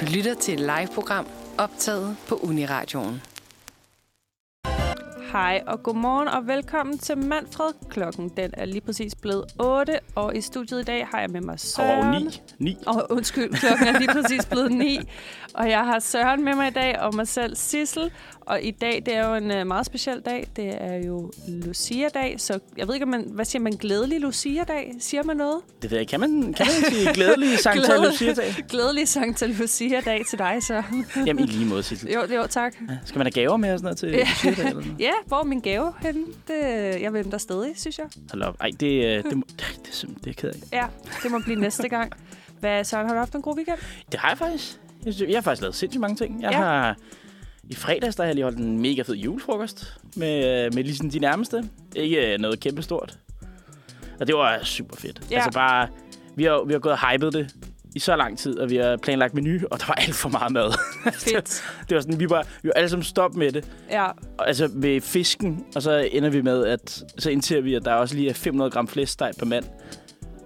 Du lytter til et live-program optaget på Uniradioen. Hej og godmorgen og velkommen til Manfred. Klokken den er lige præcis blevet 8, og i studiet i dag har jeg med mig Søren. Og 9. 9. Og undskyld, klokken er lige præcis blevet 9. Og jeg har Søren med mig i dag, og mig selv Sissel. Og i dag, det er jo en øh, meget speciel dag. Det er jo Lucia-dag, så jeg ved ikke, om man, hvad siger man? Glædelig Lucia-dag? Siger man noget? Det ved jeg. Kan man, kan man sige glædelig Sankt Glæde- Lucia-dag? Glædelig Sankt Lucia-dag til dig, Søren. Jamen, i lige måde, Sissel. Jo, jo, tak. Skal man have gaver med og sådan noget til Ja. Lucia-dag eller noget? Ja, hvor er min gave henne? Det, jeg venter stadig, synes jeg. Hold op. Ej, det, øh, det, må, det, det, er simpelthen- det er jeg ked af. Ja, det må blive næste gang. Hvad, Søren, har du haft en god weekend? Det har jeg faktisk. Jeg, synes, jeg har faktisk lavet sindssygt mange ting. Jeg Ja. ja. har... I fredags, der har jeg lige holdt en mega fed julefrokost med, øh, med lige sådan de nærmeste. Ikke øh, noget kæmpestort. Og det var super fedt. Ja. Ja. Altså bare... Vi har, vi har gået og hypet det i så lang tid, og vi har planlagt menu, og der var alt for meget mad. Fedt. det var sådan, vi var, vi var alle sammen stop med det. Ja, Og altså ved fisken, og så ender vi med, at så indser vi, at der også lige er 500 gram flæskesteg per mand.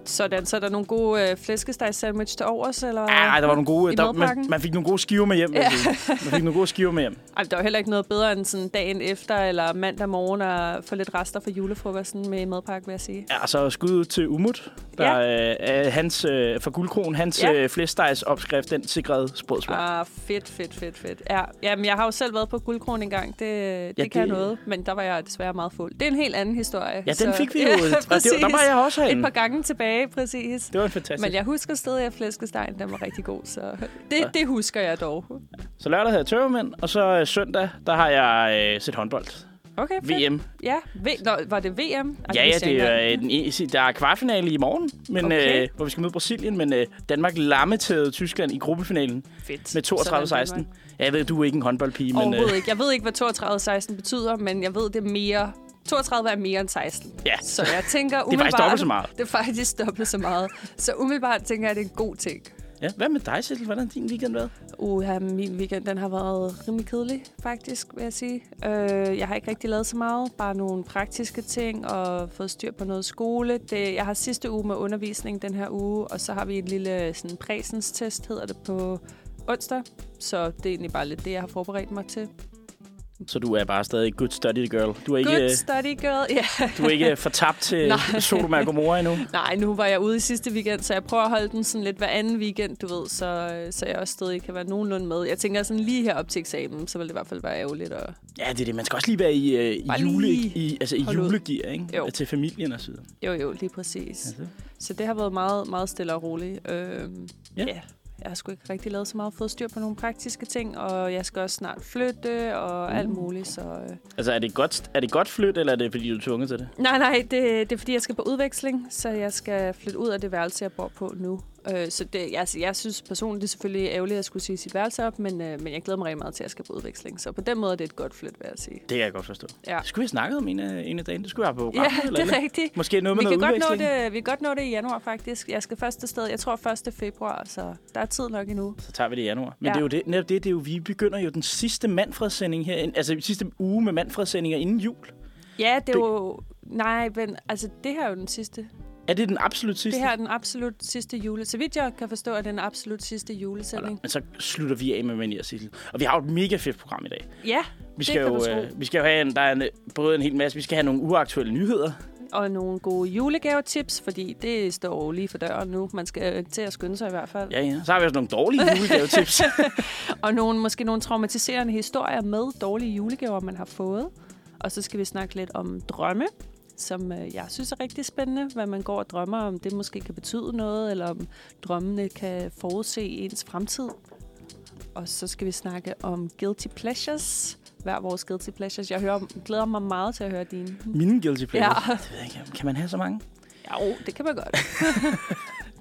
sådan. Så er der nogle gode øh, flæskesteg sandwich til overs, eller? Ah, der var nogle gode, I der, madpakken? man, man, fik nogle gode skiver med hjem. vil jeg sige. Man fik nogle gode skiver med hjem. Ej, der var heller ikke noget bedre end sådan dagen efter, eller mandag morgen, at få lidt rester fra julefrokosten med i madpakke, vil jeg sige. Ja, og så skud ud til Umut, der ja. øh, er hans, øh, fra Guldkron, hans Ja. ja. øh, flæskestegs opskrift, den sikrede sprødsmål. Ah. Ah, fedt, fedt, fedt, fedt. Ja, jamen, jeg har jo selv været på guldkron engang. Det, det ja, Ja, kan det... det- noget, men der var jeg desværre meget fuld. Det er en helt anden historie. Ja, den så- fik vi jo, og det, der var jeg også Et herinde. par gange tilbage, præcis. Det var en fantastisk. Men jeg husker stadig, at flæskestegen den var rigtig god, så det, det husker jeg dog. Så lørdag havde jeg tørremænd, og så øh, søndag, der har jeg øh, set håndbold. Okay, fedt. VM. Ja, v- Nå, var det VM? Ej, Ja, ja, vidste jeg ikke det er, engang. øh, den, ene- der er kvartfinale i morgen, men, Okay. okay. øh, hvor vi skal møde Brasilien, men øh, Danmark lammetede Tyskland i gruppefinalen. fedt. Med 32-16. Ja, jeg ved, du er ikke en håndboldpige, men Overhovedet øh, ikke. Jeg ved ikke, hvad 32-16 betyder, men jeg ved, det er mere... 32 er mere end 16. Ja. Så jeg tænker det er umiddelbart... faktisk dobbelt så meget. Det er faktisk dobbelt så meget. Så umiddelbart tænker jeg, at det er en god ting. Ja. Hvad med dig, Sissel? Hvordan har din weekend været? Uha, min weekend den har været rimelig kedelig, faktisk, vil jeg sige. Øh, jeg har ikke rigtig lavet så meget, bare nogle praktiske ting og fået styr på noget skole. Det, jeg har sidste uge med undervisning den her uge, og så har vi en lille sådan, præsenstest, hedder det, på onsdag. Så det er egentlig bare lidt det, jeg har forberedt mig til. Så du er bare stadig good study girl. Du er ikke, Good øh, study girl. Ja. du er ikke øh, fortabt til Nej. Sodoma og Gomorra endnu. Nej, nu var jeg ude i sidste weekend, så jeg prøver at holde den sådan lidt hver anden weekend, du ved, så, øh, så jeg også stadig kan være nogenlunde med. Jeg tænker sådan lige her op til eksamen, så vil det i hvert fald være ærgerligt at Ja, det er det. Man skal også lige være i, øh, i, Bare jule, lige i, altså, i holde ud. julegear, ikke? Altså, Jo. Til familien og så videre. Jo, jo, lige præcis. Altså. Så det har været meget, meget stille og roligt. Øhm, ja. Ja. ja. Jeg har sgu ikke rigtig lavet så meget fået styr på nogle praktiske ting, og jeg skal også snart flytte og Uh. mm. alt muligt. Så, øh. altså, er det, godt, er det godt flyt, eller er det, fordi du er tvunget til det? Nej, nej, det, det er fordi, jeg skal på udveksling, så jeg skal flytte ud af det værelse, jeg bor på nu. Øh, så det, altså, jeg synes personligt, det er selvfølgelig ærgerligt, at jeg skulle sige sit værelse op, men, øh, men jeg glæder mig rigtig meget til, at jeg skal på udveksling. Så på den måde er det et godt flyt, vil jeg sige. Det kan jeg godt forstå. Ja. Det skulle vi have snakket om en af, en af dagen. Det skulle være på programmet. Ja, eller det et eller er andet. rigtigt. Måske noget Vi med kan, noget godt nå udveksling. det, vi kan godt nå det i januar, faktisk. Jeg skal første sted, jeg tror 1. februar, så der er tid nok endnu. Så tager vi det i januar. Men Ja. ja. det er jo det, netop det, det er jo, vi begynder jo den sidste Manfred-sending her, altså den sidste uge med Manfred-sendinger inden jul. Ja, det er Det- jo... Nej, men altså, det her er jo den sidste. Er det den absolut sidste? Det her er den absolut sidste jule. Så vidt jeg kan forstå, er det den absolut sidste julesending. Men så slutter vi af med Manier Sissel. Og vi har jo et mega fedt program i dag. Ja, Vi skal, kan du jo, tro. vi skal jo have en, der er en, øh, både en hel masse, vi skal have nogle uaktuelle nyheder. og nogle gode julegavetips, fordi det står jo lige for døren nu. Man skal øh, til at skynde sig i hvert fald. Ja. Ja, ja. Så har vi også nogle dårlige julegavetips. Og nogle, måske nogle traumatiserende historier med dårlige julegaver, man har fået. Og så skal vi snakke lidt om drømme, som øh, jeg synes er rigtig spændende. Hvad man går og drømmer om, det måske kan betyde noget, eller om drømmene kan forudse ens fremtid. Og så skal vi snakke om guilty pleasures. Hver vores guilty pleasures. Jeg hører, glæder mig meget til at høre dine. Mine guilty pleasures. Ja. Ja. Det ved jeg ikke, kan man have så mange? Jo, det kan man godt.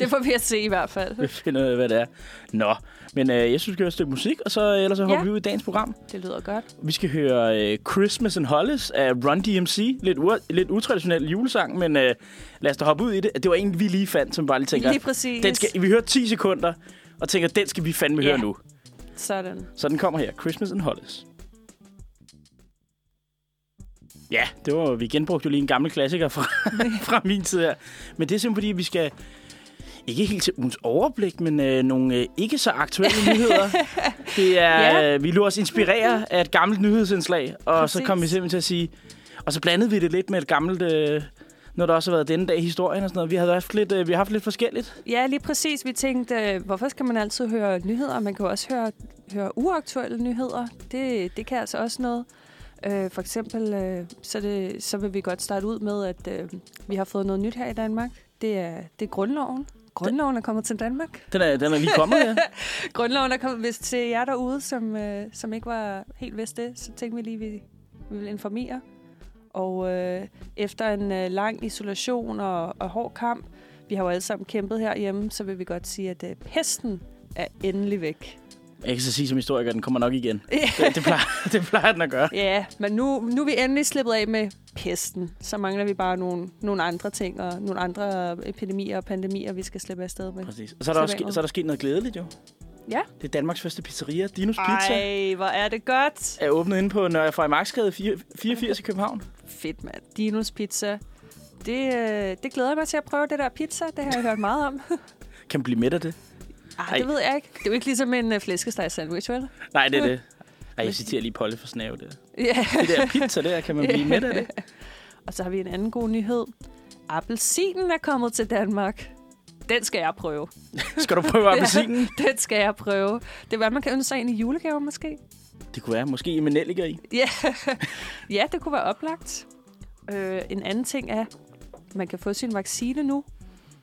det får vi at se i hvert fald. Vi finder ud af, hvad det er. Nå, men øh, jeg synes, vi skal høre et stykke musik, og så øh, ellers så Ja. hopper vi ud i dagens program. Det lyder godt. Vi skal høre øh, Christmas and Hollis af Run DMC. Lidt, u- lidt utraditionel julesang, men øh, lad os da hoppe ud i det. Det var en, vi lige fandt, som bare lige tænker... Lige præcis. den skal, vi hører 10 sekunder, og tænker, den skal vi fandme Ja. høre nu. Sådan. Så den kommer her. Christmas and Hollis. Ja, det var vi genbrugte jo lige en gammel klassiker fra, fra min tid her. Men det er simpelthen fordi, vi skal... ikke helt til ugens overblik, men øh, nogle øh, ikke så aktuelle nyheder. Det er, Ja. ja. øh, vi lå os inspirere af et gammelt nyhedsindslag, og Præcis. så kom vi Præcis. simpelthen til at sige... Og så blandede vi det lidt med et gammelt... Øh, når der også har været denne dag i historien og sådan noget. Vi havde haft lidt, øh, vi har haft lidt forskelligt. Ja, lige præcis. Vi tænkte, øh, hvorfor skal man altid høre nyheder? Man kan jo også høre, høre uaktuelle nyheder. Det, det kan altså også noget. Øh, for eksempel, øh, så, er det, så vil vi godt starte ud med, at øh, vi har fået noget nyt her i Danmark. Det er, det er grundloven. Grundloven er kommet til Danmark. Den er, den er lige kommet, ja. Grundloven er kommet hvis til jer derude, som, øh, som ikke var helt vidste det. Så tænkte vi lige, vi, vi ville informere. Og øh, efter en øh, lang isolation og, og hård kamp, vi har jo alle sammen kæmpet herhjemme, så vil vi godt sige, at øh, pesten er endelig væk. Jeg kan så sige som historiker, den kommer nok igen. Det, det, plejer, det plejer den at gøre. Ja, men nu, nu er vi endelig slippet af med pesten. Så mangler vi bare nogle, nogle andre ting og nogle andre epidemier og pandemier, vi skal slippe afsted med. Præcis. Og så er, der også, ske- så er der sket noget glædeligt, jo. Ja. Det er Danmarks første pizzeria, Dinos Pizza, Ej, hvor er det godt. er åbnet inde på Nørre Freimarksgade 4- 84 i København. Fedt, mand. Dinos Pizza. Det, øh, det glæder jeg mig til at prøve, det der pizza. Det har jeg hørt meget om. Kan man blive mæt af det? Ej, det Ej. ved jeg ikke. Det er jo ikke ligesom en øh, flæskesteg sandwich, vel? Nej, det er det. Ej, jeg citerer lige Polly for snæve der. Ja. Det der pizza der, kan man blive mæt af det? Og så har vi en anden god nyhed. Appelsinen er kommet til Danmark. Den skal jeg prøve. Skal du prøve appelsinen? Den skal jeg prøve. Det er, hvad man kan ønske sig ind i julegave, måske. Det kunne være. Måske med nelliker i. Ja, ja det kunne være oplagt. Øh, en anden ting er, at man kan få sin vaccine nu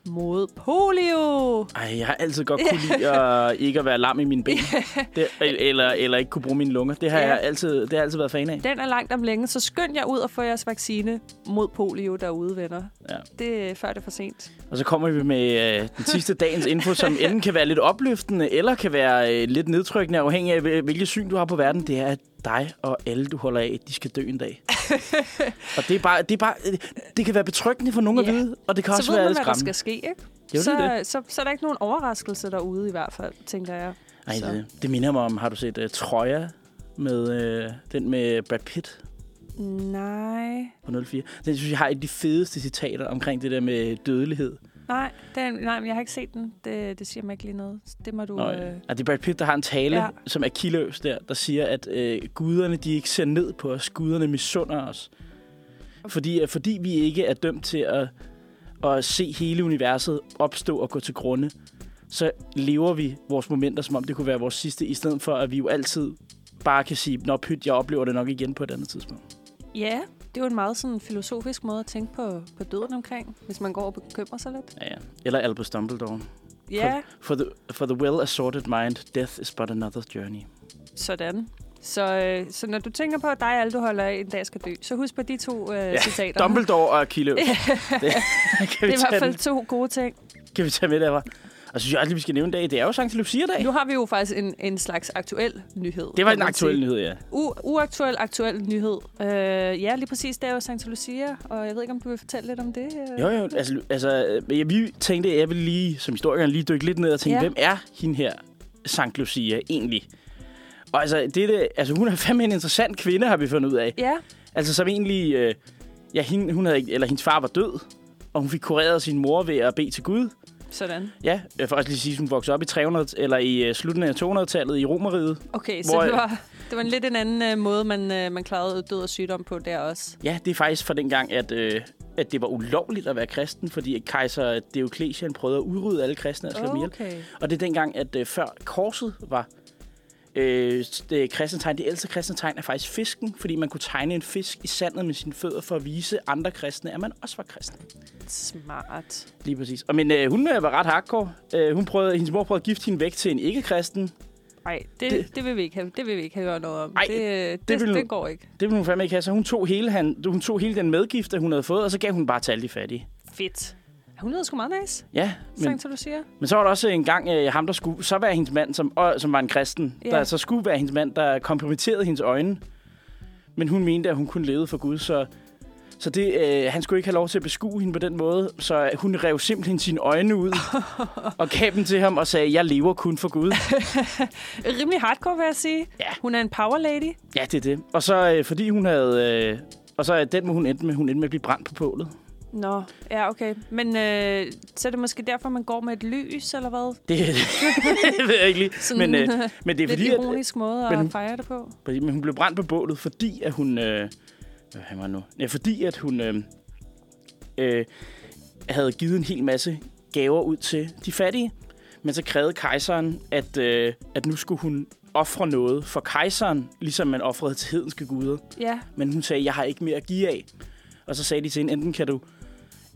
mod polio. Ej, jeg har altid godt kunne lide at ikke at være lam i mine ben. Det, eller, eller ikke kunne bruge mine lunger. Det har Ja. jeg altid, det har jeg altid været fan af. Den er langt om længe, så skynd jer ud og få jeres vaccine mod polio derude, venner. Ja. Det er før det er for sent. Og så kommer vi med øh, den sidste dagens info, som enten kan være lidt opløftende, eller kan være øh, lidt nedtrykkende, afhængig af hvil- hvilket syn du har på verden. Det er, at dig og alle, du holder af, de skal dø en dag. og det er bare, det, er bare, øh, det kan være betryggende for nogen Ja. at vide, og det kan Så også ved være man, lidt hvad der skal skræmmende. ske, ikke? Det er jo så, øh, lige så, så er der ikke nogen overraskelse derude i hvert fald, tænker jeg. Ej, så. det, det minder mig om, har du set uh, Troja med uh, den med Brad Pitt Nej. på 04? Den synes jeg har et af de fedeste citater omkring det der med dødelighed. Nej, den, nej, men jeg har ikke set den. Det, det siger mig ikke lige noget. Det må du... Nå, øh, øh. Det er Brad Pitt, der har en tale, Ja. ja. som er kiløs der, der siger, at øh, guderne de ikke ser ned på os, guderne misunder os. Fordi, øh, fordi vi ikke er dømt til at, at se hele universet opstå og gå til grunde, så lever vi vores momenter, som om det kunne være vores sidste, i stedet for at vi jo altid bare kan sige, nå pyt, jeg oplever det nok igen på et andet tidspunkt. Ja, det er jo en meget sådan filosofisk måde at tænke på, på døden omkring, hvis man går og bekymrer sig lidt. Ja, ja. Eller Albus Dumbledore. Ja, For the, for the well-assorted mind, death is but another journey. sådan. Så, øh, så når du tænker på, at dig og alle, du holder af, en dag skal dø, så husk på de to øh, ja, citater. Dumbledore og Kiløs. det, kan, Det vi er i hvert tage fald den, to gode ting. kan vi tage med derfra? Og så synes jeg aldrig, vi skal nævne en dag. Det er jo Sankt Lucia-dag. Nu har vi jo faktisk en, en slags aktuel nyhed. Det var kan en man aktuel sige. nyhed, ja. U- uaktuel, aktuel nyhed. Øh, ja, lige præcis. Det er jo Santa Lucia, og jeg ved ikke, om du vil fortælle lidt om det? øh? Jo, jo. Altså, altså øh, men jeg, vi tænkte, at jeg ville lige, som historikeren, lige dykke lidt ned og tænke, Ja. ja. hvem er hende her, Sankt Lucia, egentlig? Og altså, det, er det, altså, hun er fandme en interessant kvinde, har vi fundet ud af. Ja, Altså, som egentlig... Øh, ja, hende, hun havde, ikke- eller hendes far var død, og hun fik kureret sin mor ved at bede til Gud. sådan. Ja, jeg får også lige sige, at hun voksede op i 300 eller i øh, slutningen af 200-tallet i Romeriet. Okay, så Hvor- øh, det var, det var en lidt en anden øh, måde, man, øh, man klarede død og sygdom på der også. Ja, det er faktisk fra dengang, at, øh, at det var ulovligt at være kristen, fordi at kejser Diocletian prøvede at udrydde alle kristne og slå Ah, dem ihjel. Og det er dengang, at øh, før korset var øh, det kristne tegn, det ældste kristne tegn er faktisk fisken, fordi man kunne tegne en fisk i sandet med sine fødder for at vise andre kristne, at man også var kristen. Smart. Lige præcis. Og men øh, hun øh, var ret hardcore. Øh, hun prøvede, hendes mor prøvede at gifte hende væk til en ikke-kristen. Nej, det, det, Det- det, vil vi ikke have. Det vil vi ikke have hørt noget om. Ej, det, øh, det, det vil det, nu- det, går ikke. Det ville hun fandme ikke have, så hun tog hele, han, hun tog hele den medgift, der hun havde fået, og så gav hun bare til alle de fattige. Fedt. Hun lyder sgu meget nice, Ja, men, Santa Lucia. men så var der også en gang øh, ham, der skulle så være hendes mand, som, og, som var en kristen, Ja. yeah. der så skulle være hendes mand, der kompromitterede hendes øjne. Men hun mente, at hun kunne leve for Gud, så, så det, øh, han skulle ikke have lov til at beskue hende på den måde. Så hun rev simpelthen sine øjne ud og gav dem til ham og sagde, jeg lever kun for Gud. Rimelig hardcore, vil jeg sige. Ja. Hun er en power lady. ja, det er det. Og så øh, fordi hun havde... Øh, og så er den, hun endte med, hun endte med at blive brændt på bålet. Nå, ja, okay. Men øh, så er det måske derfor, man går med et lys, eller hvad? Det, det ved jeg ikke lige. Sådan, Men, øh, men det er Lidt fordi, at, ironisk måde at men- fejre det på. Fordi- Men hun blev brændt på bålet, fordi at hun... Øh, hvad fanden var det nu? Ja, fordi at hun øh, øh, havde givet en hel masse gaver ud til de fattige. Men så krævede kejseren, at, øh, at nu skulle hun ofre noget for kejseren, ligesom man ofrede til hedenske guder. Ja, Men hun sagde, jeg har ikke mere at give af. Og så sagde de til hende, enten kan du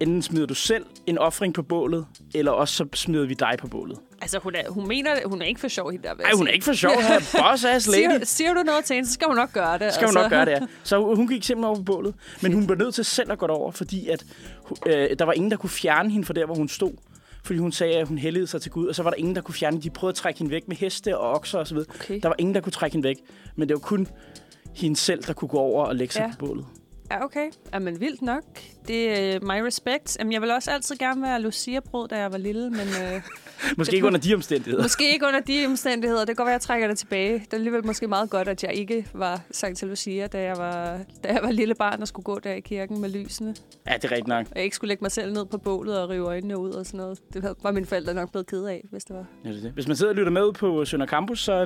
enten smider du selv en offring på bålet, eller også så smider vi dig på bålet. altså hun, er, hun mener, det- hun er ikke for sjov, hende der. vil jeg Nej, hun er sige. ikke for sjov, her boss ass lady. Siger, siger du noget til hende, så skal hun nok gøre det. altså. skal hun nok gøre det, ja. Så hun hun gik simpelthen over på bålet. Men hun blev nødt til selv at gå over, fordi at, hu- øh, der var ingen, der kunne fjerne hende fra der, hvor hun stod. Fordi hun sagde, at hun hældede sig til Gud, og så var der ingen, der kunne fjerne hende. De prøvede at trække hende væk med heste og okser osv. Okay. Der var ingen, der kunne trække hende væk. Men det var kun hende selv, der kunne gå over og lægge sig Ja. på bålet. Ja, okay. Jamen, vildt nok. Det er uh, my respect. Jamen, jeg ville også altid gerne være Lucia-brød, da jeg var lille, men uh, Måske ikke under de omstændigheder. måske ikke under de omstændigheder. Det kan godt være, jeg trækker det tilbage. Det er alligevel måske meget godt, at jeg ikke var Sankt Lucia, da jeg var, da jeg var lille barn og skulle gå der i kirken med lysene. Ja, det er rigtigt nok. Og jeg ikke skulle lægge mig selv ned på bålet og rive øjnene ud og sådan noget. Det havde- var mine forældre nok blevet ked af, hvis det var. Ja, det er det. Hvis man sidder og lytter med på øh, Sønder Campus, så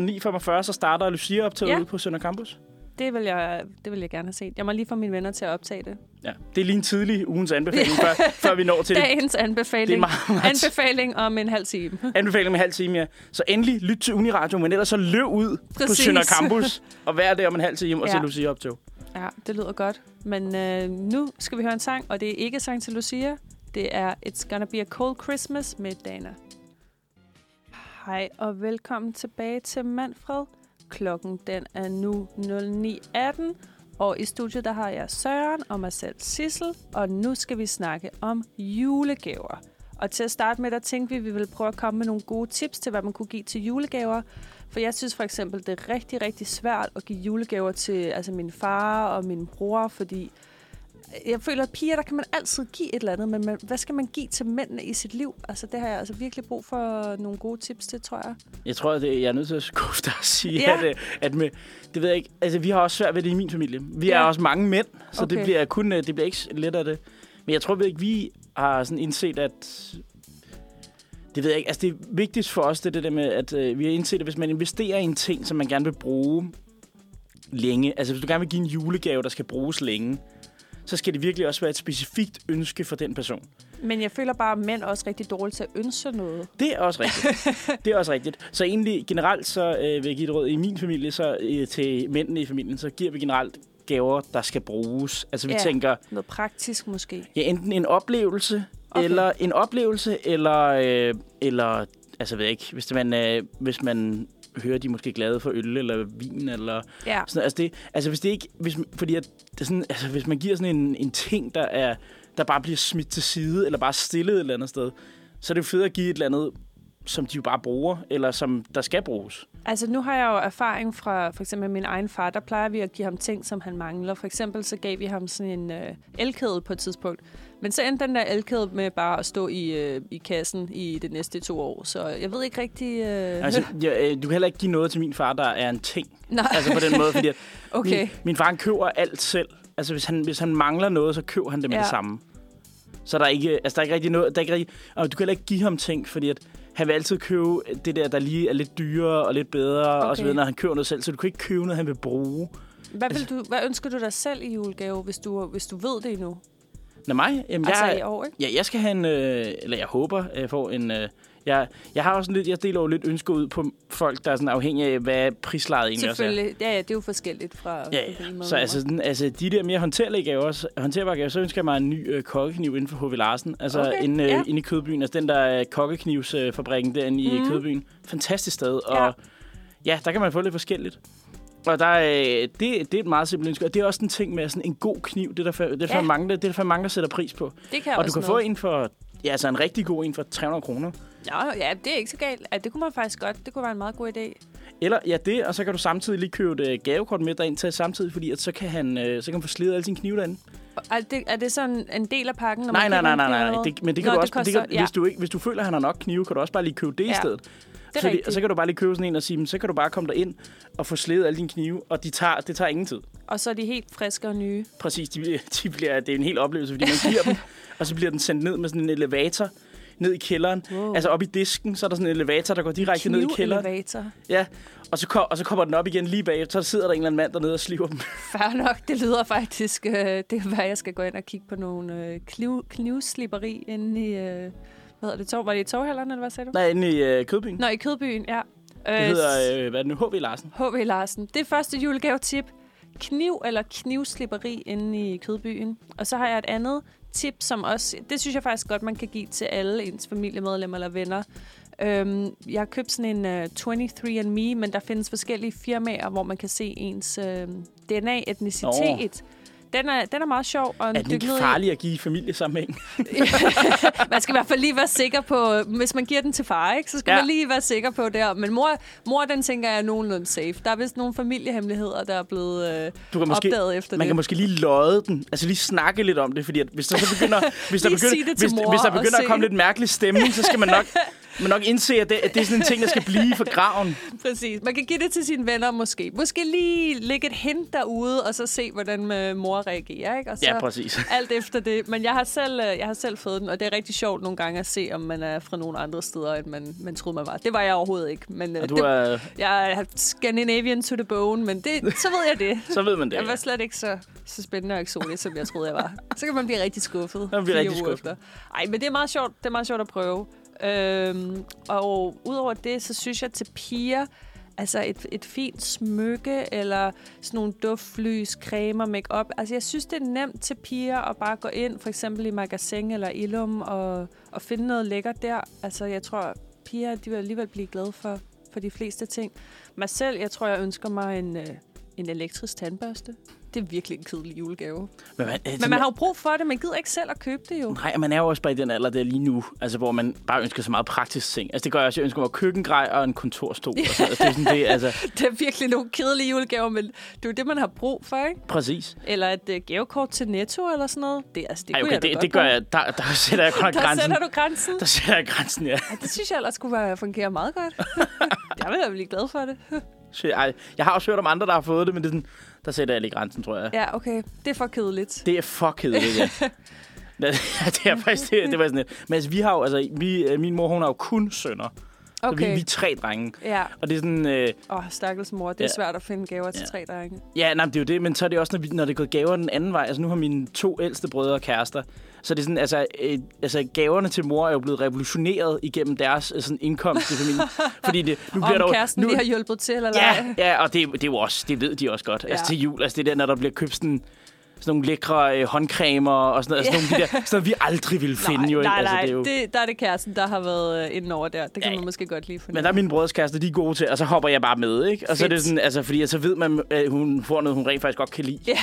9.45, så starter Lucia op til Ja. ja. ude på Sønder Campus. Det vil, jeg, det vil jeg gerne have set. Jeg må lige få mine venner til at optage det. Ja. Det er lige en tidlig ugens anbefaling, før, før vi når til det. Dagens anbefaling. Det er meget, meget anbefaling om en halv time. Anbefaling med halv time, ja. Så endelig lyt til Uniradio, men ellers så løb ud Præcis. på Præcis. Sønder Campus og vær der om en halv time og ja. Ja. se Lucia optog. Ja, det lyder godt. Men øh, nu skal vi høre en sang, og det er ikke sang til Lucia. Det er It's Gonna Be a Cold Christmas med Dana. Hej og velkommen tilbage til Manfred. Klokken den er nu 09.18, og i studiet der har jeg Søren og mig selv Sissel, og nu skal vi snakke om julegaver. Og til at starte med, der tænkte vi, at vi ville prøve at komme med nogle gode tips til, hvad man kunne give til julegaver. For jeg synes for eksempel, det er rigtig, rigtig svært at give julegaver til altså min far og min bror, fordi jeg føler, at piger, der kan man altid give et eller andet, men man, hvad skal man give til mændene i sit liv? Altså, det har jeg altså virkelig brug for nogle gode tips til, tror jeg. Jeg tror, at det, jeg er nødt til at skuffe dig og sige, Ja. ja. at, øh, at med, det ved jeg ikke, altså vi har også svært ved det i min familie. Vi ja. er Ja. også mange mænd, så okay. Okay. det bliver kun, øh, det bliver ikke s- let af det. Men jeg tror ved ikke, vi har sådan indset, at det ved jeg ikke. Altså det vigtigste for os, det er det der med, at øh, vi har indset, at hvis man investerer i en ting, som man gerne vil bruge længe, altså hvis du gerne vil give en julegave, der skal bruges længe, så skal det virkelig også være et specifikt ønske for den person. Men jeg føler bare, at mænd er også rigtig dårlige til at ønske noget. Det er også rigtigt. det er også rigtigt. Så egentlig generelt, så øh, vil jeg give et råd i min familie, så øh, til mændene i familien, så giver vi generelt gaver, der skal bruges. Altså vi Ja. ja. tænker, Noget praktisk måske. ja, enten en oplevelse, Okay. okay. eller en oplevelse, eller, øh, eller altså ved jeg ikke, hvis man, øh, hvis man hører, de er måske glade for øl eller vin, eller Ja. sådan, altså, det, altså hvis det ikke, hvis, man- fordi at, det er sådan, altså, hvis man giver sådan en, en ting, der, er, der bare bliver smidt til side, eller bare stillet et eller andet sted, så er det jo fedt at give et eller andet, som de jo bare bruger, eller som der skal bruges. Altså, nu har jeg jo erfaring fra for eksempel min egen far. Der plejer vi at give ham ting, som han mangler. For eksempel så gav vi ham sådan en øh, elkæde på et tidspunkt. Men så endte den der elkæde med bare at stå i, øh, i kassen i de næste to år. Så jeg ved ikke rigtig... Øh... Altså, jeg, øh, du kan heller ikke give noget til min far, der er en ting. Nej, Altså på den måde, fordi at okay. min, min far han køber alt selv. Altså hvis han, hvis han mangler noget, så køber han det med Ja. det samme. Så der er ikke, altså, der er ikke rigtig noget, der er ikke rigtig, og du kan heller ikke give ham ting, fordi at han vil altid købe det der, der lige er lidt dyrere og lidt bedre, okay. Okay. og så videre, når han køber noget selv, så du kan ikke købe noget, han vil bruge. Hvad, vil altså- du, hvad ønsker du dig selv i julegave, hvis du, hvis du ved det endnu? Nå mig, jamen, Altså jeg, i år, ikke? Ja, jeg skal have en, øh, eller jeg håber, jeg får en... Øh, jeg, jeg har også sådan lidt, jeg deler jo lidt ønsker ud på folk, der er sådan afhængige af, hvad prislaget egentlig også er. Selvfølgelig. Ja, ja, det er jo forskelligt fra... Ja, fra ja. den ene Så måde. altså, den, altså, de der mere håndterlige gaver, så- håndterbare gaver, så ønsker jeg mig en ny øh, kokkekniv inden for H.V. Larsen. Altså Okay, okay, inde, øh, ja. inde i Kødbyen. Altså den der øh, kokkeknivsfabrikken derinde i Mhm. mm. Kødbyen. Fantastisk sted. Ja. Og ja. ja, der kan man få lidt forskelligt. Og der, øh, det, det er et meget simpelt ønske. Og det er også en ting med sådan en god kniv. Det er der, for, det er der, for Ja. mange, der, det er der for mange, der sætter pris på. det kan og du også kan få noget. en for... Ja, altså en rigtig god en for 300 kroner. Nå, ja, det er ikke så galt. Ja, det kunne man faktisk godt. Det kunne være en meget god idé. Eller ja, det, og så kan du samtidig lige købe et øh, gavekort med dig ind til samtidig, fordi at så kan han øh, så kan han få slidet alle sine knive derinde. Og Er det, er det sådan en del af pakken? Når Nej, man nej, køber nej, en nej, nej. pyramide? Det, men det kan Nå, du også, det koster, kan, ja. hvis, du ikke, hvis du føler, at han har nok knive, kan du også bare lige købe det ja. Ja. i stedet. er så, rigtigt. og så kan du bare lige købe sådan en og sige, "Men så kan du bare komme derind og få slædet alle dine knive, og de tager, det tager ingen tid. Og så er de helt friske og nye. Præcis, de, bliver- de bliver, det er en hel oplevelse, fordi man giver dem, og så bliver den sendt ned med sådan en elevator ned i kælderen. Wow. Altså op i disken, så er der sådan en elevator, der går direkte ned i kælderen. Knivelevator. Ja, og så, kom, og så kommer den op igen lige bag, så sidder der en eller anden mand dernede og sliver dem. Fair nok, det lyder faktisk... Øh, det kan være, jeg skal gå ind og kigge på nogle øh, kniv, knivslipperi inde i... Øh, hvad hedder det? Tog, var det i toghallerne, eller hvad sagde du? Nej, inde i øh, Kødbyen. Nå, i Kødbyen, ja. Det hedder, øh, hvad er det nu, H.V. Larsen. H.V. Larsen. Det er første julegavetip. Kniv eller knivslipperi inde i Kødbyen. Og så har jeg et andet tip, som også... Det synes jeg faktisk godt, man kan give til alle ens familiemedlemmer eller venner. Øhm, jeg har købt sådan en øh, 23andMe, men der findes forskellige firmaer, hvor man kan se ens øh, DNA-etnicitet. Den er, den er meget sjov. Og en Er den ikke dyk ned i- farlig at give i familiesammenhæng? man skal i hvert fald lige være sikker på, hvis man giver den til far, ikke? så skal Ja. ja. man lige være sikker på der. Men mor, mor, den tænker jeg er nogenlunde safe. Der er vist nogle familiehemmeligheder, der er blevet øh, Du kan måske, opdaget efter man det. kan måske lige løje den, altså lige snakke lidt om det, fordi at hvis der så begynder, hvis der Lige sige begynder, det til hvis, mor hvis der og begynder at se. komme lidt mærkelig stemning, så skal man nok, man nok indse, at det, at det er sådan en ting, der skal blive for graven. Præcis. Man kan give det til sine venner måske. Måske lige lægge et hint derude, og så se, hvordan øh, mor reagerer. Ikke? Og så Ja, præcis. alt efter det. Men jeg har, selv, øh, jeg har selv fået den, og det er rigtig sjovt nogle gange at se, om man er fra nogle andre steder, end man, man troede, man var. Det var jeg overhovedet ikke. Men, øh, Og du det, er, Jeg er Scandinavian to the bone, men det, så ved jeg det. så ved man det. Jeg var Ja. slet ikke så, så spændende og eksotisk, som jeg troede, jeg var. Så kan man blive rigtig skuffet. Man bliver fire rigtig uger skuffet. Ej, men det er meget sjovt, det er meget sjovt at prøve. Øhm, og udover det, så synes jeg til piger, altså et, et fint smykke, eller sådan nogle duftlys, cremer, makeup. Altså jeg synes, det er nemt til piger at bare gå ind, for eksempel i Magasin eller Ilum, og, og finde noget lækkert der. Altså jeg tror, piger de vil alligevel blive glade for, for de fleste ting. Mig selv, jeg tror, jeg ønsker mig en, øh, en elektrisk tandbørste. Det er virkelig en kedelig julegave. Men Altså, man, Men man har jo brug for det. Man gider ikke selv at købe det jo. Nej, og man er jo også bare i den alder der lige nu, altså, hvor man bare ønsker så meget praktisk ting. Altså, det gør jeg også. Jeg ønsker mig køkkengrej og en kontorstol. Og sådan. Altså, det er sådan det, altså, Det er virkelig nogle kedelige julegaver, men det er jo det, man har brug for, ikke? præcis. Eller et øh, gavekort til Netto eller sådan noget. Det, altså, det Ej, kunne okay, jeg da det, godt det gør bruge. jeg. Der, der sætter jeg godt nok Der grænsen. sætter du grænsen. Der sætter jeg grænsen, ja. Ej, det synes jeg ellers kunne være, fungere meget godt. jeg vil da blive glad for det. Så, ej, jeg har også hørt om andre, der har fået det, men det er sådan, der sætter jeg lige grænsen, tror jeg. Ja, okay. Det er for kedeligt. Det, Det er fuck kedeligt, ja. Nå, det er faktisk, det, det var sådan lidt. Men altså, vi har jo, altså, vi, øh, min mor, hun har jo kun sønner. Så vi, okay. vi er tre drenge. Ja. Og det er sådan, øh, Åh, oh, stakkels mor. Det er Ja. ja. svært at finde gaver til Ja. ja. tre drenge. ja, nej, men det er jo det, men så er det også, når, vi, når det er gået gaver den anden vej. Altså, nu har mine to ældste brødre og kærester. Så det er sådan, altså, øh, altså gaverne til mor er jo blevet revolutioneret igennem deres øh, sådan, indkomst i familien. Fordi det, nu bliver der Om jo- kæresten nu, lige har hjulpet til, eller Ja, ej. ja og det, det, er jo også, det ved de også godt. Ja. Altså Ja. til jul, altså det der, når der bliver købt sådan, sådan nogle lækre øh, håndcremer og sådan noget, altså nogle af de der, sådan noget, vi aldrig ville finde jo. ikke? nej, altså, nej, det er jo, det, der er det kæresten, der har været øh, inden over der. Det kan Ja, man måske godt lige finde. Men der er mine brødres kærester, de er gode til, og så hopper jeg bare med, ikke? Og så er det Fedt. sådan, altså, fordi så ved man, at hun får noget, hun rent faktisk godt kan lide. Ja.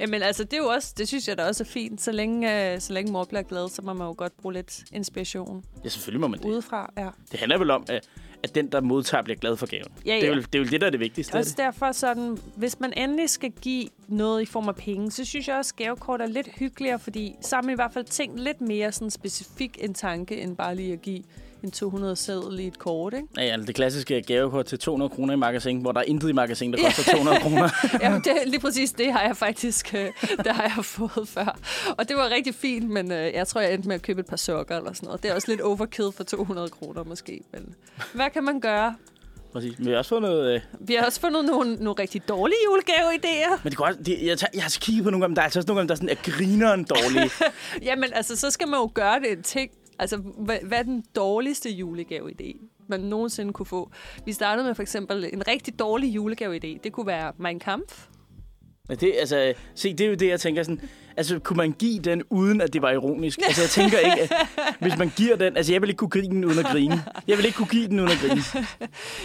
Jamen altså, det, er jo også, det synes jeg da også er fint. Så længe, øh, så længe mor bliver glad, så må man jo godt bruge lidt inspiration ja selvfølgelig må man det. udefra. Ja. Det handler vel om, at, at den, der modtager, bliver glad for gaven. Ja, Det, er ja. vel, det er vel det, der er det vigtigste. er Også det? derfor sådan, hvis man endelig skal give noget i form af penge, så synes jeg også, at gavekort er lidt hyggeligere, fordi så har man i hvert fald tænkt lidt mere sådan specifik en tanke, end bare lige at give en 200 sædel i et kort, ikke? Ja, ja, det klassiske gavekort til 200 kroner i magasin, hvor der er intet i magasin, der koster 200 kroner. Jamen, det, lige præcis det har jeg faktisk øh, det har jeg fået før. Og det var rigtig fint, men øh, jeg tror, jeg endte med at købe et par sokker eller sådan noget. Det er også lidt overkill for 200 kroner måske. Men hvad kan man gøre? Præcis. Men vi har også fået noget... Øh... Vi har også fundet nogle, nogle rigtig dårlige julegaveidéer. Men det går også, det, jeg, tager, jeg har kigget på nogle gange, der er altså også nogle gange, der er sådan, at grineren dårlige. Jamen, altså, så skal man jo gøre det en ting. Altså, hvad, hvad er den dårligste julegaveidé, man nogensinde kunne få? Vi startede med for eksempel en rigtig dårlig julegaveidé. Det kunne være Mein Kampf. Men det, altså, se, det er jo det, jeg tænker sådan, altså, kunne man give den, uden at det var ironisk? Altså, jeg tænker ikke, at, hvis man giver den, altså, jeg vil ikke kunne give den uden at grine. Jeg vil ikke kunne give den uden at grine.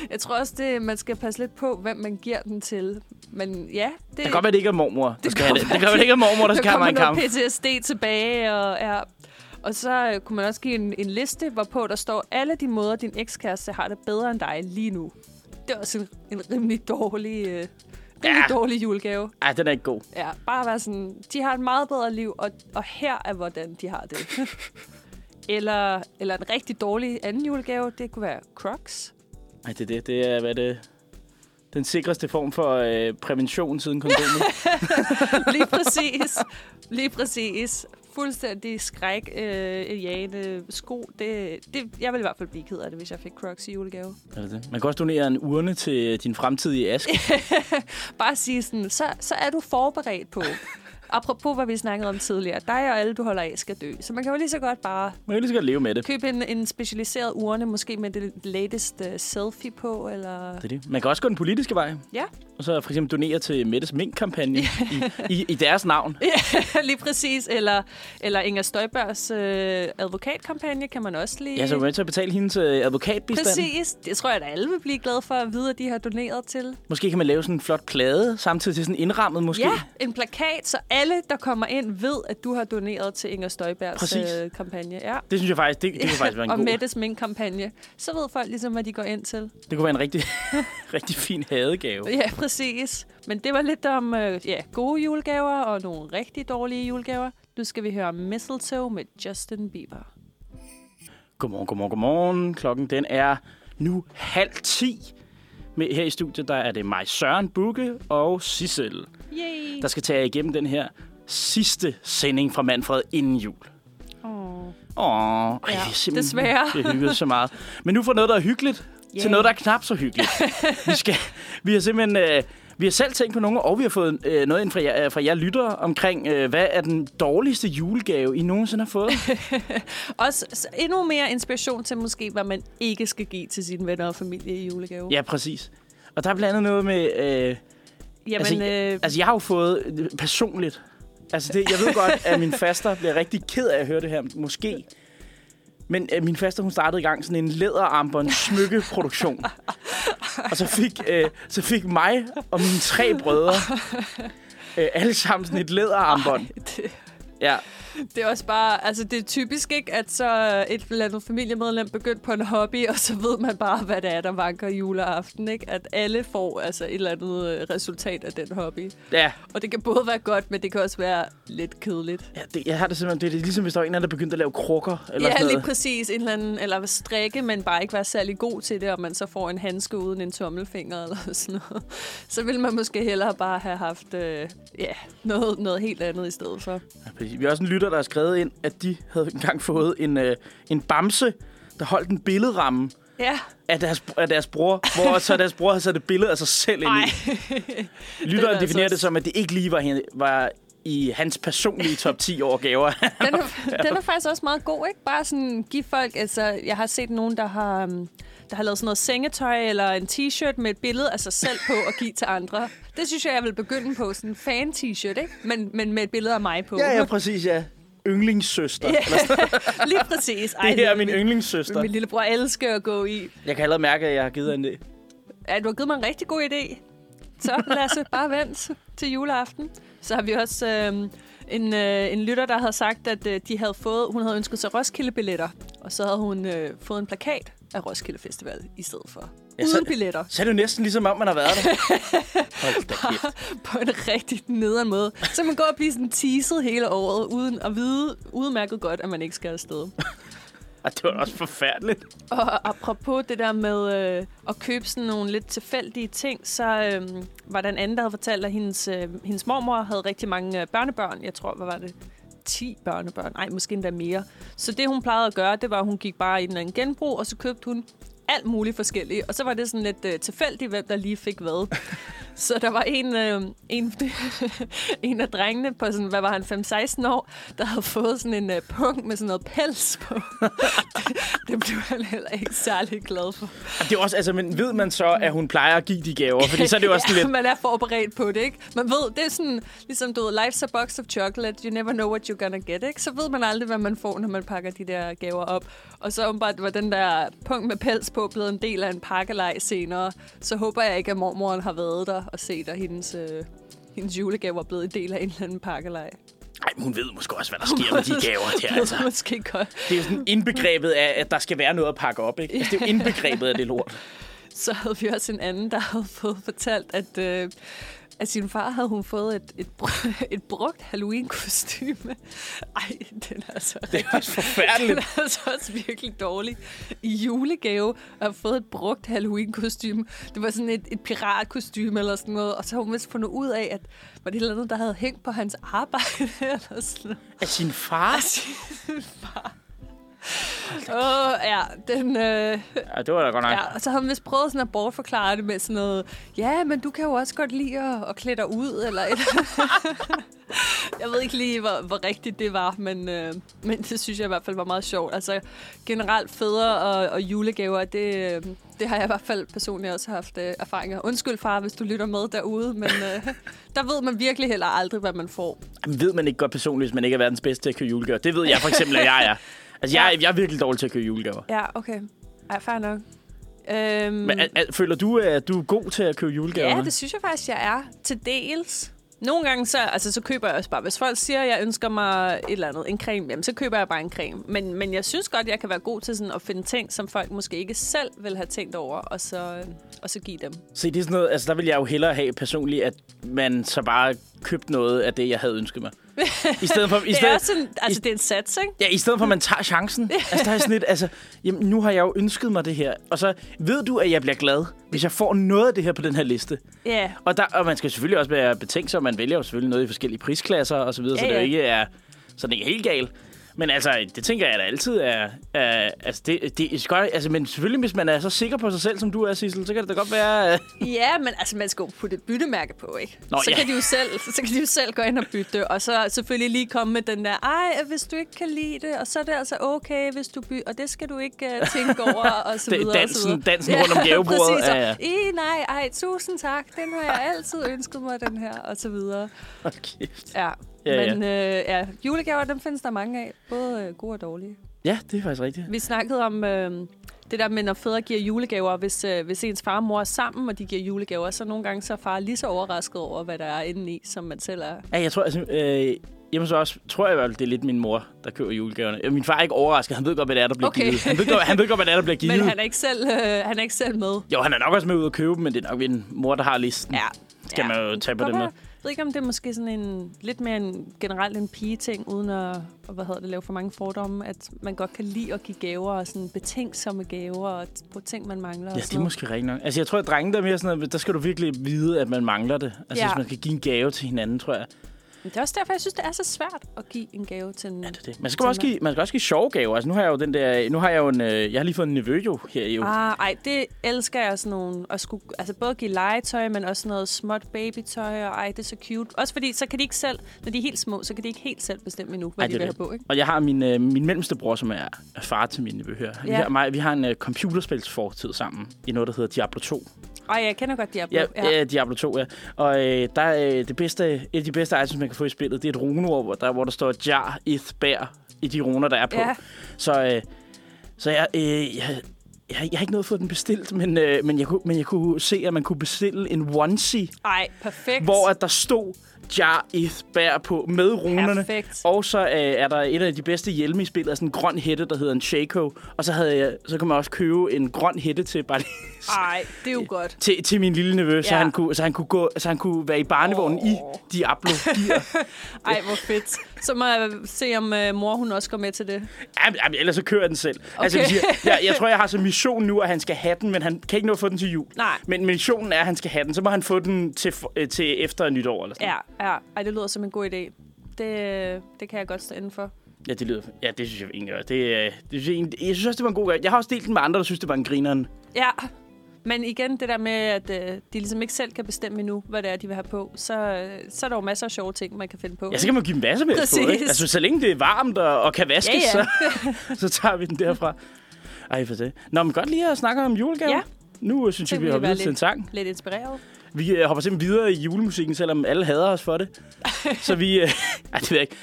Jeg tror også, det, man skal passe lidt på, hvem man giver den til. Men ja, det, Det kan godt være, det ikke er mormor, der skal have kan det. være, Det kan være, det ikke er mormor, der der skal have mig kommer en noget kamp. PTSD tilbage, og, ja. og så øh, kunne man også give en, en liste, hvorpå der står alle de måder, din ekskæreste har det bedre end dig lige nu. Det er også en, en rimelig dårlig, øh, rimelig Ja. ja. dårlig julegave. Ej, den er ikke god. Ja, bare være sådan, de har et meget bedre liv, og, og her er, hvordan de har det. Eller, eller en rigtig dårlig anden julegave, det kunne være Crocs. Nej, det er det. Det er, hvad det den sikreste form for øh, prævention siden kondomet. Lige præcis. Lige præcis. Fuldstændig skræk, øh, jane, sko. Det, det, jeg ville i hvert fald blive ked af det, hvis jeg fik Crocs i julegave. Er det det? Man kan også donere en urne til øh, din fremtidige ask. Bare sige sådan, så, så er du forberedt på. Apropos, hvad vi snakkede om tidligere. Dig og alle, du holder af, skal dø. Så man kan jo lige så godt bare Man kan lige så godt leve med det. købe en, en specialiseret urne, måske med det latest uh, selfie på, eller... det, er det. Man kan også gå den politiske vej. Ja, Og så for eksempel donere til Mettes Mink-kampagne i, i, i deres navn. lige præcis. Eller, eller Inger Støjbergs øh, advokatkampagne kan man også lige... Ja, så er man med til at betale hendes øh, advokatbistand. Præcis. Det tror jeg, at alle vil blive glade for at vide, at de har doneret til. Måske kan man lave sådan en flot plade, samtidig til sådan indrammet måske. Ja, en plakat, så alle, der kommer ind, ved, at du har doneret til Inger Støjbergs Præcis. øh, kampagne. Ja. Det synes jeg faktisk, det, det kunne faktisk være en og god. Mettes Mink-kampagne. Så ved folk ligesom, hvad de går ind til. Det kunne være en rigtig, rigtig fin hadegave. Ja, præcis. Men det var lidt om øh, ja, gode julegaver og nogle rigtig dårlige julegaver. Nu skal vi høre Mistletoe med Justin Bieber. Godmorgen, godmorgen, godmorgen. Klokken den er nu halv ti. Med, her i studiet der er det mig, Søren Bukke og Sissel, Yay! der skal tage jer igennem den her sidste sending fra Manfred inden jul. Åh. Åh, ej, Ja, det er simpelthen, desværre. Det har hygget så meget. Men nu fra noget, der er hyggeligt, yeah. Yay. til noget, der er knap så hyggeligt. vi, skal, vi har simpelthen... Øh, vi har selv tænkt på nogle, og vi har fået øh, noget ind fra jer, øh, fra jer lyttere omkring, øh, hvad er den dårligste julegave, I nogensinde har fået? Også så endnu mere inspiration til måske, hvad man ikke skal give til sine venner og familie i julegave. ja, præcis. Og der er blandt andet noget med... Øh, Jamen, altså, øh, Altså, jeg har jo fået øh, personligt... Altså, det, jeg ved godt, at min faster bliver rigtig ked af at høre det her, måske. Men øh, min faster, hun startede i gang sådan en læderarmbånd smykkeproduktion. og så fik, øh, så fik mig og mine tre brødre øh, alle sammen sådan et læderarmbånd. det, Ja, det er også bare, altså det er typisk ikke, at så et eller andet familiemedlem begyndt på en hobby, og så ved man bare, hvad det er, der vanker juleaften, ikke? At alle får altså et eller andet øh, resultat af den hobby. ja. Og det kan både være godt, men det kan også være lidt kedeligt. ja det, jeg har det simpelthen... Det er ligesom, hvis der var en eller anden, der begyndte at lave krukker. Eller sådan Ja, lige noget. præcis. En eller anden, eller strikke, men bare ikke være særlig god til det, og man så får en handske uden en tommelfinger eller sådan noget. Så ville man måske hellere bare have haft øh, ja, noget, noget helt andet i stedet for. Ja, præcis. Vi har også en lytter, der har skrevet ind, at de havde engang fået en, øh, en bamse, der holdt en billedramme Ja, af deres, af deres bror, hvor så deres bror havde sat et billede af sig selv ind nej. i. Lytteren den er definerer altså- det som, at det ikke lige var, hen- var i hans personlige top 10 over gaver. Den er, den er faktisk også meget god, ikke? Bare sådan give folk, altså jeg har set nogen, der har, øhm, der har lavet sådan noget sengetøj eller en t-shirt med et billede af sig selv på og give til andre. Det synes jeg, jeg vil begynde på, sådan en fan-t-shirt, ikke? Men, men med et billede af mig på. ja, ja, præcis, ja. Yndlingssøster. Yeah. Lige præcis. Ej, Det her er min min, yndlingssøster. min lillebror elsker at gå i. Jeg kan allerede mærke, at jeg har givet hende det. Ja, du har givet mig en rigtig god idé. Så Lasse, bare vent til juleaften. Så har vi også øh, en, øh, en lytter, der havde sagt, at øh, de havde fået, hun havde ønsket sig Roskilde-billetter. Og så havde hun øh, fået en plakat af Roskilde Festival i stedet for. Ja, Uden så- billetter. Så er det jo næsten ligesom om, man har været der. Hold da kæft. På en rigtig nederen måde. Så man går og bliver sådan teaset hele året, uden at vide udmærket godt, at man ikke skal afsted. Ej, det var da også forfærdeligt. Og apropos det der med øh, at købe sådan nogle lidt tilfældige ting, så øh, var der en anden, der havde fortalt, at hendes, øh, hendes mormor havde rigtig mange øh, børnebørn. Jeg tror, hvad var det? 10 børnebørn. Nej, måske endda mere. Så det, hun plejede at gøre, det var, at hun gik bare i en eller anden genbrug, og så købte hun alt muligt forskelligt. Og så var det sådan lidt øh, tilfældigt, hvem der lige fik hvad. Så der var en, øh, en, en af drengene på sådan, hvad var han, 5-16 år, der havde fået sådan en øh, pung med sådan noget pels på. Det blev han heller ikke særlig glad for. Ej, Det er også, altså, men ved man så, at hun plejer at give de gaver? Fordi så er det jo også lidt... Man er forberedt på det, ikke? Man ved, det er sådan, ligesom du ved, life's a box of chocolate, you never know what you're gonna get, ikke? Så ved man aldrig, hvad man får, når man pakker de der gaver op. Og så åbenbart var den der punkt med pels på blevet en del af en pakkelej senere. Så håber jeg ikke, at mormoren har været der og set, at hendes, øh, hendes julegaver er blevet en del af en eller anden pakkelej. Ej, men hun ved måske også, hvad der sker med de gaver der, altså. Det er måske godt. Det er jo sådan indbegrebet af, at der skal være noget at pakke op, ikke? Altså, det er jo indbegrebet af det lort. så havde vi også en anden, der havde fået fortalt, at øh, Af sin far havde hun fået et, et, br- et brugt Halloween-kostyme. Ej, den er så Det er også den forfærdeligt. er altså også virkelig dårlig. I julegave har jeg fået et brugt Halloween-kostyme. Det var sådan et, et piratkostyme eller sådan noget. Og så har hun vist fundet ud af, at var det et eller andet, der havde hængt på hans arbejde eller sådan noget. Af sin far? Åh, oh, ja, den... Øh, Ja, det var da godt nok. ja, og så har hun vist prøvet sådan at bortforklare det med sådan noget, ja, men du kan jo også godt lide at, at klæde dig ud, eller et Jeg ved ikke lige, hvor, hvor rigtigt det var, men, øh, men det synes jeg i hvert fald var meget sjovt. Altså generelt fædre og, og julegaver, det, øh, det har jeg i hvert fald personligt også haft øh, erfaringer. Undskyld far, hvis du lytter med derude, men øh, der ved man virkelig heller aldrig, hvad man får. Jamen, ved man ikke godt personligt, hvis man ikke er verdens bedste til at købe julegaver? Det ved jeg for eksempel, at jeg er. Altså, jeg, er- jeg er virkelig dårlig til at købe julegaver. Ja, okay. Ej, fair nok. Øhm, Men al, al, føler du, at du er god til at købe julegaver? Ja, det synes jeg faktisk, jeg er. Til dels. Nogle gange, så, altså, så køber jeg også bare... Hvis folk siger, at jeg ønsker mig et eller andet, en creme, jamen, så køber jeg bare en creme. Men, men jeg synes godt, jeg kan være god til sådan at finde ting, som folk måske ikke selv vil have tænkt over, og så, og så give dem. Se, det er sådan noget, altså der vil jeg jo hellere have personligt, at man så bare købte noget af det, jeg havde ønsket mig. I stedet for, i Det er, stedet, også en, altså, det er en sats, ikke? ja, i stedet for at man tager chancen. Altså der er sådan lidt, altså, jamen, nu har jeg jo ønsket mig det her. Og så ved du, at jeg bliver glad, hvis jeg får noget af det her på den her liste. Ja. Og, der, og man skal selvfølgelig også være betænksom, man vælger jo selvfølgelig noget i forskellige prisklasser og så videre, ja, så Ja, det jo ja. ikke er sådan ikke er helt galt. Men altså, det tænker jeg da altid er... er altså, det, det er skøj, altså, men selvfølgelig, hvis man er så sikker på sig selv, som du er, Sissel, så kan det da godt være... øh, Ja, men altså, man skal jo putte et byttemærke på, ikke? Nå, så, ja. kan de jo selv, så kan de jo selv gå ind og bytte det, og så selvfølgelig lige komme med den der, ej, hvis du ikke kan lide det, og så er det altså okay, hvis du by, og det skal du ikke uh, tænke over, og så Det er videre. og så dansen- videre. dansen rundt om gavebordet, Præcis, ja, ja. og, "Ih, nej, ej, tusind tak, den har jeg altid ønsket mig, den her, og så videre. Hold kæft. Ja, Ja, ja. men øh, ja, julegaver, dem findes der mange af, både øh, gode og dårlige. Ja, det er faktisk rigtigt. Vi snakkede om øh, det der med, når fædre giver julegaver, hvis, øh, hvis ens far og mor er sammen, og de giver julegaver, så nogle gange så er far lige så overrasket over, hvad der er inde i, som man selv er. Ja, jeg tror, altså, øh, hjemme så også, tror jeg i hvert fald, det er lidt min mor, der køber julegaverne. Øh, Min far er ikke overrasket. Han ved godt, hvad det er, der bliver Okay. givet. Han ved, godt, han ved godt, hvad det er, der bliver givet. Men han er ikke selv, øh, han er ikke selv med. Jo, han er nok også med ud at købe dem, men det er nok min mor, der har listen. Ja. Skal man jo tage på Godt den være. måde. Jeg ved ikke, om det er måske sådan en lidt mere en, generelt en pigeting, uden at og hvad hedder det, lave for mange fordomme, at man godt kan lide at give gaver, og sådan betænksomme gaver, og t- på ting, man mangler. og Ja, det sådan er noget. måske rigtigt nok. Altså, jeg tror, at drenge, der er mere sådan noget, der skal du virkelig vide, at man mangler det. Altså, Ja. hvis man skal give en gave til hinanden, tror jeg. Men det er også derfor, jeg synes, det er så svært at give en gave til en... Ja, det er det. Man skal, jo også give, man skal også give sjove gaver. Altså, nu har jeg jo den der... Nu har jeg jo en... øh, Jeg har lige fået en nevø jo her i uge. Ah, ej, det elsker jeg sådan nogle. At skulle, altså både give legetøj, men også sådan noget småt babytøj, og ej, det er så cute. Også fordi, så kan de ikke selv, når de er helt små, så kan de ikke helt selv bestemme endnu, hvad ej, Ej, det de er vil have rigtigt. på, ikke? Og jeg har min, øh, min mellemste bror, som er er far til min nevø her. Vi, Ja. har, mig, vi har en øh, computerspilsfortid sammen i noget, der hedder Diablo 2. Ej, jeg kender godt Diablo. Ja, ja. Øh, Diablo 2, ja. Og øh, der er øh, det bedste, et af de bedste items, man kan få i spillet, det er et runeord, hvor der, hvor der står Jar, Ith, Bær i de runer, der er på. Ja. Så, øh, så jeg, øh, jeg, jeg, jeg har ikke noget fået den bestilt, men, øh, men, jeg kunne, men jeg kunne se, at man kunne bestille en onesie, Ej, perfekt. hvor at der stod Jar, Ith, Bær på med runerne. Perfekt. Og så øh, er der et af de bedste hjelme i spillet, er sådan en grøn hætte, der hedder en Shaco. Og så, havde jeg, så kunne man også købe en grøn hætte til bare lige Ej, det er jo godt. til, til min lille nevø, ja. så, Ja. han kunne, så, han kunne gå, så han kunne være i barnevognen oh. i Åh. Diablo 4. Ej, hvor fedt. Så må jeg se, om uh, mor hun også går med til det. jamen, jamen, ellers så kører jeg den selv. Okay. Altså, jeg, Okay. vil sige, jeg, jeg tror, jeg har som mission nu, at han skal have den, men han kan ikke nå at få den til jul. Nej. Men missionen er, at han skal have den. Så må han få den til, f- øh, til efter nytår. Eller sådan. Ja, ja. Ej, det lyder som en god idé. Det, øh, det kan jeg godt stå inden for. ja, det lyder... Ja, det synes jeg egentlig også. Det, øh, det synes jeg, egentlig- jeg synes også, det var en god gang. Jeg har også delt den med andre, der synes, det var en grineren. Ja, men igen det der med, at øh, de ligesom ikke selv kan bestemme endnu, hvad det er, de vil have på, så, øh, så er der jo masser af sjove ting, man kan finde på. Ja, så kan man give dem hvad som helst på, ikke? Præcis. Altså, så længe det er varmt og, og kan vaskes, Ja, ja. Så, så tager vi den derfra. Ej, for det. Nå, men godt lige at snakke om julegaver. Ja. Nu øh, synes Så jeg, kan vi vi har være videre til lidt- en sang. Lidt inspireret. Vi øh, hopper simpelthen videre i julemusikken, selvom alle hader os for det. så vi... Øh, ej, det ved jeg ikke.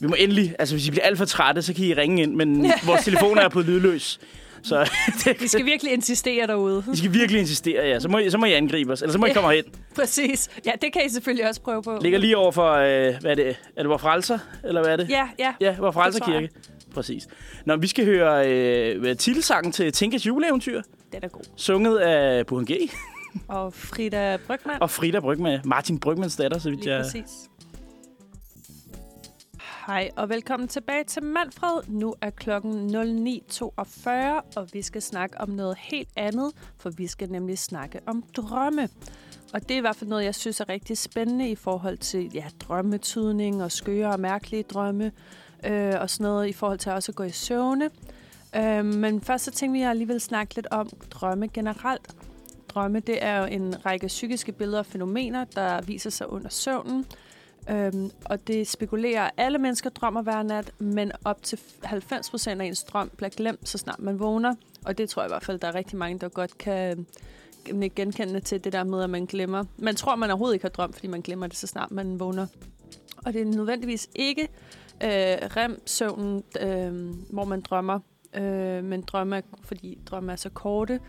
Vi må endelig... Altså, hvis I bliver alt for trætte, så kan I ringe ind, men vores telefoner er på lydløs. Så det, Vi skal virkelig insistere derude. I skal virkelig insistere, ja. Så må, I, så må I angribe os, eller så må I komme hen. Præcis. Ja, det kan I selvfølgelig også prøve på. Ligger lige over for... Øh, hvad er det? Er det Vor Frelser, eller hvad er det? Ja, ja. Ja, hvor Frelser tror jeg. Kirke. Præcis. Nå, vi skal høre øh, titelsangen til Tinkas juleeventyr, Den er god. sunget af Burhan G. og Frida Brygman. Og Frida Brygman, Martin Brygmans datter, så vidt Lige jeg... præcis. Hej og velkommen tilbage til Manfred. Nu er klokken 09.42, og vi skal snakke om noget helt andet, for vi skal nemlig snakke om drømme. Og det er i hvert fald noget, jeg synes er rigtig spændende i forhold til ja, drømmetydning og skøre og mærkelige drømme øh, og sådan noget i forhold til også at gå i søvne. Øh, men først så tænkte jeg alligevel snakke lidt om drømme generelt. Drømme, det er jo en række psykiske billeder og fænomener, der viser sig under søvnen. Øhm, og det spekulerer, at alle mennesker drømmer hver nat, men op til 90% af ens drøm bliver glemt, så snart man vågner. Og det tror jeg i hvert fald, der er rigtig mange, der godt kan øh, genkende til det der med, at man glemmer. Man tror, man overhovedet ikke har drømt, fordi man glemmer det, så snart man vågner. Og det er nødvendigvis ikke øh, REM-søvnen, øh, hvor man drømmer, øh, men drømme er, fordi drømme er så korte.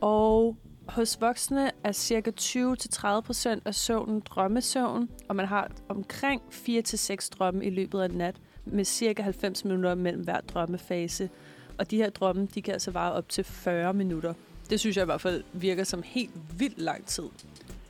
Og hos voksne er cirka 20-30% af søvnen drømmesøvn, og man har omkring 4-6 drømme i løbet af en nat, med cirka 90 minutter mellem hver drømmefase. Og de her drømme, de kan altså vare op til 40 minutter. Det synes jeg i hvert fald virker som helt vildt lang tid.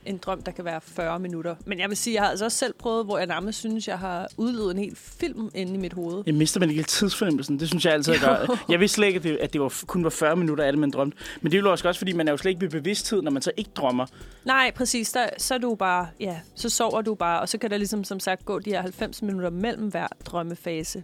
En drøm, der kan være 40 minutter. Men jeg vil sige, jeg har altså også selv prøvet, hvor jeg nærmest synes, jeg har udlevet en hel film inde i mit hoved. Jeg mister man ikke lidt tidsfornemmelsen. Det synes jeg altid, jeg Jo. gør. Jeg vidste slet ikke, at det, at det var, kun var 40 minutter af det, man drømte. Men det er jo også, også, fordi man er jo slet ikke ved bevidsthed, når man så ikke drømmer. Nej, præcis. Der, så er du bare, ja, så sover du bare, og så kan der ligesom som sagt gå de her 90 minutter mellem hver drømmefase.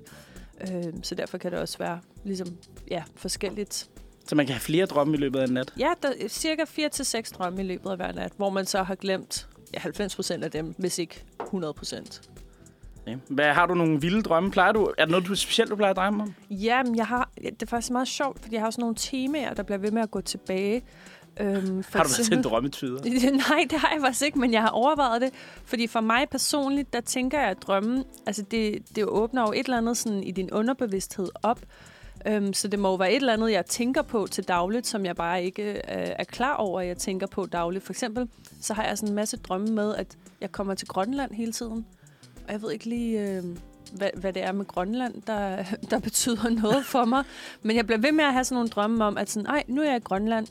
Øh, så derfor kan det også være ligesom, ja, forskelligt. Så man kan have flere drømme i løbet af en nat. Ja, der er cirka 4-6 drømme i løbet af hver nat, hvor man så har glemt ja, 90 procent af dem, hvis ikke 100 procent. Okay. Hvad, har du nogle vilde drømme? Plejer du, er der noget du specielt, du plejer at drømme om? Jamen, jeg har, det er faktisk meget sjovt, fordi jeg har sådan nogle temaer, der bliver ved med at gå tilbage. Øhm, for Har du været til en eksempel- drømmetyder? Nej, det har jeg faktisk ikke, men jeg har overvejet det. Fordi for mig personligt, der tænker jeg, at drømmen, altså det, det åbner jo et eller andet sådan i din underbevidsthed op. Øhm, så det må jo være et eller andet, jeg tænker på til dagligt, som jeg bare ikke øh, er klar over, at jeg tænker på dagligt. For eksempel, så har jeg sådan en masse drømme med, at jeg kommer til Grønland hele tiden. Og jeg ved ikke lige, øh, hvad, hvad det er med Grønland, der, der betyder noget for mig. Men jeg bliver ved med at have sådan nogle drømme om, at sådan, Ej, nu er jeg i Grønland.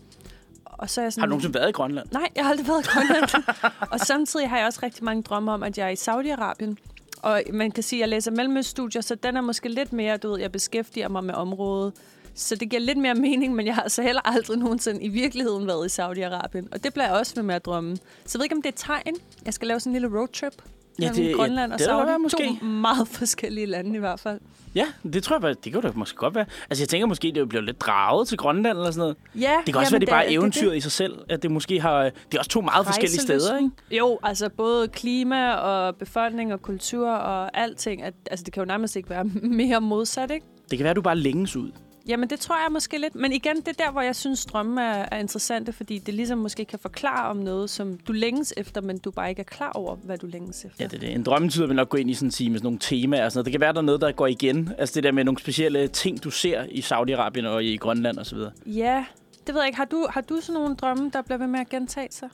Og så er jeg sådan, Har du nogensinde været i Grønland? Nej, jeg har aldrig været i Grønland. og samtidig har jeg også rigtig mange drømme om, at jeg er i Saudi-Arabien. Og man kan sige, at jeg læser mellemøststudier, så den er måske lidt mere, du ved, jeg beskæftiger mig med området. Så det giver lidt mere mening, men jeg har så heller aldrig nogensinde i virkeligheden været i Saudi-Arabien. Og det bliver jeg også ved med at drømme. Så jeg ved ikke, om det er et tegn. Jeg skal lave sådan en lille roadtrip Ja, mellem det- ja, Grønland og det er der Saudi. være måske. To meget forskellige lande i hvert fald. Ja, det tror jeg, bare- det kunne da måske godt være. Altså, jeg tænker måske, det bliver lidt draget til Grønland eller sådan noget. Ja, Det kan også være, det er bare eventyret i sig selv, at det måske har... Det er også to meget forskellige steder, ikke? Rejselysten. Jo, altså både klima og befolkning og kultur og alting. At, altså det kan jo nærmest ikke være mere modsat, ikke? Det kan være, at du bare længes ud. Jamen det tror jeg måske lidt. Men igen, det er der, hvor jeg synes, drømme er, er interessante, fordi det ligesom måske kan forklare om noget, som du længes efter, men du bare ikke er klar over, hvad du længes efter. Ja, det er det. En drømmetyder vil nok gå ind i sådan en time med sådan nogle temaer og sådan noget. Det kan være, der er noget, der går igen. Altså det der med nogle specielle ting, du ser i Saudi-Arabien og i Grønland og så videre. ja, det ved jeg ikke. Har du, har du sådan nogle drømme, der bliver ved med at gentage sig?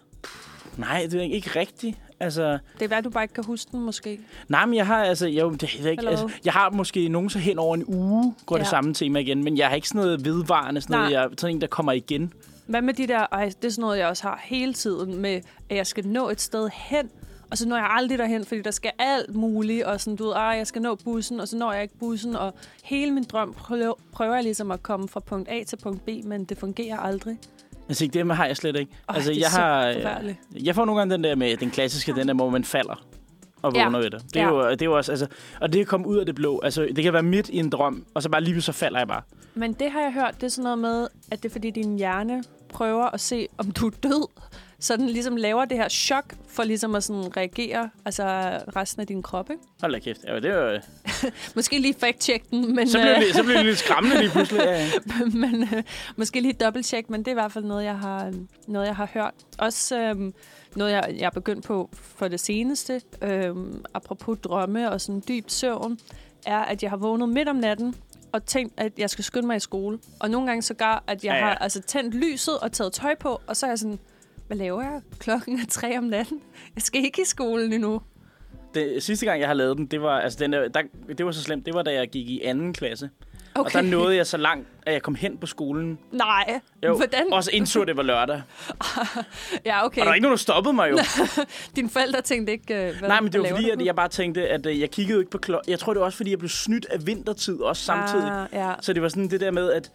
Nej, det er ikke rigtigt. Altså, Det er værd, du bare ikke kan huske den måske. nej, men jeg har, altså, jeg, det ved jeg ikke, Hello. altså, jeg har måske nogen så hen over en uge, går ja. det Ja. samme tema igen, men jeg har ikke sådan noget vedvarende, sådan, noget, Nej. jeg, sådan en, der kommer igen. Hvad med de der, ej, det er sådan noget, jeg også har hele tiden med, at jeg skal nå et sted hen, og så når jeg aldrig derhen, fordi der skal alt muligt, og sådan, du ved, ej, jeg skal nå bussen, og så når jeg ikke bussen, og hele min drøm prøver, prøver jeg ligesom at komme fra punkt A til punkt B, men det fungerer aldrig. Altså ikke det med har jeg slet ikke. Ej, altså, det er jeg så har, øh, forfærdeligt. jeg får nogle gange den der med den klassiske, den der, hvor man falder og Ja. vågner ved det. Det er, Ja. jo, det er jo også, altså, og det kan komme ud af det blå. Altså, det kan være midt i en drøm, og så bare lige pludselig så falder jeg bare. Men det har jeg hørt, det er sådan noget med, at det er fordi din hjerne prøver at se, om du er død, så den ligesom laver det her chok for ligesom at sådan reagere, altså resten af din krop, ikke? Hold da kæft. Ja, det er jo, øh, Måske lige fact-check den, men... så, øh, blev det, så blev det lidt skræmmende lige pludselig. Ja, ja. men øh, måske lige dobbelttjek, men det er i hvert fald noget, jeg har, øh, noget, jeg har hørt. Også øh, noget, jeg, jeg er begyndt på for det seneste, øh, apropos drømme og sådan dyb søvn, er, at jeg har vågnet midt om natten og tænkt, at jeg skal skynde mig i skole. Og nogle gange sågar, at jeg Ja, ja, ja. ja. har altså, tændt lyset og taget tøj på, og så er jeg sådan, hvad laver jeg? Klokken er tre om natten. Jeg skal ikke i skolen endnu. Det, sidste gang, jeg har lavet den, det var, altså, den der, der, det var så slemt. Det var, da jeg gik i anden klasse. Okay. Og der nåede jeg så langt, at jeg kom hen på skolen. Nej, Jo, hvordan? Også indså, at det var lørdag. Ja, okay. Og der var ikke nogen, der stoppede mig jo. Dine forældre tænkte ikke, øh, hvad Nej, men det var hvad fordi, laver du? at jeg bare tænkte, at øh, jeg kiggede jo ikke på klokken. Jeg tror, det var også, fordi jeg blev snydt af vintertid også samtidig. Ah, ja. Så det var sådan det der med, at,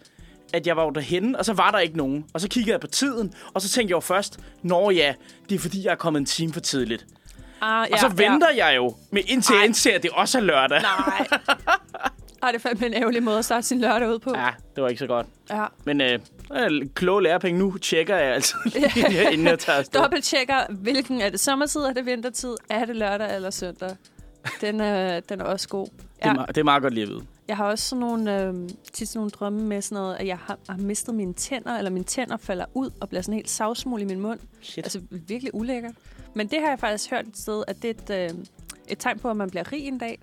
at jeg var jo derhenne, og så var der ikke nogen. Og så kiggede jeg på tiden, og så tænkte jeg jo først, Nå ja, det er fordi, jeg er kommet en time for tidligt. Ja, Ah, ja, og så venter ja. jeg jo, med indtil jeg Ej. indser, at det også er lørdag. Nej. Ej, det er fandme en ærgerlig måde at starte sin lørdag ud på. Ja, det var ikke så godt. ja. Men øh, øh, kloge lærepenge, nu tjekker jeg altså lige, inden jeg- inden jeg tager afsted. Dobbelt tjekker, hvilken er det sommertid, er det vintertid, er det lørdag eller søndag. Den er, den er også god. Det, er, me- det er meget godt lige at vide. Jeg har også sådan nogle, øh, tit sådan nogle drømme med sådan noget, at jeg har, har mistet mine tænder, eller mine tænder falder ud og bliver sådan helt savsmul i min mund. Shit. Altså virkelig ulækkert. Men det har jeg faktisk hørt et sted, at det er et, øh, et tegn på, at man bliver rig en dag.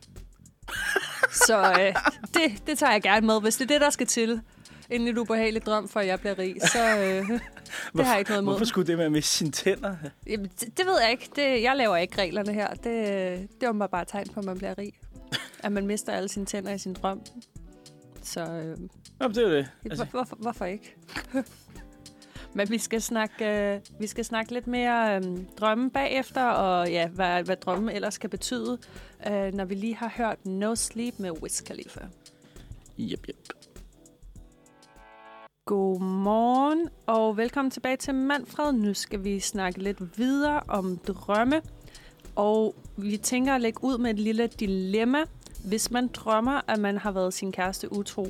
Så øh, det, det tager jeg gerne med, hvis det er det, der skal til. Inden et ubehageligt drøm for, at jeg bliver rig, så øh, det har jeg ikke noget imod. Hvorfor skulle det med at miste sine tænder? Jamen, det, det ved jeg ikke. Det, jeg laver ikke reglerne her. Det, det var bare et tegn på, at man bliver rig. At man mister alle sine tænder i sin drøm. Så øh, Nå, men det er jo det. altså. hvorfor, hvorfor ikke? Men vi skal snakke, øh, vi skal snakke lidt mere øh, drømme bagefter, og ja, hvad, hvad drømme ellers kan betyde, øh, når vi lige har hørt No Sleep med Wiz Khalifa. Yep, yep. Godmorgen, og velkommen tilbage til Manfred. Nu skal vi snakke lidt videre om drømme. Og vi tænker at lægge ud med et lille dilemma. Hvis man drømmer, at man har været sin kæreste utro,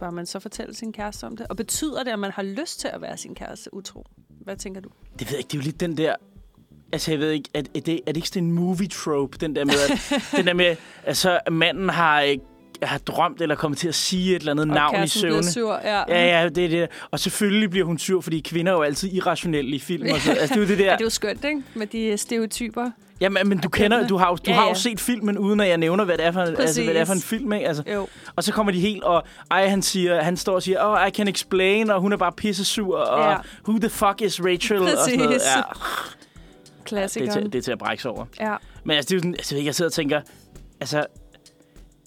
bør man så fortælle sin kæreste om det? Og betyder det, at man har lyst til at være sin kæreste utro? Hvad tænker du? Det ved jeg ikke, det er jo lidt den der... Altså, jeg ved ikke, er, er, det, er det ikke sådan en movie trope, den der med, at, den der med, altså, at manden har, øh, har drømt eller kommet til at sige et eller andet navn i kæresten bliver søvne. sur, ja. Ja, ja, det er det. Og selvfølgelig bliver hun sur, fordi kvinder er jo altid irrationelle i film. Og så. Altså, det er jo det Ja, der. det er jo skønt, ikke? Med de stereotyper. Jamen, men du kender, du har, jo- du Ja, har jo ja. set filmen, uden at jeg nævner, hvad det er for, en- altså, hvad det er for en Præcis. film, ikke? Altså, Jo. Og så kommer de helt, og ej, han, siger, han står og siger, oh, I can explain, og hun er bare pissesur, og Ja. who the fuck is Rachel? Og sådan noget. Præcis. Ja, det, er Klassikeren. til, det er til at brække sig over. Ja. Men altså, det er jo sådan, altså, jeg sidder og tænker, altså,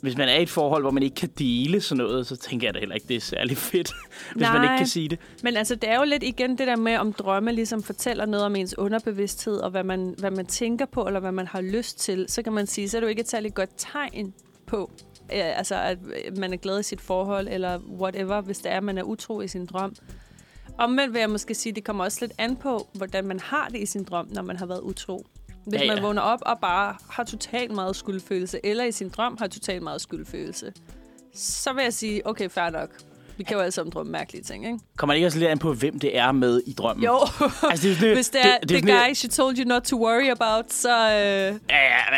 hvis man er i et forhold, hvor man ikke kan dele sådan noget, så tænker jeg da heller ikke, det er særlig fedt, hvis man ikke Nej. kan sige det. Men altså, det er jo lidt igen det der med, om drømme ligesom fortæller noget om ens underbevidsthed, og hvad man, hvad man tænker på, eller hvad man har lyst til. Så kan man sige, så er det jo ikke et særligt godt tegn på, øh, altså, at øh, man er glad i sit forhold, eller whatever, hvis det er, at man er utro i sin drøm. Omvendt vil jeg måske sige, det kommer også lidt an på, hvordan man har det i sin drøm, når man har været utro. Hvis ja, Ja, ja. ja. man vågner op og bare har totalt meget skyldfølelse, eller i sin drøm har totalt meget skyldfølelse, så vil jeg sige, okay, fair nok. Vi kan jo alle sammen drømme mærkelige ting, ikke? Kommer det ikke også lidt an på, hvem det er med i drømmen? Jo, Altså, det er sådan, hvis det er sådan the lidt- guy, she told you not to worry about, så... Øh, Ja, ja, men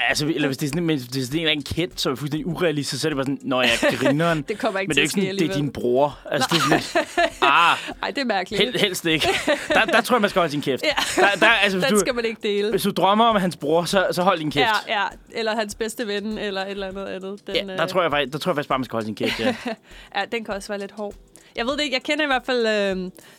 altså, eller hvis det er sådan, men hvis det er sådan en eller anden kendt, som er fuldstændig urealistisk, så er det bare sådan, når jeg grineren. Det kommer ikke men til det er at jo ske ikke sådan, det er alligevel. din bror. Altså, det er sådan, lidt, ah, ej, det er mærkeligt. hel, helst ikke. Der, der tror jeg, man skal holde sin kæft. Ja. Der, der, altså, hvis, Den du, skal man ikke dele. hvis du drømmer om hans bror, så, så hold din kæft. Ja, ja, eller hans bedste ven, eller et eller andet andet. Den, øh, Ja, der, tror jeg, faktisk- der tror jeg faktisk bare, man skal holde sin kæft. Ja. Ja, den kan også være lidt hård. Jeg ved det ikke, jeg kender i hvert fald, øh,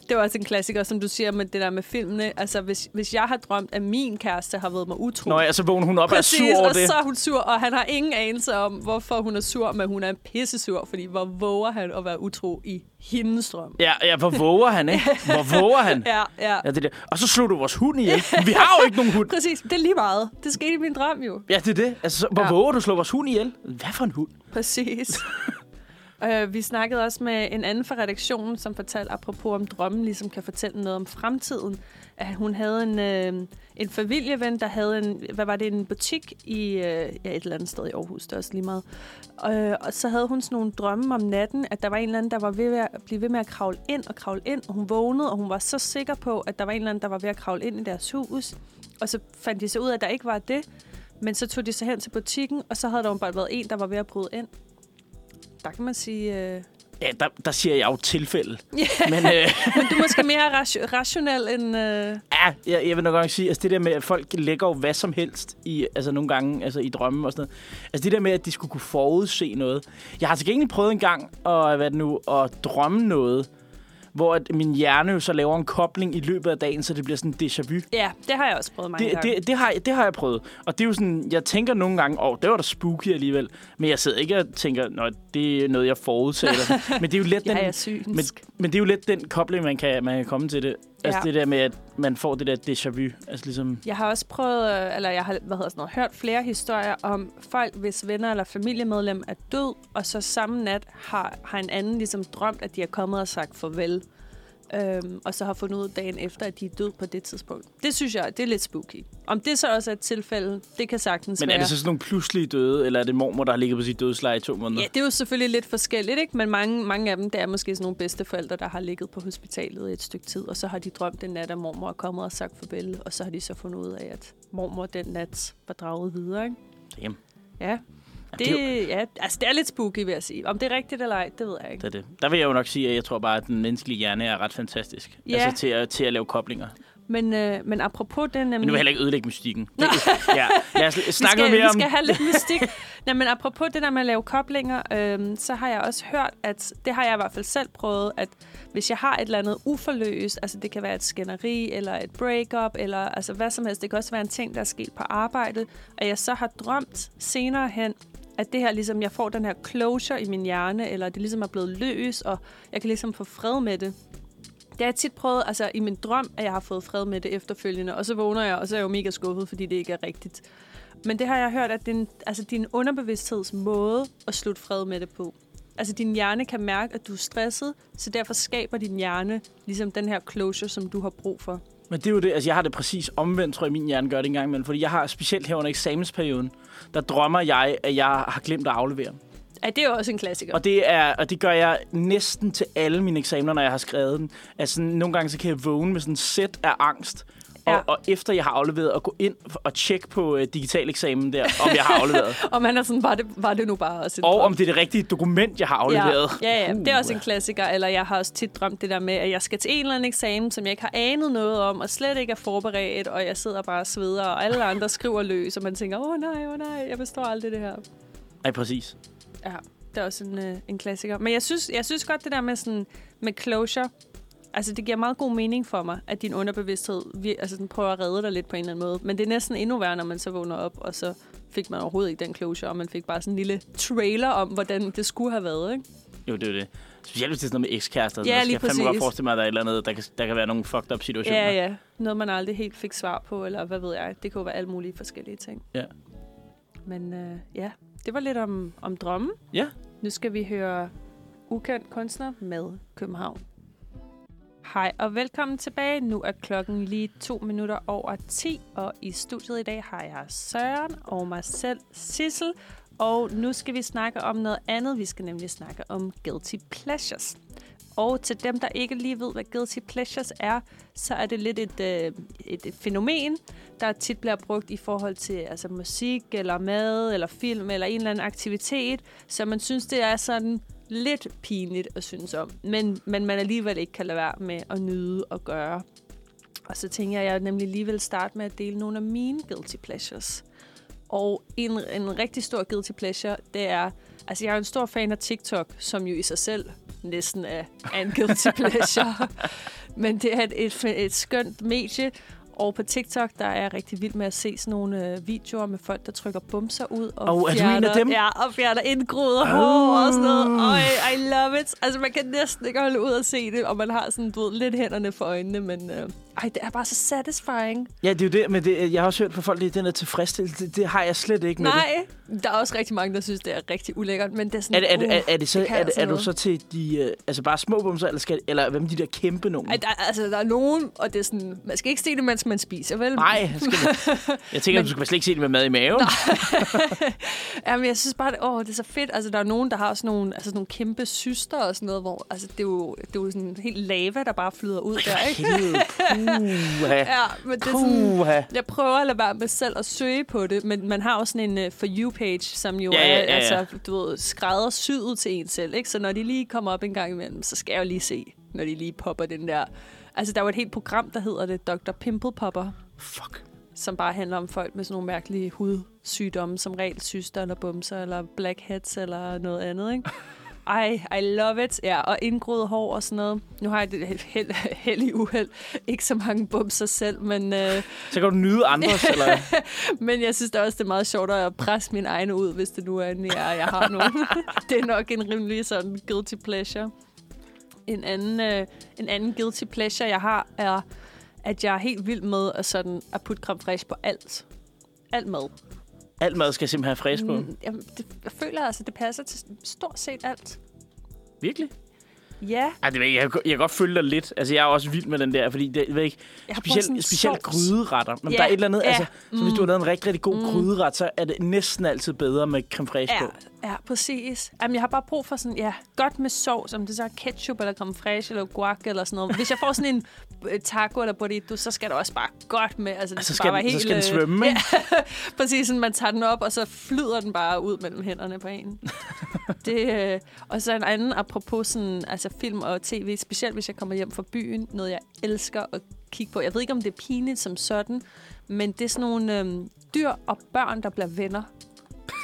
det var også en klassiker, som du siger med det der med filmene. Altså, hvis, hvis jeg har drømt, at min kæreste har været mig utro, Nå ja, så vågner hun op Præcis, og er sur over og det. så er hun sur, og han har ingen anelse om, hvorfor hun er sur, men hun er en pissesur, fordi hvor våger han at være utro i hendes drøm? Ja, ja, hvor våger han, ikke? Hvor våger han? Ja, ja. Ja, det der. Og så slog du vores hund ihjel. Vi har jo ikke nogen hund. Præcis, det er lige meget. Det skete i min drøm jo. Ja, det er det. Altså, så, hvor Ja. våger du slå vores hund ihjel? Hvad for en hund? Præcis. øh, vi snakkede også med en anden fra redaktionen, som fortalte apropos om drømmen, ligesom kan fortælle noget om fremtiden. At hun havde en, øh, en familieven, der havde en, hvad var det, en butik i øh, ja, et eller andet sted i Aarhus, det er også lige meget. Øh, og så havde hun sådan nogle drømme om natten, at der var en eller anden, der var ved at blive ved med at kravle ind og kravle ind, og hun vågnede, og hun var så sikker på, at der var en eller anden, der var ved at kravle ind i deres hus. Og så fandt de så ud af, at der ikke var det. Men så tog de så hen til butikken, og så havde der jo bare været en, der var ved at bryde ind. Der kan man sige... Øh... Ja, der, der siger jeg jo tilfælde. Yeah. Men øh, Men du er måske mere ration- rationel end... Øh... ja, jeg, jeg vil nok også sige, altså det der med, at folk lægger jo hvad som helst i, altså nogle gange altså i drømme og sådan noget. Altså det der med, at de skulle kunne øh, forudse noget. Jeg har til gengæld prøvet en gang at, hvad er det nu, at drømme noget, hvor at min hjerne jo så laver en kobling i løbet af dagen, så det bliver sådan en déjà vu. Ja, det har jeg også prøvet mange Det, gange. det, det, har, jeg- det har jeg prøvet. Og det er jo sådan, jeg tænker nogle gange, åh, oh, det var da spooky alligevel. Men jeg sidder ikke og tænker, nå, det er noget, jeg forudser. eller sådan. men det er jo let den, jeg er synsk. men, men det er jo lidt den kobling, man kan, man kan komme til det. Altså Ja. det der med, at man får det der déjà vu. Altså ligesom, Jeg har også prøvet, øh, eller jeg har hvad hedder sådan noget, hørt flere historier om folk, hvis venner eller familiemedlem er død, og så samme nat har, har en anden ligesom drømt, at de er kommet og sagt farvel. Øhm, og så har fundet ud dagen efter, at de er død på det tidspunkt. Det synes jeg, det er lidt spooky. Om det så også er et tilfælde, det kan sagtens men være. er det så sådan nogle pludselige døde, eller er det mormor, der har ligget på sit dødsleje i to måneder? Ja, det er jo selvfølgelig lidt forskelligt, ikke? men mange, mange af dem, det er måske sådan nogle bedsteforældre, der har ligget på hospitalet i et stykke tid, og så har de drømt en nat, at mormor er kommet og sagt farvel, og så har de så fundet ud af, at mormor den nat var draget videre. Ikke? Damn, Ja. Det, ja, altså, det er lidt spooky, vil jeg sige. Om det er rigtigt eller ej, det ved jeg ikke. det er det. Der vil jeg jo nok sige, at jeg tror bare, at den menneskelige hjerne er ret fantastisk. Ja. Altså til at, til at lave koblinger. Men, øh, men apropos det, nemlig... Men nu vil jeg heller ikke ødelægge mystikken. Det, ja. Lad os vi snakke skal, noget mere vi om... skal have lidt mystik. Nej, men apropos det der med at lave koblinger, øhm, så har jeg også hørt, at det har jeg i hvert fald selv prøvet, at hvis jeg har et eller andet uforløst, altså det kan være et skænderi, eller et breakup, eller altså hvad som helst, det kan også være en ting, der er sket på arbejdet, og jeg så har drømt senere hen, at det her ligesom, jeg får den her closure i min hjerne, eller det ligesom er blevet løs, og jeg kan ligesom få fred med det. Det har jeg tit prøvet, altså i min drøm, at jeg har fået fred med det efterfølgende, og så vågner jeg, og så er jeg jo mega skuffet, fordi det ikke er rigtigt. Men det har jeg hørt, at din, altså din underbevidstheds måde at slutte fred med det på. Altså din hjerne kan mærke, at du er stresset, så derfor skaber din hjerne ligesom den her closure, som du har brug for. Men det er jo det, altså jeg har det præcis omvendt, tror jeg, min hjerne gør det engang imellem. Fordi jeg har specielt her under eksamensperioden, der drømmer jeg, at jeg har glemt at aflevere. Ja, det er jo også en klassiker. Og det, er, og det gør jeg næsten til alle mine eksamener, når jeg har skrevet den. Altså nogle gange så kan jeg vågne med sådan et sæt af angst. Og, Ja. og efter jeg har afleveret, og gå ind og tjekke på uh, digital eksamen der, om jeg har afleveret. Og man er sådan, var det, var det nu bare også en og drøm? om det er det rigtige dokument, jeg har afleveret. Ja, ja, ja. det er også en Uh. klassiker, eller jeg har også tit drømt det der med, at jeg skal til en eller anden eksamen, som jeg ikke har anet noget om, og slet ikke er forberedt, og jeg sidder bare og sveder, og alle andre skriver løs, og man tænker, åh oh, nej, åh oh, nej, jeg består aldrig det her. Ej, præcis. Ja, det er også en, øh, en klassiker. Men jeg synes, jeg synes godt, det der med, sådan, med closure, altså det giver meget god mening for mig, at din underbevidsthed vir- altså, den prøver at redde dig lidt på en eller anden måde. Men det er næsten endnu værre, når man så vågner op, og så fik man overhovedet ikke den closure, og man fik bare sådan en lille trailer om, hvordan det skulle have været. Ikke? Jo, det er jo det. Specielt hvis det er sådan noget med ekskærester. Ja, Ja, lige lige jeg fandme godt præcis. forestille mig, at der er et eller andet, der kan, der kan være nogle fucked up situationer. Ja, ja. Noget, man aldrig helt fik svar på, eller hvad ved jeg. Det kunne jo være alle mulige forskellige ting. Ja. Men øh, ja, det var lidt om, om drømmen. ja. Nu skal vi høre Ukendt kunstner med København. Hej og velkommen tilbage. Nu er klokken lige to minutter over 10, og i studiet i dag har jeg Søren og mig selv, Sissel. Og nu skal vi snakke om noget andet. Vi skal nemlig snakke om guilty pleasures. Og til dem, der ikke lige ved, hvad guilty pleasures er, så er det lidt et, øh, et, et fænomen, der tit bliver brugt i forhold til altså, musik, eller mad, eller film, eller en eller anden aktivitet, så man synes, det er sådan lidt pinligt at synes om, men, men man alligevel ikke kan lade være med at nyde og gøre. Og så tænker jeg, at jeg nemlig lige vil starte med at dele nogle af mine guilty pleasures. Og en, en rigtig stor guilty pleasure, det er... Altså, jeg er jo en stor fan af TikTok, som jo i sig selv næsten er, er en guilty pleasure. Men det er et, et, et skønt medie, og på TikTok, der er jeg rigtig vild med at se sådan nogle øh, videoer med folk, der trykker bumser ud. Og Åh, er du en af dem? Ja, og fjerner indgroet og hår og sådan noget. Ah. Øj, I love it. Altså, man kan næsten ikke holde ud at se det, og man har sådan, du ved, lidt hænderne for øjnene, men øh, ej, det er bare så satisfying. Ja, det er jo det, men det, jeg har også hørt fra folk, det er den der tilfredsstillelse, det, det har jeg slet ikke med Nej, der er også rigtig mange, der synes, det er rigtig ulækkert, men det er det. Er, sådan... det- er, det- er, uh, er, det så, det kan er, det- altså er du noget. så til de, øh, altså bare små bumser, eller, skal, eller hvem de der kæmpe nogen? Ej, der, altså, der er nogen, og det er sådan, man skal ikke se det, mens man spiser, vel? Nej, skal man- jeg tænker, men, du skal slet ikke se det med mad i maven. Jamen, jeg synes bare, at åh, det er så fedt. Altså, der er nogen, der har også nogle, altså, sådan nogle kæmpe syster og sådan noget, hvor altså, det, er jo, det er jo sådan helt lava, der bare flyder ud der, ikke? Helvede, puha. Ja, men det er sådan, Puha. Jeg prøver at lade være med selv at søge på det, men man har også sådan en uh, For You-page, som jo Ja, er ja, ja, ja. Altså, du ved, skrædder syet til en selv. Ikke? Så når de lige kommer op en gang imellem, så skal jeg jo lige se, når de lige popper den der... Altså, der var et helt program, der hedder det Dr. Pimple Popper, Fuck. som bare handler om folk med sådan nogle mærkelige hudsygdomme, som regel syster eller bumser eller blackheads eller noget andet, ikke? Ej, I love it. Ja, og indgroet hår og sådan noget. Nu har jeg det held, held i uheld. Ikke så mange bumser selv, men, øh, Så kan du nyde andres, eller... men jeg synes da også, det er meget sjovt at presse min egne ud, hvis det nu er, en, jeg, jeg har nogen. det er nok en rimelig sådan guilty pleasure. En anden, øh, en anden guilty pleasure, jeg har, er, at jeg er helt vild med at, sådan, at putte creme fraiche på alt. Alt mad. Alt mad skal simpelthen have fræs på. Mm, jamen, det, jeg føler altså, det passer til stort set alt. Virkelig? Ja, Ej, det ved jeg, ikke. jeg, kan- jeg kan godt følge dig lidt. Altså, jeg er også vild med den der, fordi det, jeg ved ikke, jeg har brugt sådan en specielt, specielt sovs. gryderetter. Men Ja, der er et eller andet, ja, Mm. altså, så hvis du har lavet en rigtig, rigtig god gryderet, så er det næsten altid bedre med creme fraiche på. Ja, ja præcis. Jamen, jeg har bare brug for sådan, ja, godt med sovs, om det så er ketchup eller creme fraiche eller guac eller sådan noget. Hvis jeg får sådan en øh, taco eller burrito, så skal der også bare godt med. Altså, det Så bare skal, være den, så helt, skal den øh, svømme, ikke? Præcis, sådan, man tager den op, og så flyder den bare ud mellem hænderne på en. det, øh, og så en anden, apropos sådan, altså film og tv, specielt hvis jeg kommer hjem fra byen, noget jeg elsker at kigge på. Jeg ved ikke, om det er pinligt som sådan, men det er sådan nogle øh, dyr og børn, der bliver venner.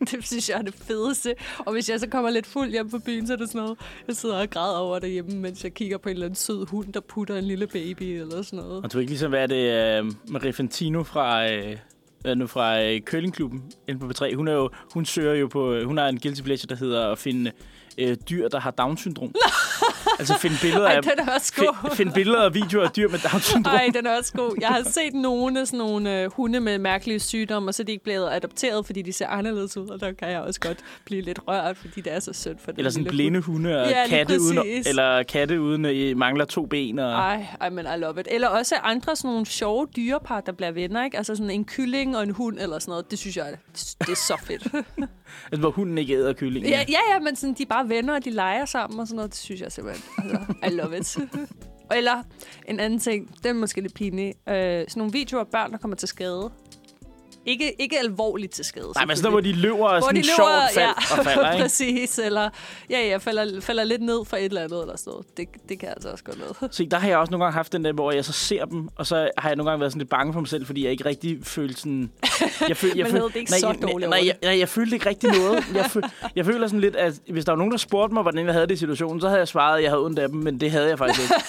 det synes jeg er det fedeste. Og hvis jeg så kommer lidt fuld hjem på byen, så er det sådan noget, jeg sidder og græder over derhjemme, mens jeg kigger på en eller anden sød hund, der putter en lille baby eller sådan noget. Og du er ikke ligesom, hvad er det, øh, Marie Fantino fra... Øh, hvad er det nu fra øh, Køllingklubben inde på B3. Hun, er jo, hun søger jo på... øh, Hun har en guilty pleasure, der hedder at finde øh, dyr, der har Down-syndrom. altså finde billeder Ej, af... den er også god. Find, find billeder og videoer af dyr med Down-syndrom. Ej, den er også god. Jeg har set nogle af sådan nogle øh, hunde med mærkelige sygdomme, og så er de ikke blevet adopteret, fordi de ser anderledes ud, og der kan jeg også godt blive lidt rørt, fordi det er så sødt for den Eller sådan lille blinde hunde og Ja, ja, lige katte, uden, præcis. eller katte uden øh, mangler to ben. Og, Ej, ej, men I love it. Eller også andre sådan nogle sjove dyrepar, der bliver venner, ikke? Altså sådan en kylling og en hund eller sådan noget. Det synes jeg, det, det er så fedt. altså, hvor hunden ikke æder kyllingen. ja, ja, ja, men sådan, de er bare venner, og de leger sammen og sådan noget. Det synes jeg simpelthen. Altså, I love it. Eller en anden ting, den er måske lidt pinlig. Øh, sådan nogle videoer af børn, der kommer til skade. Ikke, ikke alvorligt til skade. Nej, men sådan selvfølgelig. noget, hvor de løber og Hvor sådan de løber, sjovt fald, ja. og falder, ikke? Præcis, eller ja, ja, falder, falder lidt ned fra et eller andet eller sådan noget. Det, det kan altså også godt noget. Se, der har jeg også nogle gange haft den der, hvor jeg så ser dem, og så har jeg nogle gange været sådan lidt bange for mig selv, fordi jeg ikke rigtig følte sådan... Jeg følte, jeg Man følte, havde det ikke nej, så jeg- dårligt nej, over jeg, nej, jeg følte ikke rigtig noget. Jeg, føl, jeg føler sådan lidt, at hvis der var nogen, der spurgte mig, hvordan jeg havde det i situationen, så havde jeg svaret, at jeg havde ondt af dem, men det havde jeg faktisk ikke.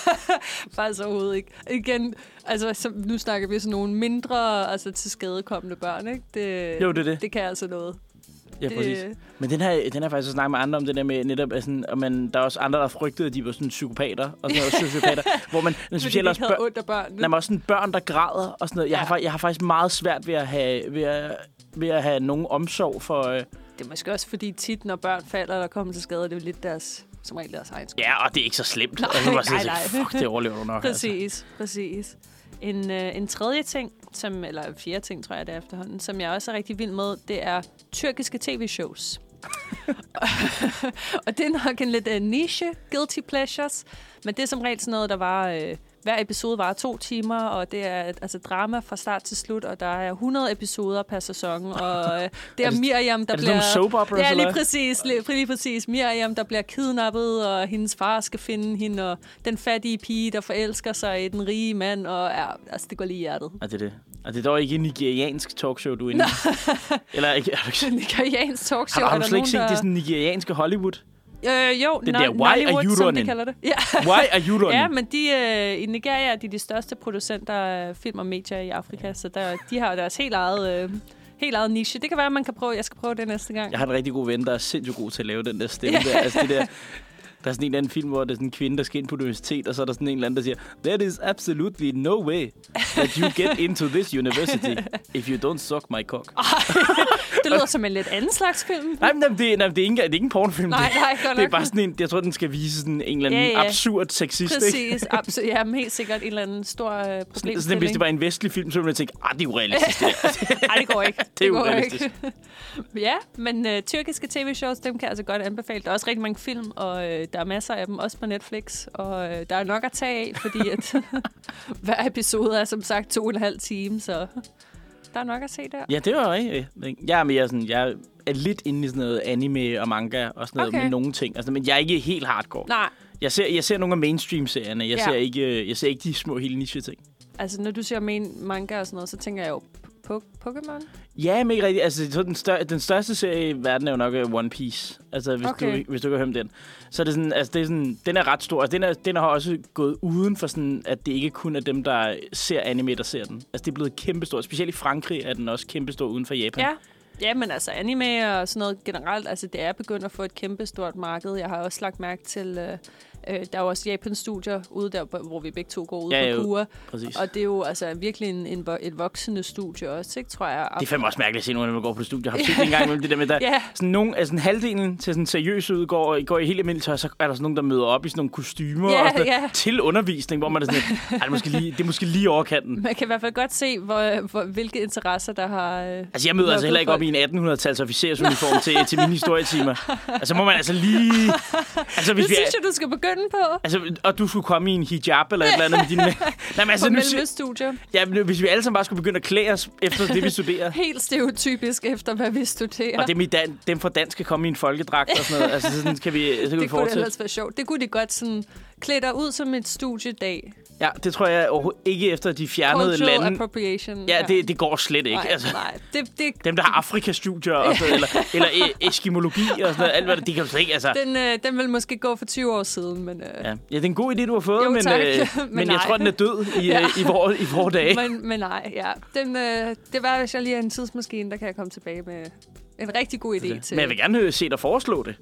Faktisk overhovedet ikke. Igen, altså som, nu snakker vi sådan nogle mindre altså, til skadekommende børn, ikke? Det, Jo, det er det. Det kan altså noget. Ja, præcis. Men den her, den her faktisk at snakke med andre om det der med netop, at sådan, og man, der er også andre, der frygtede, at de var sådan psykopater og sådan noget, sociopater, hvor man Fordi men specielt de også ikke havde børn, ondt af børnene. nej, men også sådan børn, der græder og sådan noget. Jeg, har, Ja. fa- jeg har faktisk meget svært ved at have, ved at, ved at have nogen omsorg for... Øh, Det er måske også fordi tit, når børn falder eller kommer til skade, det er jo lidt deres, som regel deres egen skyld. ja, altså. og det er ikke så slemt. Nej, altså, man nej, siger, nej. Fuck, det overlever du nok. Præcis, præcis. En, øh, en tredje ting, som, eller en fjerde ting, tror jeg, det er efterhånden, som jeg også er rigtig vild med, det er tyrkiske tv-shows. og det er nok en lidt øh, niche, guilty pleasures, men det er som regel sådan noget, der var... Øh, hver episode varer to timer, og det er et- altså drama fra start til slut, og der er 100 episoder per sæson, og øh, det er, det- Miriam, der er det sådan bliver... nogle soap operas, Ja, eller lige hvad? præcis, lige, lige præcis. Miriam, der bliver kidnappet, og hendes far skal finde hende, og den fattige pige, der forelsker sig i den rige mand, og ja, altså, det går lige i hjertet. Og det er det. Og det er dog ikke en nigeriansk talkshow, du er inde i. Eller ikke, har du, ikke- Den nigeriansk har, talkshow. du- har er du der slet ikke set nogen, det der... sådan nigerianske Hollywood? Øh, jo, Den no- der Why Are You Nollywood, som de Running? kalder det. Ja. Why are you running? Ja, men de, øh, i Nigeria er de de største producenter af film og medier i Afrika, så der, de har deres helt eget, øh, helt eget niche. Det kan være, at man kan prøve. Jeg skal prøve det næste gang. Jeg har en rigtig god ven, der er sindssygt god til at lave den der stemme der. Altså det der, der er sådan en eller anden film, hvor der er sådan en kvinde, der skal ind på universitet, og så er der sådan en eller anden, der siger, There is absolutely no way that you get into this university if you don't suck my cock. Det lyder som en lidt anden slags film. Nej, men jamen, det, er- nej, men det, er ikke, det er ikke en pornofilm. Nej, det, nej, godt nok. det er bare sådan en, jeg tror, den skal vise sådan en eller anden Ja, ja. absurd sexist. Ikke? Præcis, absolut. Ja, men helt sikkert en eller anden stor øh, Sådan, sådan, hvis problemstilling. det var en vestlig film, så ville jeg tænke, ah, det er urealistisk. det der." Nej, det går ikke. Det, er går urealistisk. ikke. ja, men øh, tyrkiske tv-shows, dem kan jeg altså godt anbefale. Der er også rigtig mange film, og øh, der er masser af dem, også på Netflix. Og øh, der er nok at tage af, fordi at, hver episode er som sagt to og en halv time, så der er nok at se der. ja, det var rigtigt. Ja, men jeg er, sådan, jeg er lidt inde i sådan noget anime og manga og sådan noget Okay. med nogle ting. Altså, men jeg er ikke helt hardcore. Nej, Jeg ser, jeg ser nogle af mainstream-serierne. Jeg, Ja. ja. ser ikke, øh, jeg ser ikke de små, hele niche-ting. altså når du siger men manga og sådan noget, så tænker jeg jo Po- Pokémon? Ja, men ikke rigtigt. Altså, så den, stør- den største serie i verden er jo nok øh, One Piece. Altså, hvis, Okay. okay. du, hvis du kan høre den. Så er det sådan, altså, det er sådan, den er ret stor. Altså, den, er, den har også gået uden for sådan, at det ikke kun er dem, der ser anime, der ser den. Altså, det er blevet kæmpestor. Specielt i Frankrig er den også kæmpestor uden for Japan. Ja. Ja, men altså anime og sådan noget generelt, altså det er begyndt at få et kæmpe stort marked. Jeg har også lagt mærke til, øh, øh, der er jo også Japan-studier ude der, hvor vi begge to går ud Ja, ja, på jo. kurer. Præcis. Og det er jo altså virkelig en, en, vo- et voksende studie også, ikke, tror jeg. Det er fandme også mærkeligt at se nogen, når man går på det studie. Jeg har set det engang imellem det der med, der Ja. yeah. sådan nogen, altså sådan halvdelen til sådan seriøs ud går, går i helt almindeligt tøj, så er der sådan nogen, der møder op i sådan nogle kostymer Ja, og sådan ja. noget, til undervisning, hvor man er sådan, lidt, "Ej, det er måske lige, det er måske lige overkanten. Man kan i hvert fald godt se, hvor, hvor, hvilke interesser der har... Øh, Altså, jeg møder altså heller ikke op i en 1800-tals officersuniform til, til mine historietimer. Altså, må man altså lige... Altså, hvis Det vi er, synes jeg, du skal begynde på. altså, og du skulle komme i en hijab eller et eller andet med dine... Nej, men På altså, nu, altså, si- studier. ja, men hvis vi alle sammen bare skulle begynde at klæde os efter det, vi studerer. Helt stereotypisk efter, hvad vi studerer. Og dem, i dan, dem fra dansk skal komme i en folkedragt og sådan noget. Altså, sådan kan vi, det så kan vi kunne fortsætte. ellers være sjovt. Det kunne de godt sådan klæde dig ud som et studiedag. Ja, det tror jeg overhovedet ikke efter de fjernede Cultural lande. appropriation. Ja, det, det går slet ikke. Nej, altså, nej. Det, det, Dem, der har Afrikastudier og sådan, eller, eller e- eskimologi og sådan noget, alt hvad det, det kan jo slet ikke. Altså, den, øh, den ville måske gå for 20 år siden, men, øh, ja. ja, det er en god idé, du har fået, Jo, men, øh, tak. men, Men men jeg nej. tror, den er død i, Ja. ja. i, vore, i vore dage. men, men nej. Ja. Den, øh, det var, hvis jeg lige er en tidsmaskine, der kan jeg komme tilbage med en rigtig god idé til. men jeg vil gerne høre- se dig foreslå det.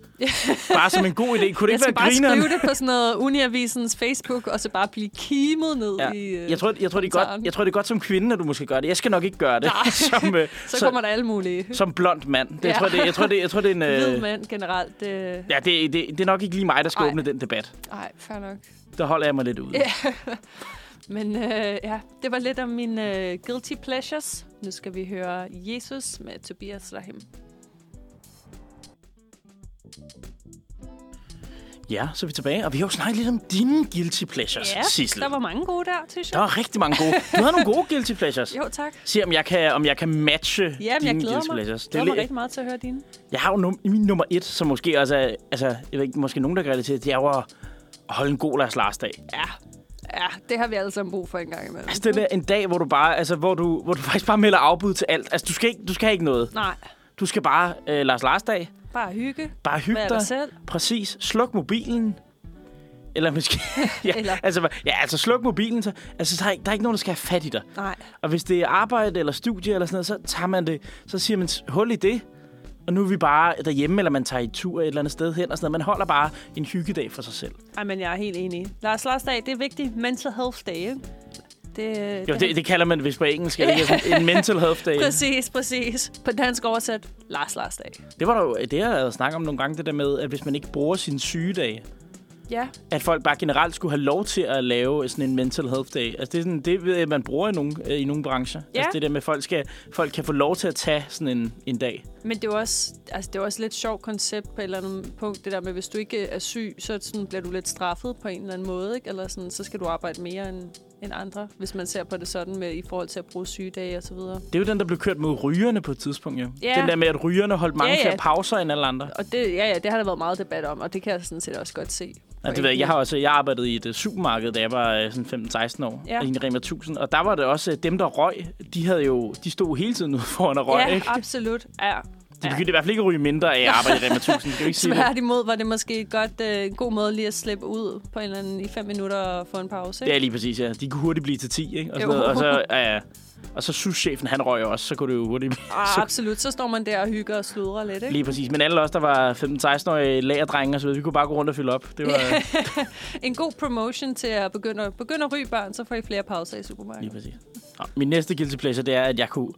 Bare som en god idé. Kunne det jeg ikke skal være bare grineren? skrive det på sådan noget Uniavisens Facebook, og så bare blive kimet ned i... øh, Ja. Jeg, tror, jeg, tror, det er kommentaren. godt, jeg tror, det er godt som kvinde, at du måske gør det. Jeg skal nok ikke gøre det. Nej. som, øh, så, så- kommer der alle mulige. som blond mand. Det, jeg, Ja. tror, det, jeg, tror, det, jeg tror, det er en... Hvid Øh, mand generelt. Øh, ja, det, det, det er nok ikke lige mig, der skal Ej. Ej. åbne den debat. ej, fair nok. Der holder jeg mig lidt ude. Ja. Men øh, ja, det var lidt om mine øh, guilty pleasures. Nu skal vi høre Jesus med Tobias Rahim. Ja, så er vi tilbage. Og vi har jo snakket lidt om dine guilty pleasures, Ja, Sissel. der var mange gode der, synes Altså, der jeg. var rigtig mange gode. Du har nogle gode guilty pleasures. Jo, tak. Se, om jeg kan, om jeg kan matche Jamen, jeg dine glæder guilty mig. pleasures. Det var lidt- rigtig meget til at høre dine. Jeg har jo num- min nummer et, som måske også er... Altså, jeg ved ikke, måske nogen, der kan relatere til, det er jo at at holde en god Lars Lars dag. Ja. ja, det har vi alle sammen brug for en gang imellem. Altså, det er en dag, hvor du bare, altså, hvor du, hvor du faktisk bare melder afbud til alt. Altså, du skal ikke, du skal ikke noget. Nej, Du skal bare øh, Lars Lars dag. bare hygge. Bare hygge Vær dig selv. Præcis. Sluk mobilen. Eller måske... ja, Eller- Eller... Altså, ja, altså sluk mobilen. Så, altså, der er, ikke- der er ikke nogen, der skal have fat i dig. Nej, Og hvis det er arbejde eller studie eller sådan noget, så tager man det, så siger man, hul i det, og nu er vi bare derhjemme, eller man tager i tur et eller andet sted hen og sådan noget. Man holder bare en hyggedag for sig selv. Ej, men jeg er helt enig. Lars Lars dag, det er vigtigt. Mental health day, ikke? Det, Jo, det, det kalder man vist på engelsk, er det ikke Sådan en mental health day. Præcis, præcis. På dansk oversat, Lars Lars dag. Det var der jo, det har jeg været snakket om nogle gange, det der med, at hvis man ikke bruger sine sygedage, Ja, at folk bare generelt skulle have lov til at lave sådan en mental health day. Altså det er sådan, det ved jeg, man bruger i nogle, øh, i nogle brancher. Ja. Altså det der med, at folk, skal, folk kan få lov til at tage sådan en, en dag. men det er jo også, altså, det er jo også et lidt sjovt koncept på et eller andet punkt, det der med, hvis du ikke er syg, så sådan, bliver du lidt straffet på en eller anden måde, ikke? Eller sådan, så skal du arbejde mere end, end andre, hvis man ser på det sådan med, i forhold til at bruge sygedage og så videre. Det er jo den, der blev kørt mod rygerne på et tidspunkt, jo. Ja. Den der med, at rygerne holdt mange Ja, ja. flere pauser end alle andre. Og det, ja, ja, det har der været meget debat om, og det kan jeg sådan set også godt se. Ja, det ved jeg, ikke. jeg har også jeg arbejdede i et øh, supermarked, da jeg var øh, sådan 15-16 år, Ja. ja. i en Rema 1000, og der var det også øh, dem, der røg, de havde jo, de stod hele tiden ude foran og røg, Ja, ikke? absolut. Ja. De begyndte i hvert fald ikke at ryge mindre af at arbejde i Rema 1000, kan du ikke sige det? Tværtimod var det måske godt, øh, en god måde lige at slippe ud på en eller anden i fem minutter og få en pause. Det er Ikke? lige præcis, ja. De kunne hurtigt blive til 10, ikke? Og, Jo. sådan noget. og så, ja, ja. og så souschefen, han røg også, så kunne det jo hurtigt blive. Ah, absolut, så står man der og hygger og sludrer lidt. Ikke? Lige præcis. Men alle os, der var 15-16-årige lagerdrenge og så videre, vi kunne bare gå rundt og fylde op. Det var En god promotion til at begynde, at- begynde at ryge børn, så får I flere pauser i lige supermarkedet. præcis. Nå, min næste guilty pleasure, det er, at jeg kunne...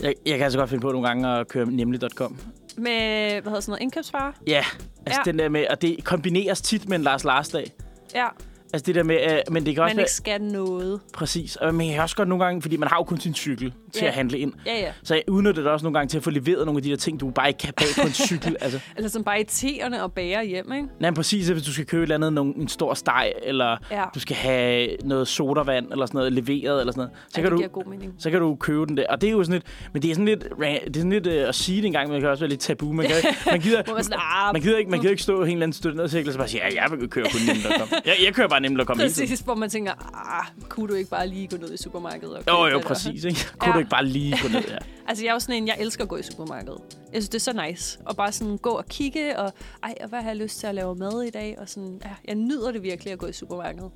Jeg, jeg kan altså godt finde på nogle gange at køre nemlig.com. Med, hvad hedder sådan noget, indkøbsvarer? Ja, altså Ja. ja. den der med, og det kombineres tit med en Lars Lars dag. Ja, Altså det der med, øh, men det kan også man være, ikke skal noget. præcis, og man kan også godt nogle gange, fordi man har jo kun sin cykel til Ja. at handle ind. Ja, ja. Så jeg udnytter det også nogle gange til at få leveret nogle af de der ting, du bare ikke kan bag på en cykel. Altså, Eller sådan bare i teerne og bære hjem, ikke? nej, men præcis, at hvis du skal købe et eller andet, nogle, en stor steg, eller Ja. ja. du skal have noget sodavand, eller sådan noget leveret, eller sådan noget. Så Ja, kan det du, giver god mening. så kan du købe den der. Og det er jo sådan lidt... Men det er sådan lidt, ra- det er sådan lidt øh, at sige det engang, men det kan også være lidt tabu. Man, kan, man, gider, Hvor man sådan, ah, man, gider ikke, man gider ikke stå i en eller anden støttende og så bare sige, ja, jeg vil køre kun nemt.com. Jeg, jeg kører bare nemt at komme ind Præcis, hvor man tænker, ah, kunne du ikke bare lige gå ned i supermarkedet? Og købe Jo, det jo, der?" præcis. Ikke? Kunne Ja. du ikke bare lige gå ned her? Altså, jeg er jo sådan en, jeg elsker at gå i supermarkedet. Jeg synes, det er så nice. Og bare sådan gå og kigge, og ej, og hvad har jeg lyst til at lave mad i dag? Og sådan, ja, jeg nyder det virkelig at gå i supermarkedet.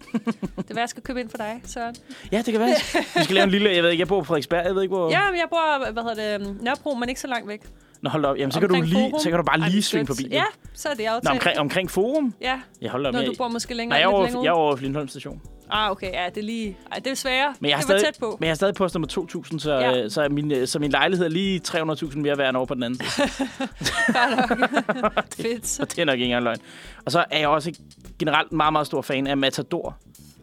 det var, jeg skal købe ind for dig, Søren. Ja, det kan være. Vi skal lave en lille... Jeg ved ikke, jeg bor på Frederiksberg. Jeg ved ikke, hvor... Ja, men jeg bor, hvad hedder det, øhm, Nørrebro, men ikke så langt væk. Nå, hold da op. Jamen, så kan, du Omkring lige, Forum. så kan du bare Ej, lige det er svinge skønt. forbi. jo. Ja, så er det aftalt. Nå, omkring, omkring forum? Ja, Jeg holder op når med... du bor måske Nej, længere, jeg er, lidt over, længere jeg er ude. over ved Lindholm station. Ah, okay, ja, det er lige... Ej, det er sværere. Men jeg har det var stadig, tæt på. Men jeg har stadig postnummer 2.000, så, Ja. ja. så, er min, øh, så min lejlighed er lige 300.000 mere værd end over på den anden side. Fedt. Så det er nok ikke engang løgn. Og så er jeg også generelt meget, meget stor fan af Matador.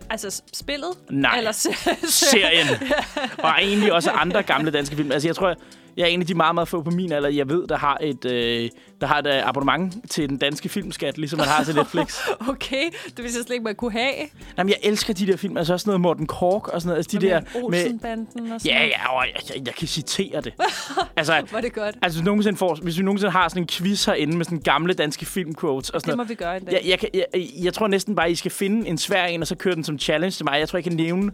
Altså, s- spillet? Nej. Eller se- serien. og egentlig også andre gamle danske film. Altså, jeg tror, jeg, jeg er en af de meget, meget få på min alder, jeg ved, der har et, øh, der har et øh, abonnement til den danske filmskat, ligesom man har til Netflix. Okay, det vidste jeg slet ikke, man kunne have. Jamen, jeg elsker de der film. Altså også sådan noget Morten Kork og sådan noget. Altså, de der med... Olsenbanden og sådan Ja, noget. ja, og jeg, jeg, jeg kan citere det. Altså, Var det godt? altså hvis, nogensinde får, hvis vi nogensinde har sådan en quiz herinde med sådan gamle danske filmquotes og sådan Det må noget. vi gøre en dag. Jeg, jeg, kan, jeg, jeg tror næsten bare, I skal finde en svær en, og så køre den som challenge til mig. Jeg tror, jeg kan nævne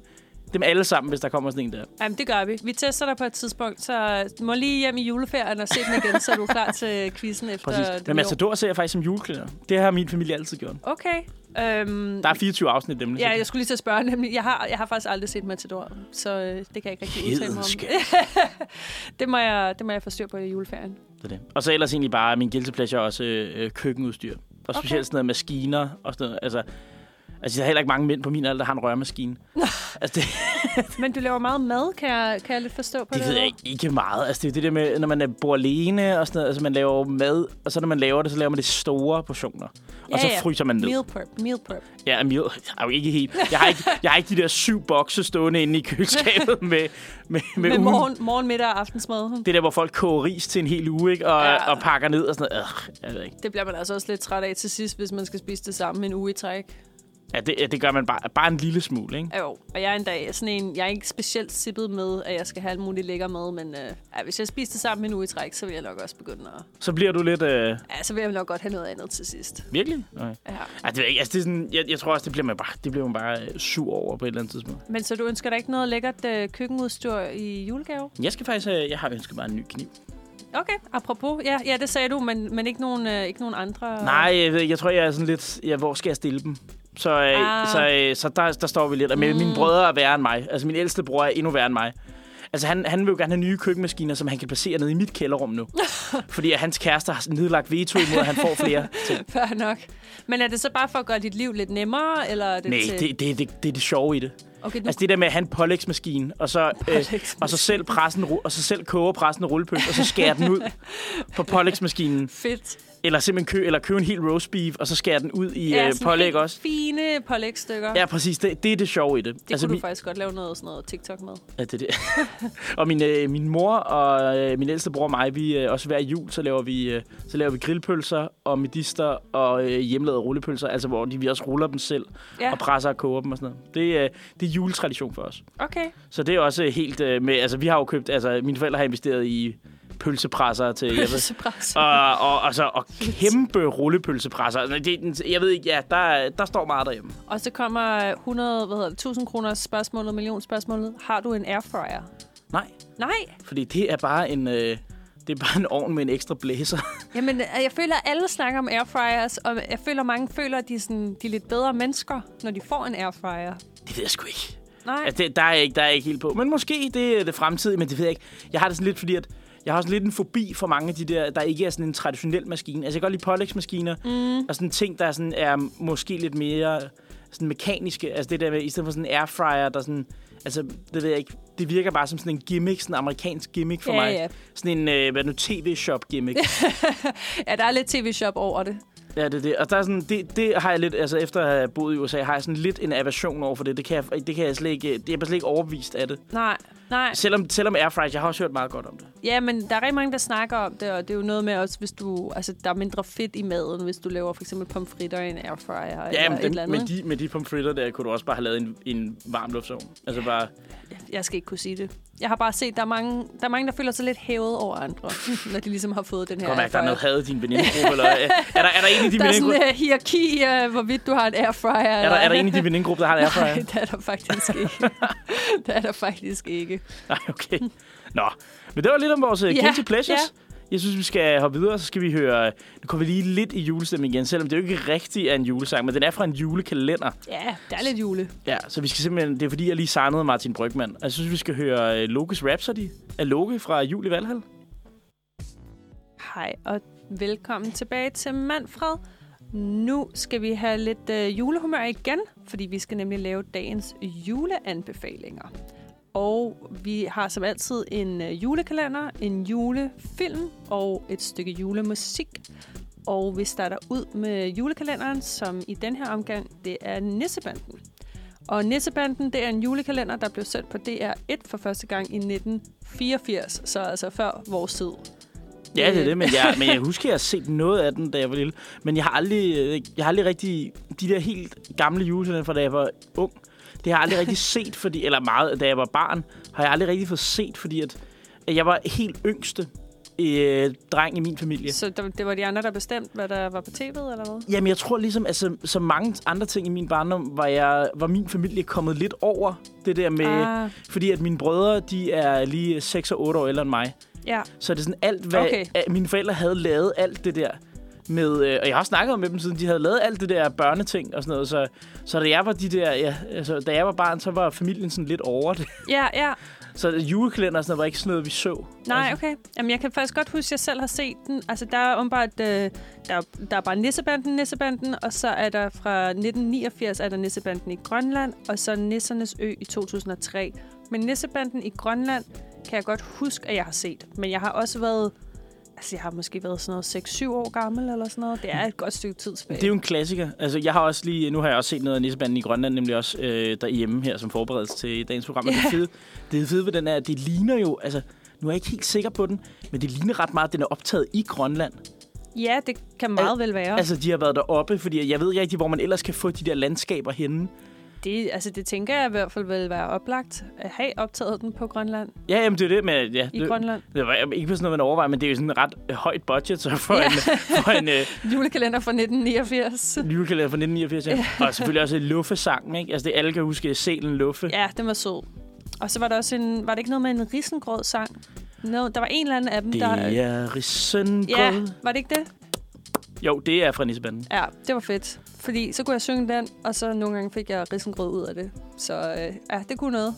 dem alle sammen, hvis der kommer sådan en der. Jamen, det gør vi. Vi tester dig på et tidspunkt, så du må lige hjem i juleferien og se den igen, så du er klar til quizzen efter Præcis. Men nye år. Matador ser jeg faktisk som juleklæder. Det har min familie altid gjort. Okay. Øhm, Der er 24 afsnit nemlig. ja, jeg skulle lige til at spørge, nemlig. Jeg har, jeg har faktisk aldrig set Matador, så øh, det kan jeg ikke rigtig udtale mig om. Hedenskab. Det må jeg, det må jeg få styr på i juleferien. Det er det. Og så ellers egentlig bare min guilty pleasure er også øh, øh, køkkenudstyr. Og specielt sådan noget maskiner og sådan noget. Altså, altså, der er heller ikke mange mænd på min alder, der har en rørmaskine. altså, det, Men du laver meget mad, kan jeg, kan jeg lidt forstå på det? det ved jeg ikke, ikke meget. Altså, det er jo det der med, når man er- bor alene og sådan noget. Altså, man laver jo mad, og så når man laver det, så laver man det i store portioner. Og Ja, så ja. fryser man ned. Meal prep, meal prep. Ja, Emil, jeg er jo ikke helt... Jeg har ikke, jeg har ikke de der syv bokse stående inde i køleskabet med, med, med, Med ugen- morgen, morgen, middag og aftensmad. Det der, hvor folk koger ris til en hel uge, ikke? Og, Ja. ja. og pakker ned og sådan noget. Øh, jeg ved ikke. Det bliver man altså også lidt træt af til sidst, hvis man skal spise det samme en uge i træk. Ja, det, ja, det gør man bare, bare en lille smule, ikke? Jo, og jeg er en dag sådan en, jeg er ikke specielt sippet med, at jeg skal have alt muligt lækker mad, men øh, ja, hvis jeg spiser det sammen en uge i træk, så vil jeg nok også begynde at... Så bliver du lidt... Øh, Ja, så vil jeg nok godt have noget andet til sidst. virkelig? Okay. Ja. Ja, det ved jeg ikke. Altså, det er sådan, jeg, jeg tror også, det bliver man bare, det bliver man bare øh, sur over på et eller andet tidspunkt. Men så du ønsker dig ikke noget lækkert øh, køkkenudstyr i julegave? Jeg skal faktisk... Øh, jeg har ønsket mig en ny kniv. Okay, apropos. Ja, ja det sagde du, men, men ikke, nogen, øh, ikke nogen andre... Nej, jeg, ved, ikke. jeg tror, jeg er sådan lidt... Ja, hvor skal jeg stille dem? Så, øh, Ah. ah. så, øh, så der, der står vi lidt. Og mm. mine brødre er værre end mig. Altså, min ældste bror er endnu værre end mig. Altså, han, han vil jo gerne have nye køkkenmaskiner, som han kan placere nede i mit kælderrum nu. fordi at hans kæreste har nedlagt veto imod, at han får flere ting. Før nok. Men er det så bare for at gøre dit liv lidt nemmere, eller er det Nej, til... det, det, det, det er det sjove i det. Okay, nu... Altså det der med at have en pålægsmaskine, og så, øh, Pålægsmaskine. og så selv pressen, og så selv koge pressen rullepølse, og så skære den ud på pålægsmaskinen. Fedt. Eller simpelthen kø, eller købe en hel roast beef, og så skære den ud i Ja, ja, øh, sådan pålæg helt også. Fine pålægstykker. Ja, præcis. Det, det er det sjove i det. Det altså, kunne min, du faktisk godt lave noget, sådan noget TikTok med. ja, det, er det. og min, øh, min mor og øh, min ældste bror og mig, vi øh, også hver jul, så laver vi, øh, så laver vi grillpølser og medister og øh, hjemmelavede rullepølser, altså hvor de, vi også ruller dem selv Ja. ja. og presser og koger dem og sådan noget. Det, øh, det er juletradition for os. Okay. Så det er også helt øh, med... Altså, vi har jo købt... Altså, mine forældre har investeret i pølsepresser til... Jeg ved, Pølsepres. og, og, og, så, og kæmpe rullepølsepresser. Altså, det, er den- jeg ved ikke, ja, der, der står meget derhjemme. Og så kommer 100, hvad hedder det, 1000 kroner spørgsmålet, million spørgsmålet. Har du en airfryer? Nej, Nej. fordi det er bare en... Øh, det er bare en ovn med en ekstra blæser. Jamen, øh, jeg føler, at alle snakker om airfryers, og jeg føler, at mange føler, at de er, sådan, de er lidt bedre mennesker, når de får en airfryer. Det ved jeg sgu ikke. Nej. Altså, det, der, er jeg ikke, der er jeg ikke helt på. Men måske det er det fremtidige, men det ved jeg ikke. Jeg har det sådan lidt, fordi at jeg har sådan lidt en fobi for mange af de der, der ikke er sådan en traditionel maskine. Altså, jeg kan godt lide pålægsmaskiner mm. og sådan ting, der sådan er måske lidt mere sådan mekaniske. Altså det der med, i stedet for sådan en airfryer, der sådan... Altså, det ved jeg ikke. Det virker bare som sådan en gimmick, sådan en amerikansk gimmick for Ja, mig. ja. Sådan en, øh, hvad nu, tv-shop gimmick. Ja, der er lidt tv-shop over det. Ja, det er det. Og der er sådan, det, det har jeg lidt, altså efter at have boet i USA, har jeg sådan lidt en aversion over for det. Det kan jeg, det kan jeg slet ikke, det er jeg bare slet ikke overbevist af det. Nej. Nej, Selvom, selvom air fries, jeg har også hørt meget godt om det. ja, men der er rigtig mange, der snakker om det, og det er jo noget med også, hvis du... Altså, der er mindre fedt i maden, hvis du laver for eksempel pomfritter i en airfryer Ja, eller men et eller dem, andet. med, de, med de pomfritter der, kunne du også bare have lavet en, en varm luftsovn. Altså bare, Jeg skal ikke kunne sige det. Jeg har bare set, der er mange, der, er mange, der føler sig lidt hævet over andre, når de ligesom har fået den her godt mærke, der er noget airfryer. had i din venindegruppe, eller øh, er der, er der en i din Der er sådan venindegruppe? en uh, hierarki af, hvorvidt du har en airfryer. Er der, er der en i din venindegruppe, der har en airfryer? Nej, det er der faktisk ikke. det er der faktisk ikke. Nej, okay. Nå, men det var lidt om vores yeah, Ja, guilty pleasures. Jeg synes, vi skal hoppe videre, så skal vi høre... Nu kommer vi lige lidt i julestemning igen, selvom det jo ikke rigtig er en julesang, men den er fra en julekalender. Ja, der er lidt jule. Ja, så vi skal simpelthen... Det er fordi, jeg lige signede Martin Brygman. Og jeg synes, vi skal høre øh, Lokes Rhapsody af Loke fra Jul i Valhall. Hej og velkommen tilbage til Manfred. Nu skal vi have lidt øh, julehumør igen, fordi vi skal nemlig lave dagens juleanbefalinger. Og vi har som altid en øh, julekalender, en julefilm og et stykke julemusik. Og vi starter ud med julekalenderen, som i den her omgang, det er Nissebanden. Og Nissebanden, det er en julekalender, der blev sendt på DR1 for første gang i 1984, så altså før vores tid. Ja, det er Øh. det, men jeg, men jeg husker, jeg har set noget af den, da jeg var lille. Men jeg har aldrig, øh, jeg har aldrig rigtig... De der helt gamle julesender fra, da jeg var ung, det har jeg aldrig rigtig set, fordi, eller meget, da jeg var barn, har jeg aldrig rigtig fået set, fordi at, at jeg var helt yngste øh, dreng i min familie. Så der, det var de andre, der bestemte, hvad der var på tv'et, eller hvad? Jamen, jeg tror ligesom, altså, så mange andre ting i min barndom, var, jeg, var min familie kommet lidt over det der med... Ah. ah, Fordi at mine brødre, de er lige 6 og 8 år ældre end mig. ja. Så det er sådan alt, hvad Okay. okay. mine forældre havde lavet alt det der med, øh, og jeg har snakket med dem siden, de havde lavet alt det der børneting og sådan noget, så, så da jeg var de der, ja, altså, da jeg var barn, så var familien sådan lidt over det. Ja, ja. Så julekalender og sådan noget var ikke sådan noget, vi så. Nej, altså, okay. Jamen, jeg kan faktisk godt huske, at jeg selv har set den. Altså, der er åbenbart, øh, der, er- der er bare Nissebanden, Nissebanden, og så er der fra 1989, er der Nissebanden i Grønland, og så Nissernes Ø i 2003. Men Nissebanden i Grønland kan jeg godt huske, at jeg har set. Men jeg har også været, altså jeg har måske været sådan noget 6-7 år gammel eller sådan noget. Det er et godt stykke tid tilbage. Det er jo en klassiker. Altså, jeg har også lige, nu har jeg også set noget af Nissebanden i Grønland, nemlig også øh, derhjemme her som forberedelse til dagens program. Yeah. Det, fede, det fede ved den er, at det ligner jo, altså, nu er jeg ikke helt sikker på den, men det ligner ret meget, at den er optaget i Grønland. Ja, det kan meget vel være. Altså, de har været deroppe, fordi jeg ved ikke rigtig, hvor man ellers kan få de der landskaber henne. Det, altså, det tænker jeg i hvert fald vil være oplagt at have optaget den på Grønland. Ja, jamen, det er det, men ja, I det, Grønland. det var ikke på sådan noget, man overvejer, men det er jo sådan et ret øh, højt budget, så for ja. en, for en øh, Julekalender fra 1989. julekalender fra 1989. Ja. Og selvfølgelig også Luffe-sangen, ikke? Altså, det alle kan huske, Selen Luffe. Ja. Ja, den var sød. Og så var der også en, var det ikke noget med en risengrød sang? No, der var en eller anden af dem, Det der... er risengrød. Ja, Ja. var det ikke det? Jo, det er fra Nissebanden. Ja, det var fedt. Fordi så kunne jeg synge den, og så nogle gange fik jeg risengrød ud af det. Så øh, ja, det kunne noget.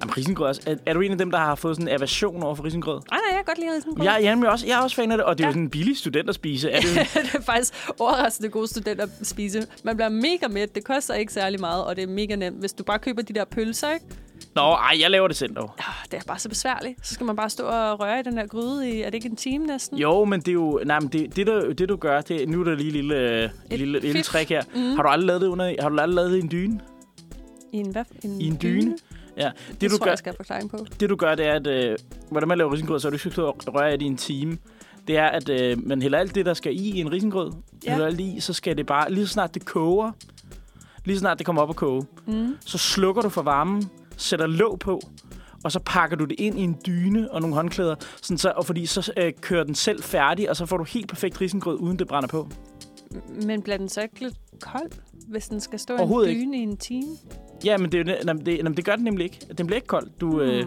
Jamen, risengrød er også. Er, er, du en af dem, der har fået sådan en aversion over for risengrød? Nej, nej, jeg kan godt lide risengrød. Jeg, jeg, er også, jeg er også fan af det, og det er Ja. ja. jo sådan en billig studenterspise. Er det jo, det er faktisk overraskende gode studenter at spise. Man bliver mega mæt, det koster ikke særlig meget, og det er mega nemt. Hvis du bare køber de der pølser, ikke? Nå, ej, jeg laver det selv dog. Ah, det er bare så besværligt. Så skal man bare stå og røre i den der gryde i, er det ikke en time næsten? Jo, men det er jo... Nej, men det, det, der, det du gør, det, nu er der lige et lille, øh, et lille, lille fif. trick her. Mm. Har du aldrig lavet det, under, har du aldrig lavet det i en dyne? I en, hvad? I en dyne? Ja, det, Det, du tror gør, jeg, skal have forklaring på. det du gør, det er, at øh, hvordan man laver risengrød, så er du ikke skal stå og røre i det i en time. Det er, at øh, man hælder alt det, der skal i i en risengrød. Ja. Ja. Hælder alt i, så skal det bare, lige så snart det koger, lige så snart det kommer op og koge, mm. så slukker du for varmen, sætter låg på, og så pakker du det ind i en dyne og nogle håndklæder, sådan så, og fordi så øh, kører den selv færdig, og så får du helt perfekt risengrød, uden det brænder på. Men bliver den så ikke lidt kold, hvis den skal stå i Overhovedet en ikke. dyne i en time? Ja, men det, er jo det, jamen, det, jamen, det gør den nemlig ikke. Den bliver ikke kold. Du, mm. øh,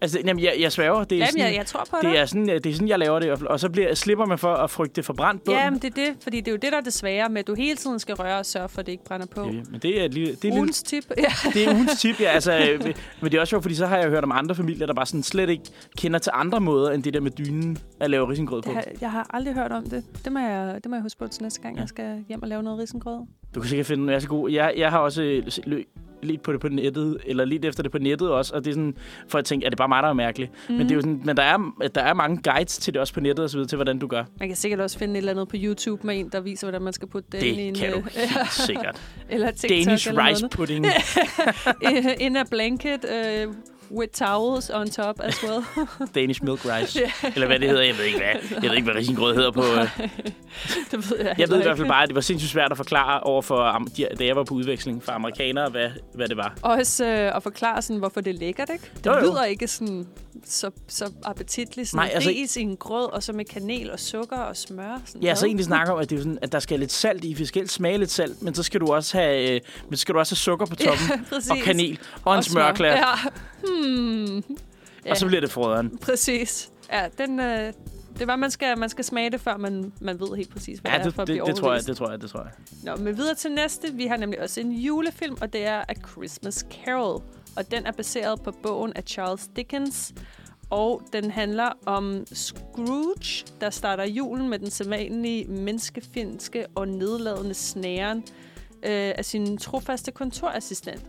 altså, jamen, jeg, jeg sværger. Det er Jamen, sådan, Hmm. jeg, jeg tror på Det er, sådan, øh, det er sådan, jeg laver det i hvert fald. Og så bliver, slipper man for at frygte forbrændt bund. Ja, men det er det, fordi det er jo det, der er det svære med, at du hele tiden skal røre og sørge for, at det ikke brænder på. Ja, Øh, men det er, et lille, det, er et lille, Ugens tip. Ja. det er ugens tip, ja. Altså, øh, men det er også sjovt, fordi så har jeg hørt om andre familier, der bare sådan slet ikke kender til andre måder, end det der med dynen at lave risengrød på. Det har, jeg har aldrig hørt om det. Det må jeg, det må jeg huske på til næste gang, ja. Ja. jeg skal hjem og lave noget risengrød. Du kan sikkert finde den, jeg er så god. Jeg, jeg har også øh, se- lø, lidt på det på nettet, eller lidt efter det på nettet også, og det er sådan, for at tænke, er det bare mig, der er mærkelig? Mm. Men, det er jo sådan, men der, er, der er mange guides til det også på nettet og så videre, til hvordan du gør. Man kan sikkert også finde et eller andet på YouTube med en, der viser, hvordan man skal putte den i en... Det kan du øh, helt sikkert. Eller TikTok Danish eller rice pudding. noget. In a blanket, uh, With towels on top as well. Danish milk rice. Eller hvad det hedder, jeg ved ikke hvad. Jeg ved ikke, hvad risengrød hedder på... Øh. det ved jeg, Jeg ved i heller hvert fald bare, at det var sindssygt svært at forklare over for, am- de- da jeg var på udveksling for amerikanere, hvad, hvad det var. Også øh, at forklare, sådan, hvorfor det er lækkert, ikke? Det Jo, jo. lyder ikke sådan, så, så appetitligt. Sådan Nej, Nej, altså altså, ikke- ris i en grød, og så med kanel og sukker og smør. Sådan Ja, så hvad? egentlig snakker om, at, det er jo sådan, at der skal lidt salt i, vi skal helst smage lidt salt, men så skal du også have, øh, men så skal du også have sukker på toppen, Ja, præcis. og kanel, og en Og smør. smørklat, Ja. Hmm. og så bliver det frøderen. Præcis. Ja, den, øh, det var, man skal, man skal smage det, før man, man ved helt præcis, hvad Ja, det er det, for det, at blive det, tror jeg, overbevist. det tror jeg, det tror jeg. Nå, men videre til næste. Vi har nemlig også en julefilm, og det er A Christmas Carol. Og den er baseret på bogen af Charles Dickens. Og den handler om Scrooge, der starter julen med den sædvanlige menneskefjendske og nedladende snæren øh, af sin trofaste kontorassistent.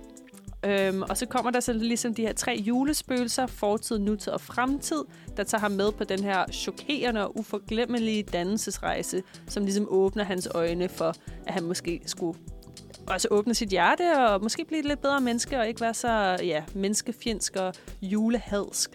Øhm, og så kommer der så ligesom de her tre julespøgelser, fortid, nutid og fremtid, der tager ham med på den her chokerende og uforglemmelige dannelsesrejse, som ligesom åbner hans øjne for, at han måske skulle også åbne sit hjerte og måske blive et lidt bedre menneske og ikke være så ja, menneskefjendsk og julehadsk.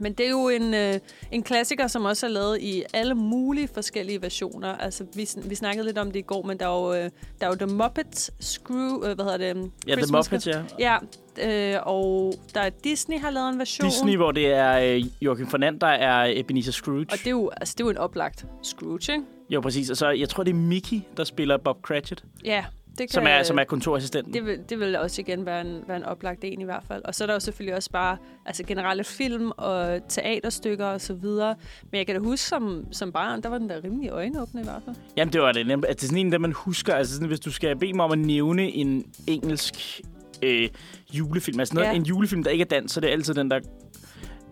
Men det er jo en, øh, en klassiker, som også er lavet i alle mulige forskellige versioner. Altså, vi, sn- vi snakkede lidt om det i går, men der er jo, øh, der er jo The Muppets, Screw, øh, hvad hedder det? um, Ja, The Christmas- Muppets, ja. Ja, øh, og der er Disney har lavet en version. Disney, hvor det er øh, Joachim Fernand, der er Ebenezer Scrooge. Og det er jo, altså, det er jo en oplagt Scrooge, ikke? Jo, præcis. Og så, jeg tror, det er Mickey, der spiller Bob Cratchit, Ja, det kan... som er, som er kontorassistenten. Det vil, det vil også igen være en, være en oplagt en i hvert fald. Og så er der jo selvfølgelig også bare altså generelle film og teaterstykker og så videre. Men jeg kan da huske, som, som barn, der var den der rimelig øjenåbne i hvert fald. Jamen, det var det. Nem- Altså, det er sådan en, der man husker. Altså, sådan, hvis du skal bede mig om at nævne en engelsk øh, julefilm, altså noget, Ja. en julefilm, der ikke er dansk, så det er altid den, der,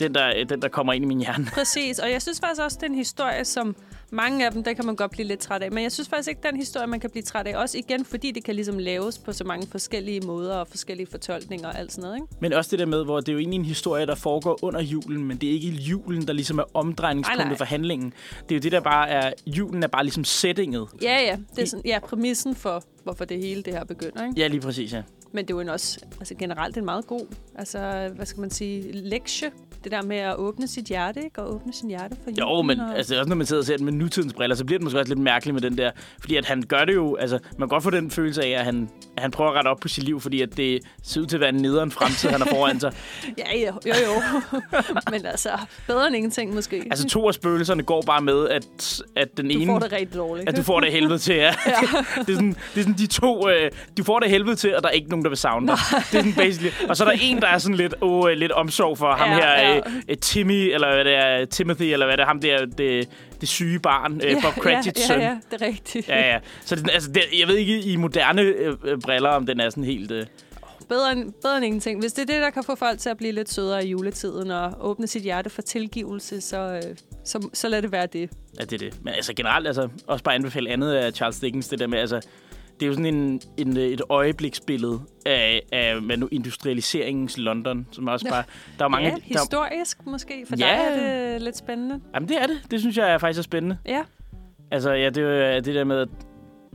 den, der, øh, den, der kommer ind i min hjerne. Præcis, og jeg synes faktisk også, det er en historie, som mange af dem, der kan man godt blive lidt træt af. Men jeg synes faktisk ikke, den historie, man kan blive træt af. Også igen, fordi det kan ligesom laves på så mange forskellige måder og forskellige fortolkninger og alt sådan noget, ikke? Men også det der med, hvor det er jo egentlig en historie, der foregår under julen, men det er ikke julen, der ligesom er Nej, omdrejningspunktet nej. for handlingen. Det er jo det, der bare er... Julen er bare ligesom settinget. Ja, ja. Det er sådan, ja, præmissen for, hvorfor det hele det her begynder. Ikke? Ja, lige præcis, ja. Men det er jo en også altså generelt en meget god, altså, hvad skal man sige, lektie. Det der med at åbne sit hjerte, ikke? Og åbne sin hjerte for Jo, julen men og... altså, også når man sidder og ser den med nutidens briller, så bliver det måske også lidt mærkeligt med den der. Fordi at han gør det jo, altså, man kan godt få den følelse af, at han, at han prøver at rette op på sit liv, fordi at det ser ud til at være en nederen fremtid, han har foran sig. Ja, ja, jo, jo. men altså, bedre end ingenting måske. Altså, to af spøgelserne går bare med, at, at den du ene... får det rigtig dårligt. at du får det af helvede til, ja. det, er sådan, det er sådan de to, øh, du får det af helvede til, og der er ikke nogen, der vil savne dig. Det er sådan basically. Og så er der en, der er sådan lidt, åh, øh, lidt omsorg for ham Ja, her, ja. Øh, øh, Timmy, eller hvad det er, Timothy, eller hvad det er, ham der, det, det syge barn, øh, Bob Cratchits ja, søn. ja, ja, det er rigtigt. Ja, ja. Så det, er sådan- altså, det, jeg ved ikke i moderne øh, øh, briller, om den er sådan helt... Øh, Bedre, end, bedre end ingenting. Hvis det er det, der kan få folk til at blive lidt sødere i juletiden og åbne sit hjerte for tilgivelse, så, øh, så, så lad det være det. at det er det. Men altså generelt, altså, også bare anbefale andet af Charles Dickens, det der med, altså, det er jo sådan en, en, øh, et øjebliksbillede af, af hvad nu, industrialiseringens London, som er også Nå. bare... Der er mange... ja, der, historisk måske. For Ja. ja. dig er det lidt spændende. jamen, det er det. Det synes jeg er faktisk er spændende. Ja, Altså, ja, det er jo, øh, det der med, at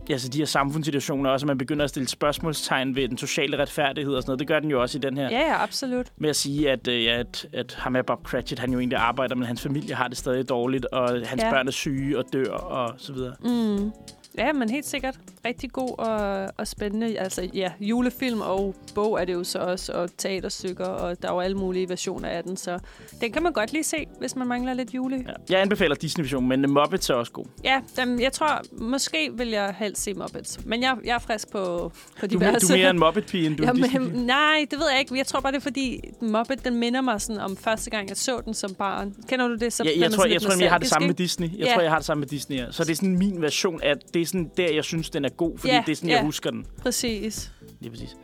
ja, så de her samfundssituationer også, at man begynder at stille spørgsmålstegn ved den sociale retfærdighed og sådan noget. Det gør den jo også i den her. ja, ja absolut. med at sige, at, øh, ja, at, at ham her Bob Cratchit, han jo egentlig arbejder, men hans familie har det stadig dårligt, og hans ja. Ja. børn er syge og dør og så videre. Mm. Ja, men helt sikkert. Rigtig god og, og spændende. Altså, ja, julefilm og bog er det jo så også, og teaterstykker, og der er jo alle mulige versioner af den, så den kan man godt lige se, hvis man mangler lidt jule. Ja, Ja. Jeg anbefaler Disney-versionen, men øh, Muppets er også god. ja dem, jeg tror, måske vil jeg helst se Muppets, men jeg, jeg er frisk på, på Du, er- diverse... du er mere en Muppet-pige, end du er en Jamen, Disney-pige. nej, det ved jeg ikke. Jeg tror bare, det er fordi Muppet, den minder mig sådan om første gang, jeg så den som barn. Kender du det? Så Ja, bliver jeg man tror, sådan jeg, lidt tror, jeg har det nostalgisk, samme med ikke? Disney. Jeg Ja. tror, jeg har det samme med Disney. Ja. Så det er sådan min version af, det er sådan der, jeg synes, den er god, fordi Ja, det er sådan, ja. jeg husker den. Præcis. Lige præcis.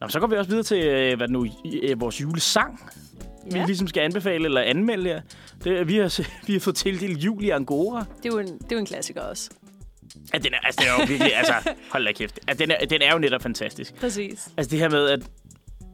Nå, men så går vi også videre til øh, hvad er det nu, i- øh, vores julesang, ja. vi Ja. ligesom skal anbefale eller anmelde jer. Det, vi, har, vi har fået tildelt jul i Angora. Det er, jo en, det er jo en klassiker også. Ja, den er, altså, den er jo virkelig, altså, hold da kæft. Ja, den, er, den er jo netop fantastisk. Præcis. Altså det her med, at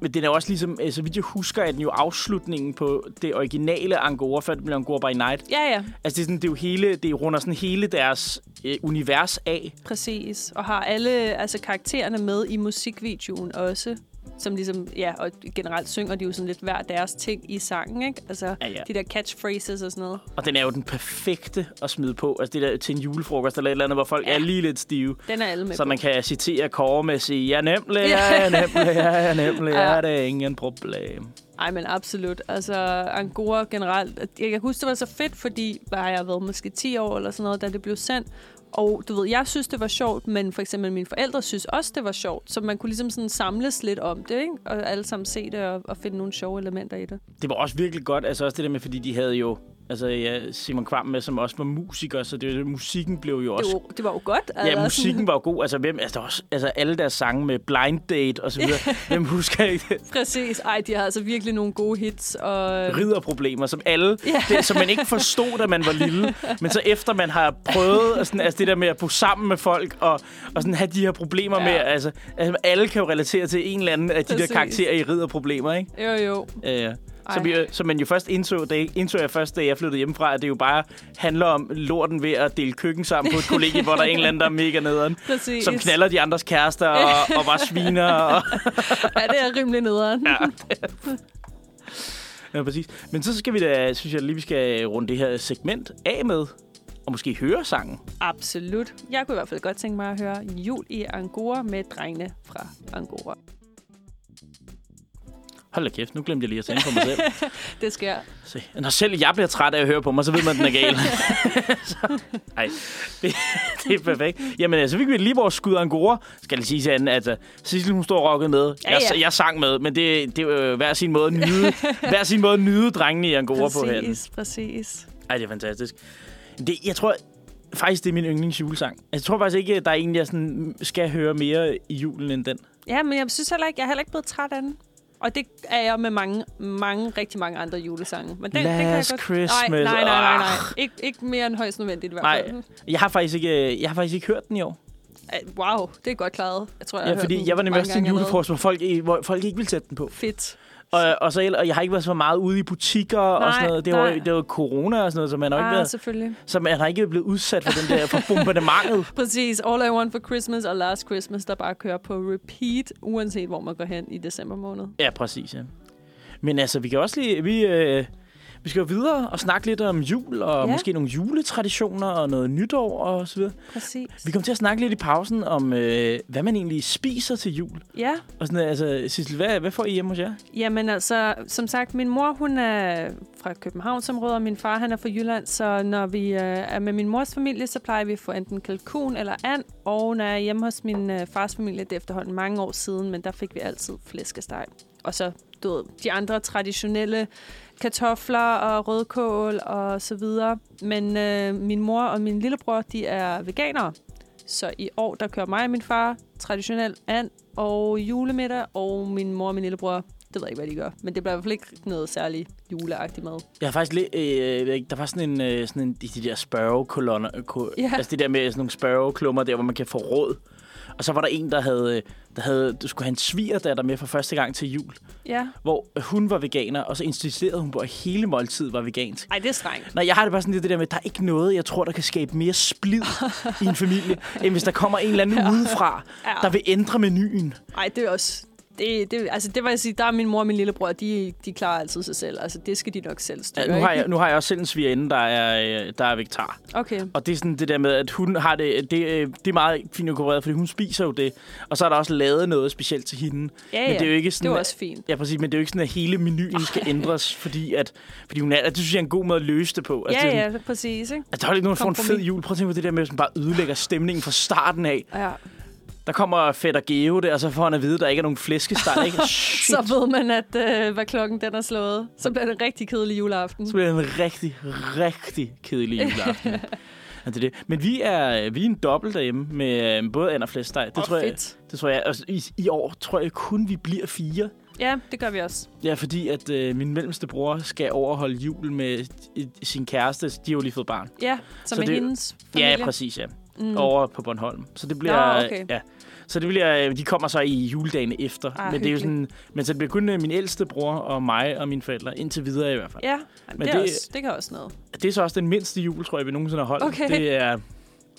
men den er også ligesom, øh, så vidt jeg husker, er den jo afslutningen på det originale Angora, før det blev Angora by Night. Ja, ja, Altså det er, sådan, det er jo hele, det runder sådan hele deres øh, univers af. præcis. Og har alle altså, karaktererne med i musikvideoen også. som ligesom, ja, og generelt synger de jo sådan lidt hver deres ting i sangen, ikke? Altså, Ja, ja. de der catchphrases og sådan noget. Og den er jo den perfekte at smide på. Altså det der til en julefrokost eller et eller andet, hvor folk ja. er lige lidt stive. Den er alle med Så på. man kan citere Kåre med at sige, ja nemlig, ja nemlig, ja nemlig, ja, det er ingen problem. Ej, men absolut. Altså, Angora generelt. Jeg kan huske, det var så fedt, fordi var jeg været måske 10 år eller sådan noget, da det blev sendt. Og du ved, jeg synes, det var sjovt, men for eksempel mine forældre synes også, det var sjovt. Så man kunne ligesom sådan samles lidt om det, ikke? Og alle sammen se det og, og finde nogle sjove elementer i det. Det var også virkelig godt, altså også det der med, fordi de havde jo altså, ja, Simon Kvam med, som også var musiker, så det, musikken blev jo også Det var, det var jo godt. Ja, musikken var jo god. Altså, hvem, altså, der var også, altså alle deres sange med Blind Date og så videre. hvem husker ikke det? Præcis. Ej, de har altså virkelig nogle gode hits. Og... Ridderproblemer, som alle, det, som man ikke forstod, da man var lille. Men så efter man har prøvet, og sådan, altså det der med at bo sammen med folk, og, og sådan have de her problemer ja. Ja. med, altså, altså, alle kan jo relatere til en eller anden af de Præcis. Præcis. der karakterer i ridderproblemer, ikke? Jo, jo. Øh, Ej. som, jeg, som man jo først indså, da, indså jeg først, da jeg flyttede hjemmefra, at det jo bare handler om lorten ved at dele køkken sammen på et kollegie, hvor der er en eller anden, der er mega nederen. Præcis. Som knaller de andres kærester og, og bare sviner. Og, Ja, det er rimelig nederen. ja. ja, præcis. Men så skal vi da, synes jeg lige, vi skal runde det her segment af med. Og måske høre sangen. Absolut. Jeg kunne i hvert fald godt tænke mig at høre Jul i Angora med drengene fra Angora. Hold da kæft, nu glemte jeg lige at tænke på mig selv. Det sker. Se. Når selv jeg bliver træt af at høre på mig, så ved man, at den er gal. Nej, det, det, er perfekt. Jamen, altså, vi kan lige vores skud angora, skal jeg lige sige til altså, Sissel, hun står og rockede med. Ja, Jeg, ja. jeg, sang med, men det, det er jo øh, hver sin måde at nyde, hver sin måde at nyde drengene i angora på her. Præcis, præcis. Ej, det er fantastisk. Det, jeg tror faktisk, det er min yndlingsjulesang. Altså, Jeg tror faktisk ikke, at der er en, jeg sådan, skal høre mere i julen end den. Ja, men jeg synes heller ikke, jeg er heller ikke blevet træt af den. Og det er jeg med mange, mange, rigtig mange andre julesange. Men den, den kan jeg Last godt... Christmas. Nej, nej, nej, nej. nej. Ah. Ik- ikke mere end højst nødvendigt i hvert Nej, fald. jeg har faktisk ikke, jeg har faktisk ikke hørt den i år. Ej, Wow, det er godt klaret. Jeg tror, jeg Ja, har hørt fordi den jeg var nemlig mange også til en gange allerede. julefrokost, hvor folk, hvor folk ikke ville sætte den på. Fedt. Og, og, så, el- og jeg har ikke været så meget ude i butikker nej, og Nej, sådan noget. Det var, nej. det var corona og sådan noget, så man har ikke, Ah, været, selvfølgelig. så man har ikke blevet udsat for den der for bombardementet. Præcis. All I Want for Christmas og Last Christmas, der bare kører på repeat, uanset hvor man går hen i december måned. Ja, præcis. Ja. Men altså, vi kan også lige... Vi, øh, vi skal jo videre og snakke lidt om jul, og ja. Ja. måske nogle juletraditioner og noget nytår og så videre. Præcis. Vi kommer til at snakke lidt i pausen om, øh, hvad man egentlig spiser til jul. Ja, Og sådan, noget. altså, Sissel, hvad, hvad får I hjemme hos jer? Jamen altså, som sagt, min mor hun er fra Københavnsområdet, og min far han er fra Jylland, så når vi øh, er med min mors familie, så plejer vi at få enten kalkun eller and, og når jeg er hjemme hos min øh, fars familie, det er efterhånden mange år siden, men der fik vi altid flæskesteg. Og så du ved, de andre traditionelle kartofler og rødkål og så videre. Men øh, min mor og min lillebror, de er veganere. Så i år, der kører mig og min far traditionel and og julemiddag, og min mor og min lillebror det ved jeg ikke, hvad de gør. Men det bliver i hvert fald ikke noget særligt juleagtigt mad. Jeg har faktisk lidt, øh, jeg- der var sådan en, øh, sådan en de, de der spørgekolonner, øh, ko, Ja. altså det der med sådan nogle spørgeklummer der, hvor man kan få råd. Og så var der en, der havde, øh, der havde, du skulle have en svigerdatter med for første gang til jul, Ja. hvor hun var veganer, og så insisterede hun på, at hele måltidet var vegansk. Ej, det er strengt. Nej, jeg har det bare sådan lidt det der med, at der er ikke noget, jeg tror, der kan skabe mere splid i en familie, end hvis der kommer en eller anden udefra, Ja. der vil ændre menuen. Ej, det er også... Det, det, altså, det var jeg sige, der er min mor og min lillebror, de, de klarer altid sig selv. Altså, det skal de nok selv styre, Ja, nu, har ikke? jeg, nu har jeg også selv en svigerinde, der er, øh, der er vegetar. Okay. Og det er sådan det der med, at hun har det, det, øh, det er meget fint dekoreret, fordi hun spiser jo det. Og så er der også lavet noget specielt til hende. Ja, men det er ja. jo ikke sådan, Det var at- også fint. Ja, præcis, men det er jo ikke sådan, at hele menuen skal ændres, fordi, at, fordi hun er, at det synes jeg er en god måde at løse det på. Altså, det er Ja, sådan, ja, præcis, ikke? Altså, der er jo ikke nogen, der får en fed Kompromis. jul. Prøv at tænke på det der med, at man bare ødelægger stemningen fra starten af. Ja. Der kommer fætter Geo der, og så får han at vide, at der ikke er nogen flæskesteg. Ikke? Shit. Så ved man, at øh, hvad klokken den er slået. Så bliver det en rigtig kedelig juleaften. Så bliver det en rigtig, rigtig kedelig juleaften. Ja, det er det. Men vi er, vi er en dobbelt derhjemme med øh, både and og flæskesteg. Det, Åh, tror jeg, fedt. det tror jeg. Og i, I år tror jeg kun, vi bliver fire. Ja, det gør vi også. Ja, fordi at øh, min mellemste bror skal overholde jul med øh, sin kæreste. De har jo lige fået barn. Ja, som Så er det- hendes familie. Ja, præcis, ja. Mm. Mm. Over på Bornholm. Så det bliver... Nå, okay. ja. Så det bliver, øh, de kommer så i juledagene efter. Ah, men, det er jo sådan, hyggeligt. men så det bliver kun øh, min ældste bror og mig og mine forældre, indtil videre i hvert fald. Ja, Jamen, Men det, er det- også, det kan også noget. Det er så også den mindste jul, tror jeg, vi nogensinde har holdt. Okay. Det er,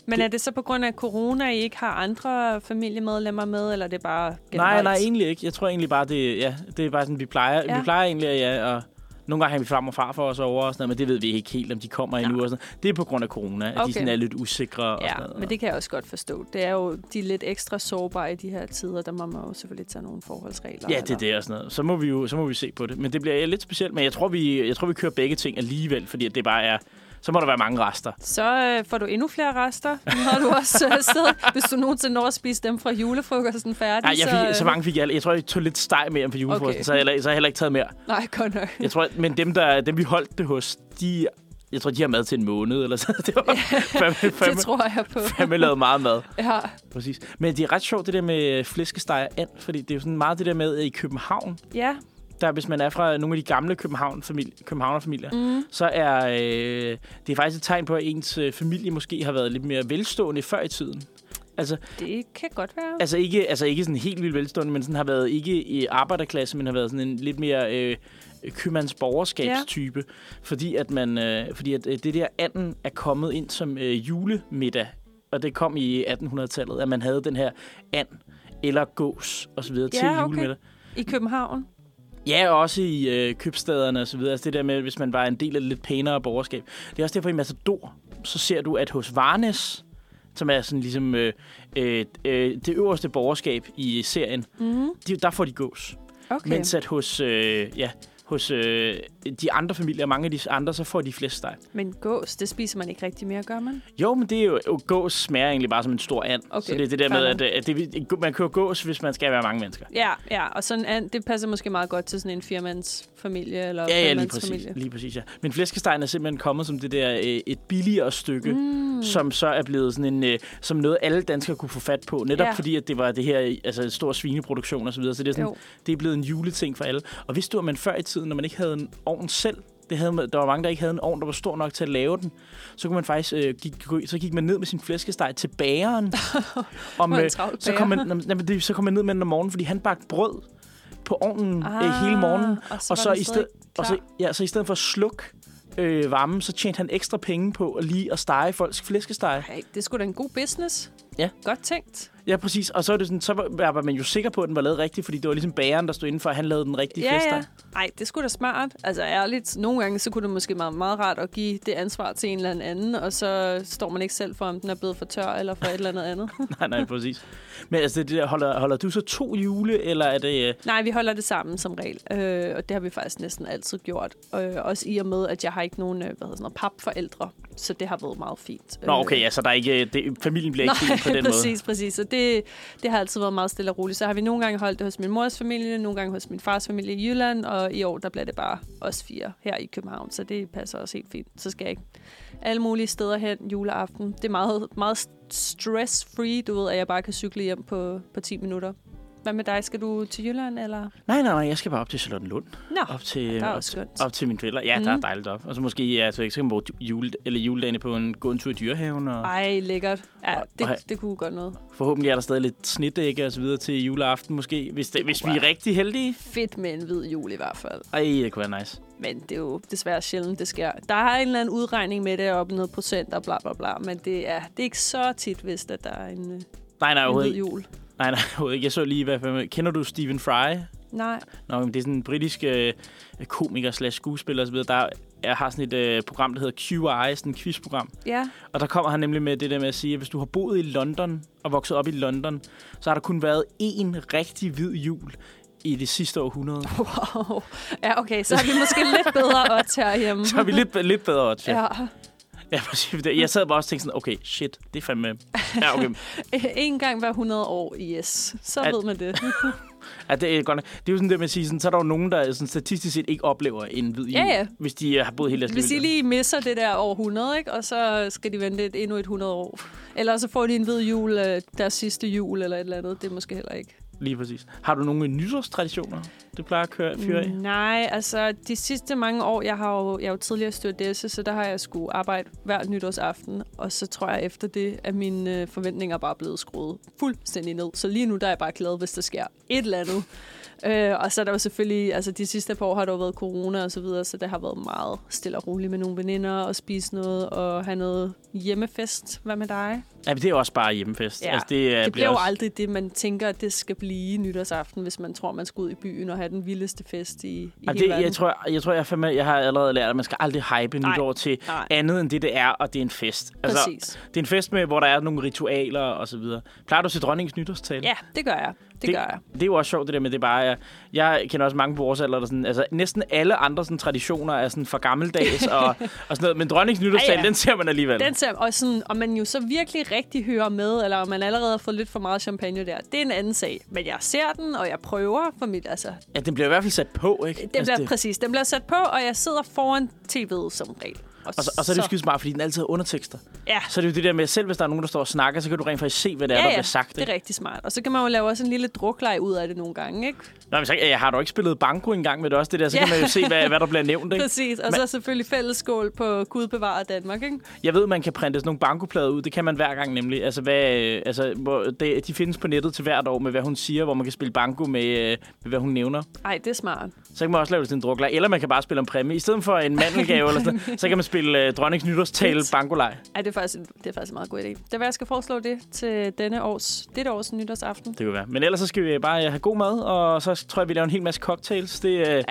Men er det så på grund af corona, I ikke har andre familiemedlemmer med, eller er det bare Nej, generelt? nej, egentlig ikke. Jeg tror egentlig bare, det, ja, det er bare sådan, vi plejer. Ja. Ja. Vi plejer egentlig, at ja, og nogle gange har vi fram og far for os over, og sådan noget, men det ved vi ikke helt, om de kommer endnu. Og sådan noget. Det er på grund af corona, at okay. de Okay. sådan er lidt usikre. og sådan Ja, noget. men det kan jeg også godt forstå. Det er jo de er lidt ekstra sårbare i de her tider, der må man jo selvfølgelig tage nogle forholdsregler. Ja, det er det og sådan noget. Så må vi jo så må vi se på det. Men det bliver lidt specielt, men jeg tror, vi, jeg tror, vi kører begge ting alligevel, fordi at det bare er... Så må der være mange rester. Så øh, får du endnu flere rester, når du også øh, sidder, hvis du nogensinde når at spise dem fra julefrokosten færdig. Nej, jeg fik, øh, så mange fik jeg aldrig. Jeg tror, jeg tog lidt steg med hjem for julefrokosten, okay. Okay. så, har jeg, heller- så har jeg heller ikke taget mere. Nej, godt nok. Jeg tror, men dem, der, dem, vi holdt det hos, de, jeg tror, de har mad til en måned, eller så. Det var fandme, Det fandme, tror jeg på. fandme lavet meget mad. Ja. Præcis. Men det er ret sjovt, det der med flæskesteg og and, fordi det er jo sådan meget det der med, at i København, ja, der hvis man er fra nogle af de gamle København -familie, københavnerfamilier, mm. så er øh, det er faktisk et tegn på, at ens øh, familie måske har været lidt mere velstående før i tiden. Altså, det kan godt være. altså, ikke, altså ikke sådan helt vildt velstående, men sådan har været ikke i arbejderklasse, men har været sådan en lidt mere øh, købmandsborgerskabstype. Ja. Fordi at, man, øh, fordi at øh, det der anden er kommet ind som øh, julemiddag, og det kom i 1800-tallet, at man havde den her and eller gås og så videre Ja, til okay. julemiddag. I København. Ja, og også i øh, købstederne og så videre. Altså det der med, hvis man var en del af det lidt pænere borgerskab. Det er også derfor, i Matador, så ser du, at hos Varnes, som er sådan ligesom øh, øh, øh, det øverste borgerskab i serien, Mm. de, der får de gås. Okay. Okay. Mens at hos, øh, ja, hos øh, de andre familier, mange af de andre, så får de flest steg. Men gås, det spiser man ikke rigtig mere, gør man? Jo, men det er jo, jo gås smager egentlig bare som en stor and. Okay, så det er det der fair med, at, nok. øh, at det, man kører gås, hvis man skal være mange mennesker. Ja, ja. Og sådan an, det passer måske meget godt til sådan en firmandsfamilie eller Ja, ja, lige præcis, femmandsfamilie. lige præcis, ja. Men flæskestegen er simpelthen kommet som det der øh, et billigere stykke, mm. som så er blevet sådan en, øh, som noget alle danskere kunne få fat på, netop Ja. fordi, at det var det her, øh, altså en stor svineproduktion og så videre, så det er, sådan, Jo. det er blevet en juleting for alle. Og vidste du, at man før i tiden, når man ikke havde en ovn selv, det havde, man- der var mange, der ikke havde en ovn, der var stor nok til at lave den. Så, kunne man faktisk, øh, gik, gå- så gik man ned med sin flæskesteg til bageren. om, Hvor en travl så, kom man, jamen, det, så kom man ned med den om morgenen, fordi han bagte brød på ovnen ah, øh, Ah, hele morgenen. og så og var så den i stadig stedet, og så, klar. ja, så i stedet for at slukke øh, varmen, så tjente han ekstra penge på at lige at stege folks flæskesteg. Ej, det skulle sgu da en god business. Ja. Godt tænkt. Ja, præcis. Og så, er det sådan, så var, var man jo sikker på, at den var lavet rigtigt, fordi det var ligesom bageren, der stod indenfor, at han lavede den rigtige ja, flæskesteg. ja. Ej, det skulle da smart. Altså ærligt, nogle gange så kunne det måske være meget rart at give det ansvar til en eller anden, og så står man ikke selv for, om den er blevet for tør eller for et eller andet andet. nej, nej, præcis. Men altså, det der, holder, holder du så to jule, eller er det... Øh, Nej, vi holder det sammen som regel, øh, og det har vi faktisk næsten altid gjort. Øh, også i og med, at jeg har ikke nogen øh, hvad hedder sådan noget, papforældre, så det har været meget fint. Nå, okay, ja, så der er ikke, øh, det, familien bliver ikke delt på den måde. præcis, præcis. Så det, det har altid været meget stille og roligt. Så har vi nogle gange holdt det hos min mors familie, nogle gange hos min fars familie i Jylland, og i år der bliver det bare os fire her i København, så det passer også helt fint. Så skal jeg ikke alle mulige steder hen juleaften. Det er meget, meget stress-free, du ved, at jeg bare kan cykle hjem på, på 10 minutter. Hvad med dig? Skal du til Jylland, eller? Nej, nej, nej, jeg skal bare op til Charlottenlund. Nå, Op til, der er op, også til, skønt. Mhm. op til mine forældre. Ja, mm. der er dejligt op. Og så måske, ja, så, så kan man bruge jule, eller juledagene på en, gå en tur i dyrehaven. Og Ej, lækkert. Ja, Og- og- det, det kunne godt noget. forhåbentlig er der stadig lidt snedække og så videre til juleaften måske, hvis, det, hvis vi er rigtig heldige. Fedt med en hvid jul i hvert fald. Ej, det kunne være nice. Men det er jo desværre sjældent, det sker. Der er en eller anden udregning med det, op noget procent og bla bla bla, men det er, det er ikke så tit, hvis at der er en, øh, Nej, nej, en overhovedet hvid ikke. jul. Nej, nej, overhovedet ikke. Jeg så lige, hvad fanden- Kender du Stephen Fry? Nej. Nå, men det er sådan en britisk øh, komiker slash skuespiller og så videre. Der jeg har sådan et øh, program, der hedder QI, sådan et quizprogram. Ja. Og der kommer han nemlig med det der med at sige, at hvis du har boet i London og vokset op i London, så har der kun været én rigtig hvid jul i det sidste århundrede. Wow. Ja, okay, så er vi måske lidt bedre odds herhjemme. Så er vi lidt, lidt bedre odds, ja. Ja. ja. præcis. Jeg sad bare også og tænkte sådan, okay, shit, det er fandme... Ja, okay. En gang hver 100 år, yes. Så At- ved man det. Ja, det, er godt nok. det er jo sådan det med at sige, sådan, så er der jo nogen, der sådan, statistisk set ikke oplever en hvid jul, Ja, ja. hvis de øh, har boet hele deres Hvis I liv. i London. lige misser det der år 100, ikke? og så skal de vente et, endnu et 100 år. Eller så får de en hvid jul, øh, deres sidste jul eller et eller andet. Det er måske heller ikke. Lige præcis. Har du nogle nytårstraditioner, du plejer at køre, fyre af? Nej, altså de sidste mange år, jeg har jo, jeg er jo tidligere stewardesse, så der har jeg skulle arbejde hver nytårsaften. Og så tror jeg efter det, at mine øh, forventninger bare er blevet skruet fuldstændig ned. Så lige nu der er jeg bare glad, hvis der sker et eller andet. Øh, og så er der jo selvfølgelig, altså de sidste par år har der jo været corona og så videre, så det har været meget stille og roligt med nogle veninder og spise noget og have noget hjemmefest. Hvad med dig? Ja, men det er jo også bare hjemmefest. Ja, Altså, det, øh, det bliver jo også- aldrig det, man tænker, at det skal blive nytårsaften, hvis man tror, man skal ud i byen og have den vildeste fest i, i Jamen, hele det, verden. jeg, tror, jeg, jeg tror, jeg, fandme, jeg har allerede lært, at man skal aldrig hype Nej. nytår til Nej. andet end det, det er, og det er en fest. Altså, Præcis. Det er en fest, med, hvor der er nogle ritualer og så videre. Plejer du til dronningens nytårstale? Ja, det gør jeg. Det, det gør jeg. Det er jo også sjovt, det der med, det er bare jeg, jeg kender også mange på vores alder, der sådan, altså næsten alle andre sådan, traditioner er sådan fra gammeldags og, og sådan noget. Men dronningens nytårstale, ja. den ser man alligevel. Den ser, og sådan, om man jo så virkelig rigtig hører med, eller om man allerede har fået lidt for meget champagne der, det er en anden sag. Men jeg ser den, og jeg prøver for mit, altså, Ja, den bliver i hvert fald sat på, ikke? den bliver, Altså, det, præcis, den bliver sat på, og jeg sidder foran tv'et som regel. og, så, og så er det jo skide smart, fordi den altid har undertekster. Ja, Så er det jo det der med, selv hvis der er nogen, der står og snakker, så kan du rent faktisk se, hvad det er, ja, der ja bliver sagt. det Ikke? er rigtig smart. Og så kan man jo lave også en lille drukleg ud af det nogle gange, ikke? Nå, men så, jeg har du ikke spillet banko engang med det også, det der, så Ja. kan man jo se, hvad, hvad der bliver nævnt. Ikke? Præcis, og så selvfølgelig fællesskål på Gud bevarer Danmark, ikke? Jeg ved, man kan printe sådan nogle bankoplader ud. Det kan man hver gang nemlig. Altså, hvad, øh, altså hvor, det, de findes på nettet til hvert år med, hvad hun siger, hvor man kan spille banko med, øh, med hvad hun nævner. Ej, det er smart. Så kan man også lave det til en drukleg. Eller man kan bare spille om præmie. I stedet for en mandelgave eller sådan noget, så kan man spille øh, dronningens nytårstale Fedt. bankoleg. Ej, det er faktisk, det er faktisk en meget god idé. Det var, jeg skal foreslå det til denne års, dette års nytårsaften. Det kunne være. Men ellers så skal vi bare øh, have god mad, og så tror jeg, vi laver en hel masse cocktails. Det, øh, Ja,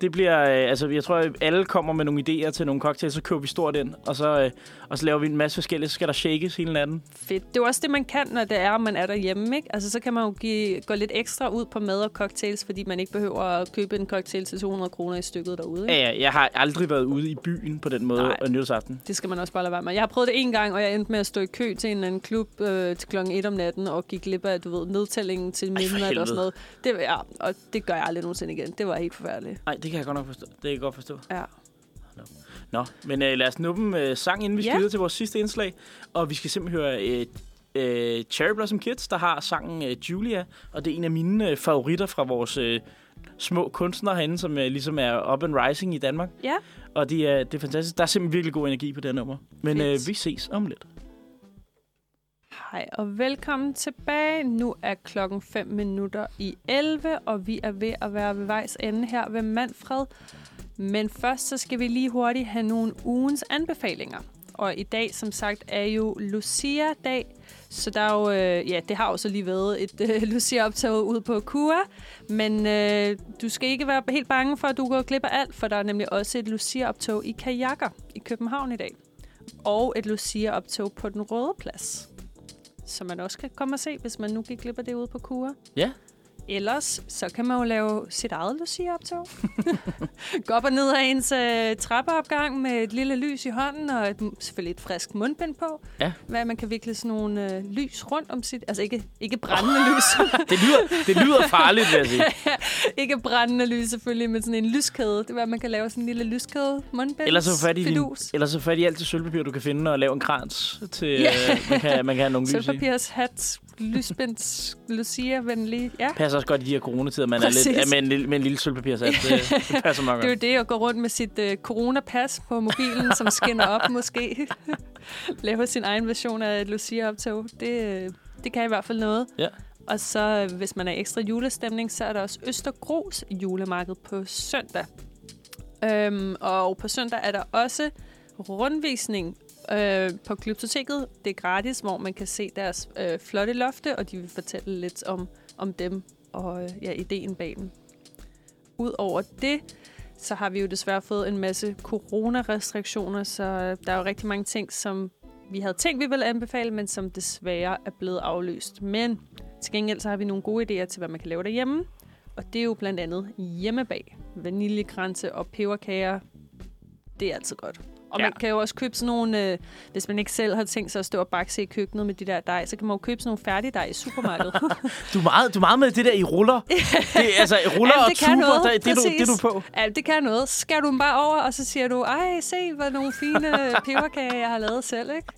det bliver, øh, altså jeg tror, at alle kommer med nogle idéer til nogle cocktails, så køber vi stort ind, og så, øh, og så laver vi en masse forskellige, så skal der shakes hele natten. fedt. Det er jo også det, man kan, når det er, at man er derhjemme, ikke? Altså, så kan man jo give, gå lidt ekstra ud på mad og cocktails, fordi man ikke behøver at købe en cocktail til 200 kroner i stykket derude, ikke? Ja, ja, jeg har aldrig været ude i byen på den måde Nej. øh, nytårsaften. Det skal man også bare lade være med. Jeg har prøvet det en gang, og jeg endte med at stå i kø til en eller anden klub øh, til klokken 1 om natten, og gik glip af, du ved, nedtællingen til midnat helvede. og sådan noget. Det, ja, og det gør jeg aldrig nogensinde igen. Det var helt forfærdeligt. Nej, det kan jeg godt nok forstå. Det kan jeg godt forstå. Ja. Nå, men øh, lad os nuppe en øh, sang, inden vi skal Ja. videre til vores sidste indslag. Og vi skal simpelthen høre øh, øh, Cherry Blossom Kids, der har sangen øh, Julia. Og det er en af mine øh, favoritter fra vores øh, små kunstnere herinde, som øh, ligesom er up and rising i Danmark. Ja. Og det er, det er fantastisk. Der er simpelthen virkelig god energi på det her nummer. Men øh, Fedt. vi ses om lidt. Hej og velkommen tilbage. Nu er klokken 5 minutter i 11, og vi er ved at være ved vejs ende her ved Manfred. Men først så skal vi lige hurtigt have nogle ugens anbefalinger. Og i dag, som sagt, er jo Lucia-dag, så der er jo, øh, ja, det har jo så lige været et øh, Lucia-optag ud på Kua, men øh, du skal ikke være helt bange for, at du går glip af alt, for der er nemlig også et Lucia-optog i kajakker i København i dag. Og et Lucia-optog på den røde plads som man også kan komme og se, hvis man nu gik glip af det ude på kur. Ja. Ellers, så kan man jo lave sit eget Lucia-optog. Gå op og ned af ens øh, trappeopgang med et lille lys i hånden, og et, selvfølgelig et frisk mundbind på. Ja. Hvad, man kan vikle sådan nogle øh, lys rundt om sit... Altså ikke, ikke brændende lys. Det lyder, det lyder farligt, vil jeg sige. ikke brændende lys selvfølgelig, men sådan en lyskæde. Det er, hvad man kan lave sådan en lille lyskæde mundbind. Ellers så fat i, din, fidus. ellers så fat i alt det sølvpapir, du kan finde, og lave en krans til, Ja. øh, man, kan, man kan have nogle lys i. Sølvpapirs hat, lysbind, Lucia-venlig. Ja. passer også godt i de her coronatider, man Præcis. er lidt, ja, med, en lille, med en lille sølvpapirsat. Det, det passer meget Det er jo godt. det at gå rundt med sit øh, coronapas på mobilen, som skinner op måske. Lave sin egen version af et Lucia-optog. Det, øh, det kan i hvert fald noget. Ja. Og så øh, hvis man er ekstra julestemning, så er der også Østergros julemarked på søndag. Øhm, og på søndag er der også rundvisning øh, på Glyptoteket. Det er gratis, hvor man kan se deres øh, flotte lofte, og de vil fortælle lidt om, om dem og øh, ja, ideen bag dem. Udover det, så har vi jo desværre fået en masse coronarestriktioner, så øh, der er jo rigtig mange ting, som vi havde tænkt, vi ville anbefale, men som desværre er blevet aflyst. Men til gengæld så har vi nogle gode idéer til, hvad man kan lave derhjemme. Og det er jo blandt andet hjemmebag. Vaniljekranse og peberkager. Det er altid godt. Og ja. man Ja. kan jo også købe sådan nogle, øh, hvis man ikke selv har tænkt sig at stå og bakse i køkkenet med de der dej, så kan man jo købe sådan nogle færdige dej i supermarkedet. Du er, meget, du er meget med det der i ruller. Det, er altså, ruller Jamen, og det kan tuber, noget. der, det, er du, det Præcis. er du på. Ja, det kan noget. Skærer du dem bare over, og så siger du, ej, se, hvor nogle fine peberkager, jeg har lavet selv, ikke?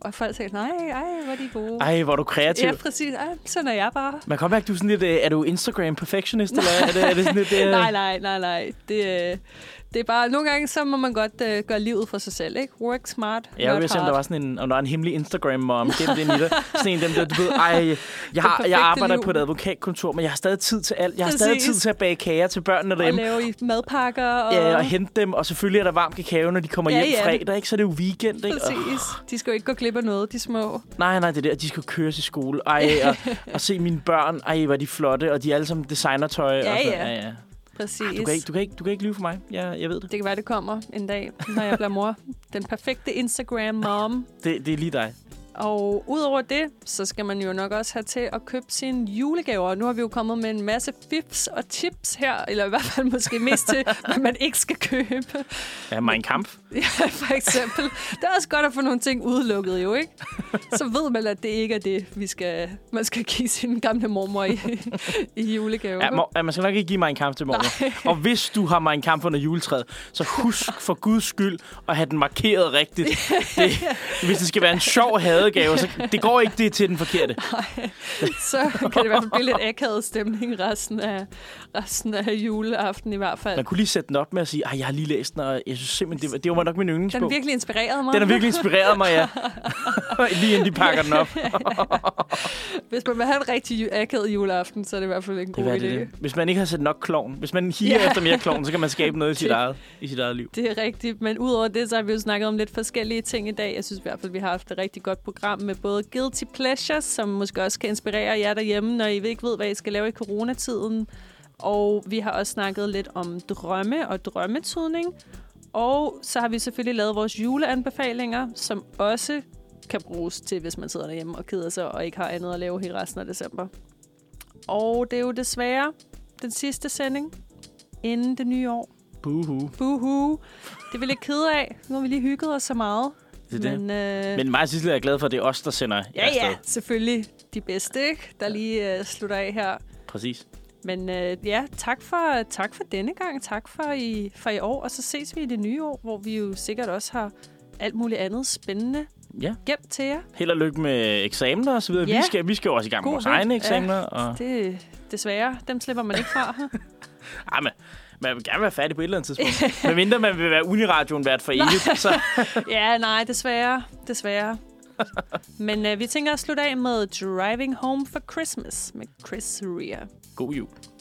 og folk sagde, nej, ej, hvor er de gode. Ej, hvor er du kreativ. ja, præcis. Ej, sådan er jeg bare. Man kan godt mærke, du er sådan lidt, øh, er du Instagram perfectionist, eller er det, er det sådan lidt... øh, Nej, nej, nej, nej. Det, øh, det er bare, nogle gange, så må man godt øh, gøre livet for sig selv, ikke? Work smart, Ja, jeg not vil se, om hard. der var sådan en, om der var en hemmelig Instagram-mom gennem den i dig. Sådan en af dem, der, du ved, ej, jeg, har, perfekte jeg arbejder liv. på et advokatkontor, men jeg har stadig tid til alt. Jeg har stadig Præcis. tid til at bage kager til børnene Og derhjemme. lave i madpakker og... Ja, og hente dem, og selvfølgelig er der varm kakao, når de kommer Ja, hjem ja. fredag, ikke? så er det jo weekend. Ikke? Og, Præcis. De skal jo ikke gå glip af noget, de små. nej, nej, det er der, de skal køres i skole. Ej, og, og se mine børn, ej, hvor er de flotte, og de er alle sammen designertøj. Ja, og sådan. ja. ja. Præcis. Du, kan ikke, du, kan ikke, du kan ikke lyve for mig, jeg, jeg ved det. Det kan være, det kommer en dag, når jeg bliver mor. Den perfekte Instagram-mom. det. Det er lige dig. Og udover det, så skal man jo nok også have til at købe sine julegaver. Og Nu har vi jo kommet med en masse fifs og tips her, eller i hvert fald måske mest til, hvad man ikke skal købe. Ja, min kamp. Ja, for eksempel. Det er også godt at få nogle ting udelukket, jo, ikke? Så ved man, at det ikke er det, vi skal, man skal give sin gamle mormor i, i julegave. Ja, må, ja, man skal nok ikke give mig en kamp til morgen. Og hvis du har mig en kamp under juletræet, så husk for guds skyld at have den markeret rigtigt. Det, hvis det skal være en sjov hadegave, så det går ikke det er til den forkerte. så kan det i hvert fald blive lidt akavet stemning resten af, resten af juleaften i hvert fald. Man kunne lige sætte den op med at sige, at jeg har lige læst den, og jeg synes simpelthen, det var, det var nok min Den har yndlingsbog. virkelig inspireret mig. Den har virkelig inspireret mig, ja. lige inden de pakker den op. Hvis man vil have en rigtig ju- akavet juleaften, så er det i hvert fald en god Det var idé. det, det. Hvis man ikke har set nok klovn, hvis man higer Ja. efter mere klovn, så kan man skabe noget i sit Det- eget, i sit eget liv. Det er rigtigt, men udover det, så har vi jo snakket om lidt forskellige ting i dag. Jeg synes i hvert fald, vi har haft et rigtig godt program med både Guilty Pleasures, som måske også kan inspirere jer derhjemme, når I ikke ved, hvad I skal lave i coronatiden. Og vi har også snakket lidt om drømme og drømmetydning. Og så har vi selvfølgelig lavet vores juleanbefalinger, som også kan bruges til, hvis man sidder derhjemme og keder sig og ikke har andet at lave i resten af december. Og det er jo desværre den sidste sending inden det nye år. Buhu. Buhu. Det er vi lidt kede af. Nu har vi lige hygget os så meget. Det er det. Men, øh, Men mig og Sissel er glad for, at det er os, der sender jer ja, ja, afsted. selvfølgelig de bedste, ikke? der lige øh, slutter af her. Præcis. Men øh, ja, tak for, tak for denne gang. Tak for i, for i år. Og så ses vi i det nye år, hvor vi jo sikkert også har alt muligt andet spændende Ja. gemt til jer. Held og lykke med eksamener og så videre. Ja. Ja. Vi, skal, vi skal jo også i gang med God vores vind. egne Ja. eksamener. Ja. Og, Det, desværre, dem slipper man ikke fra. ej, men, man vil gerne være færdig på et eller andet tidspunkt. Men mindre man vil være uniradioen vært for evigt, så ja, nej, desværre. Desværre. Men øh, vi tænker at slutte af med Driving Home for Christmas med Chris Rea. god jul.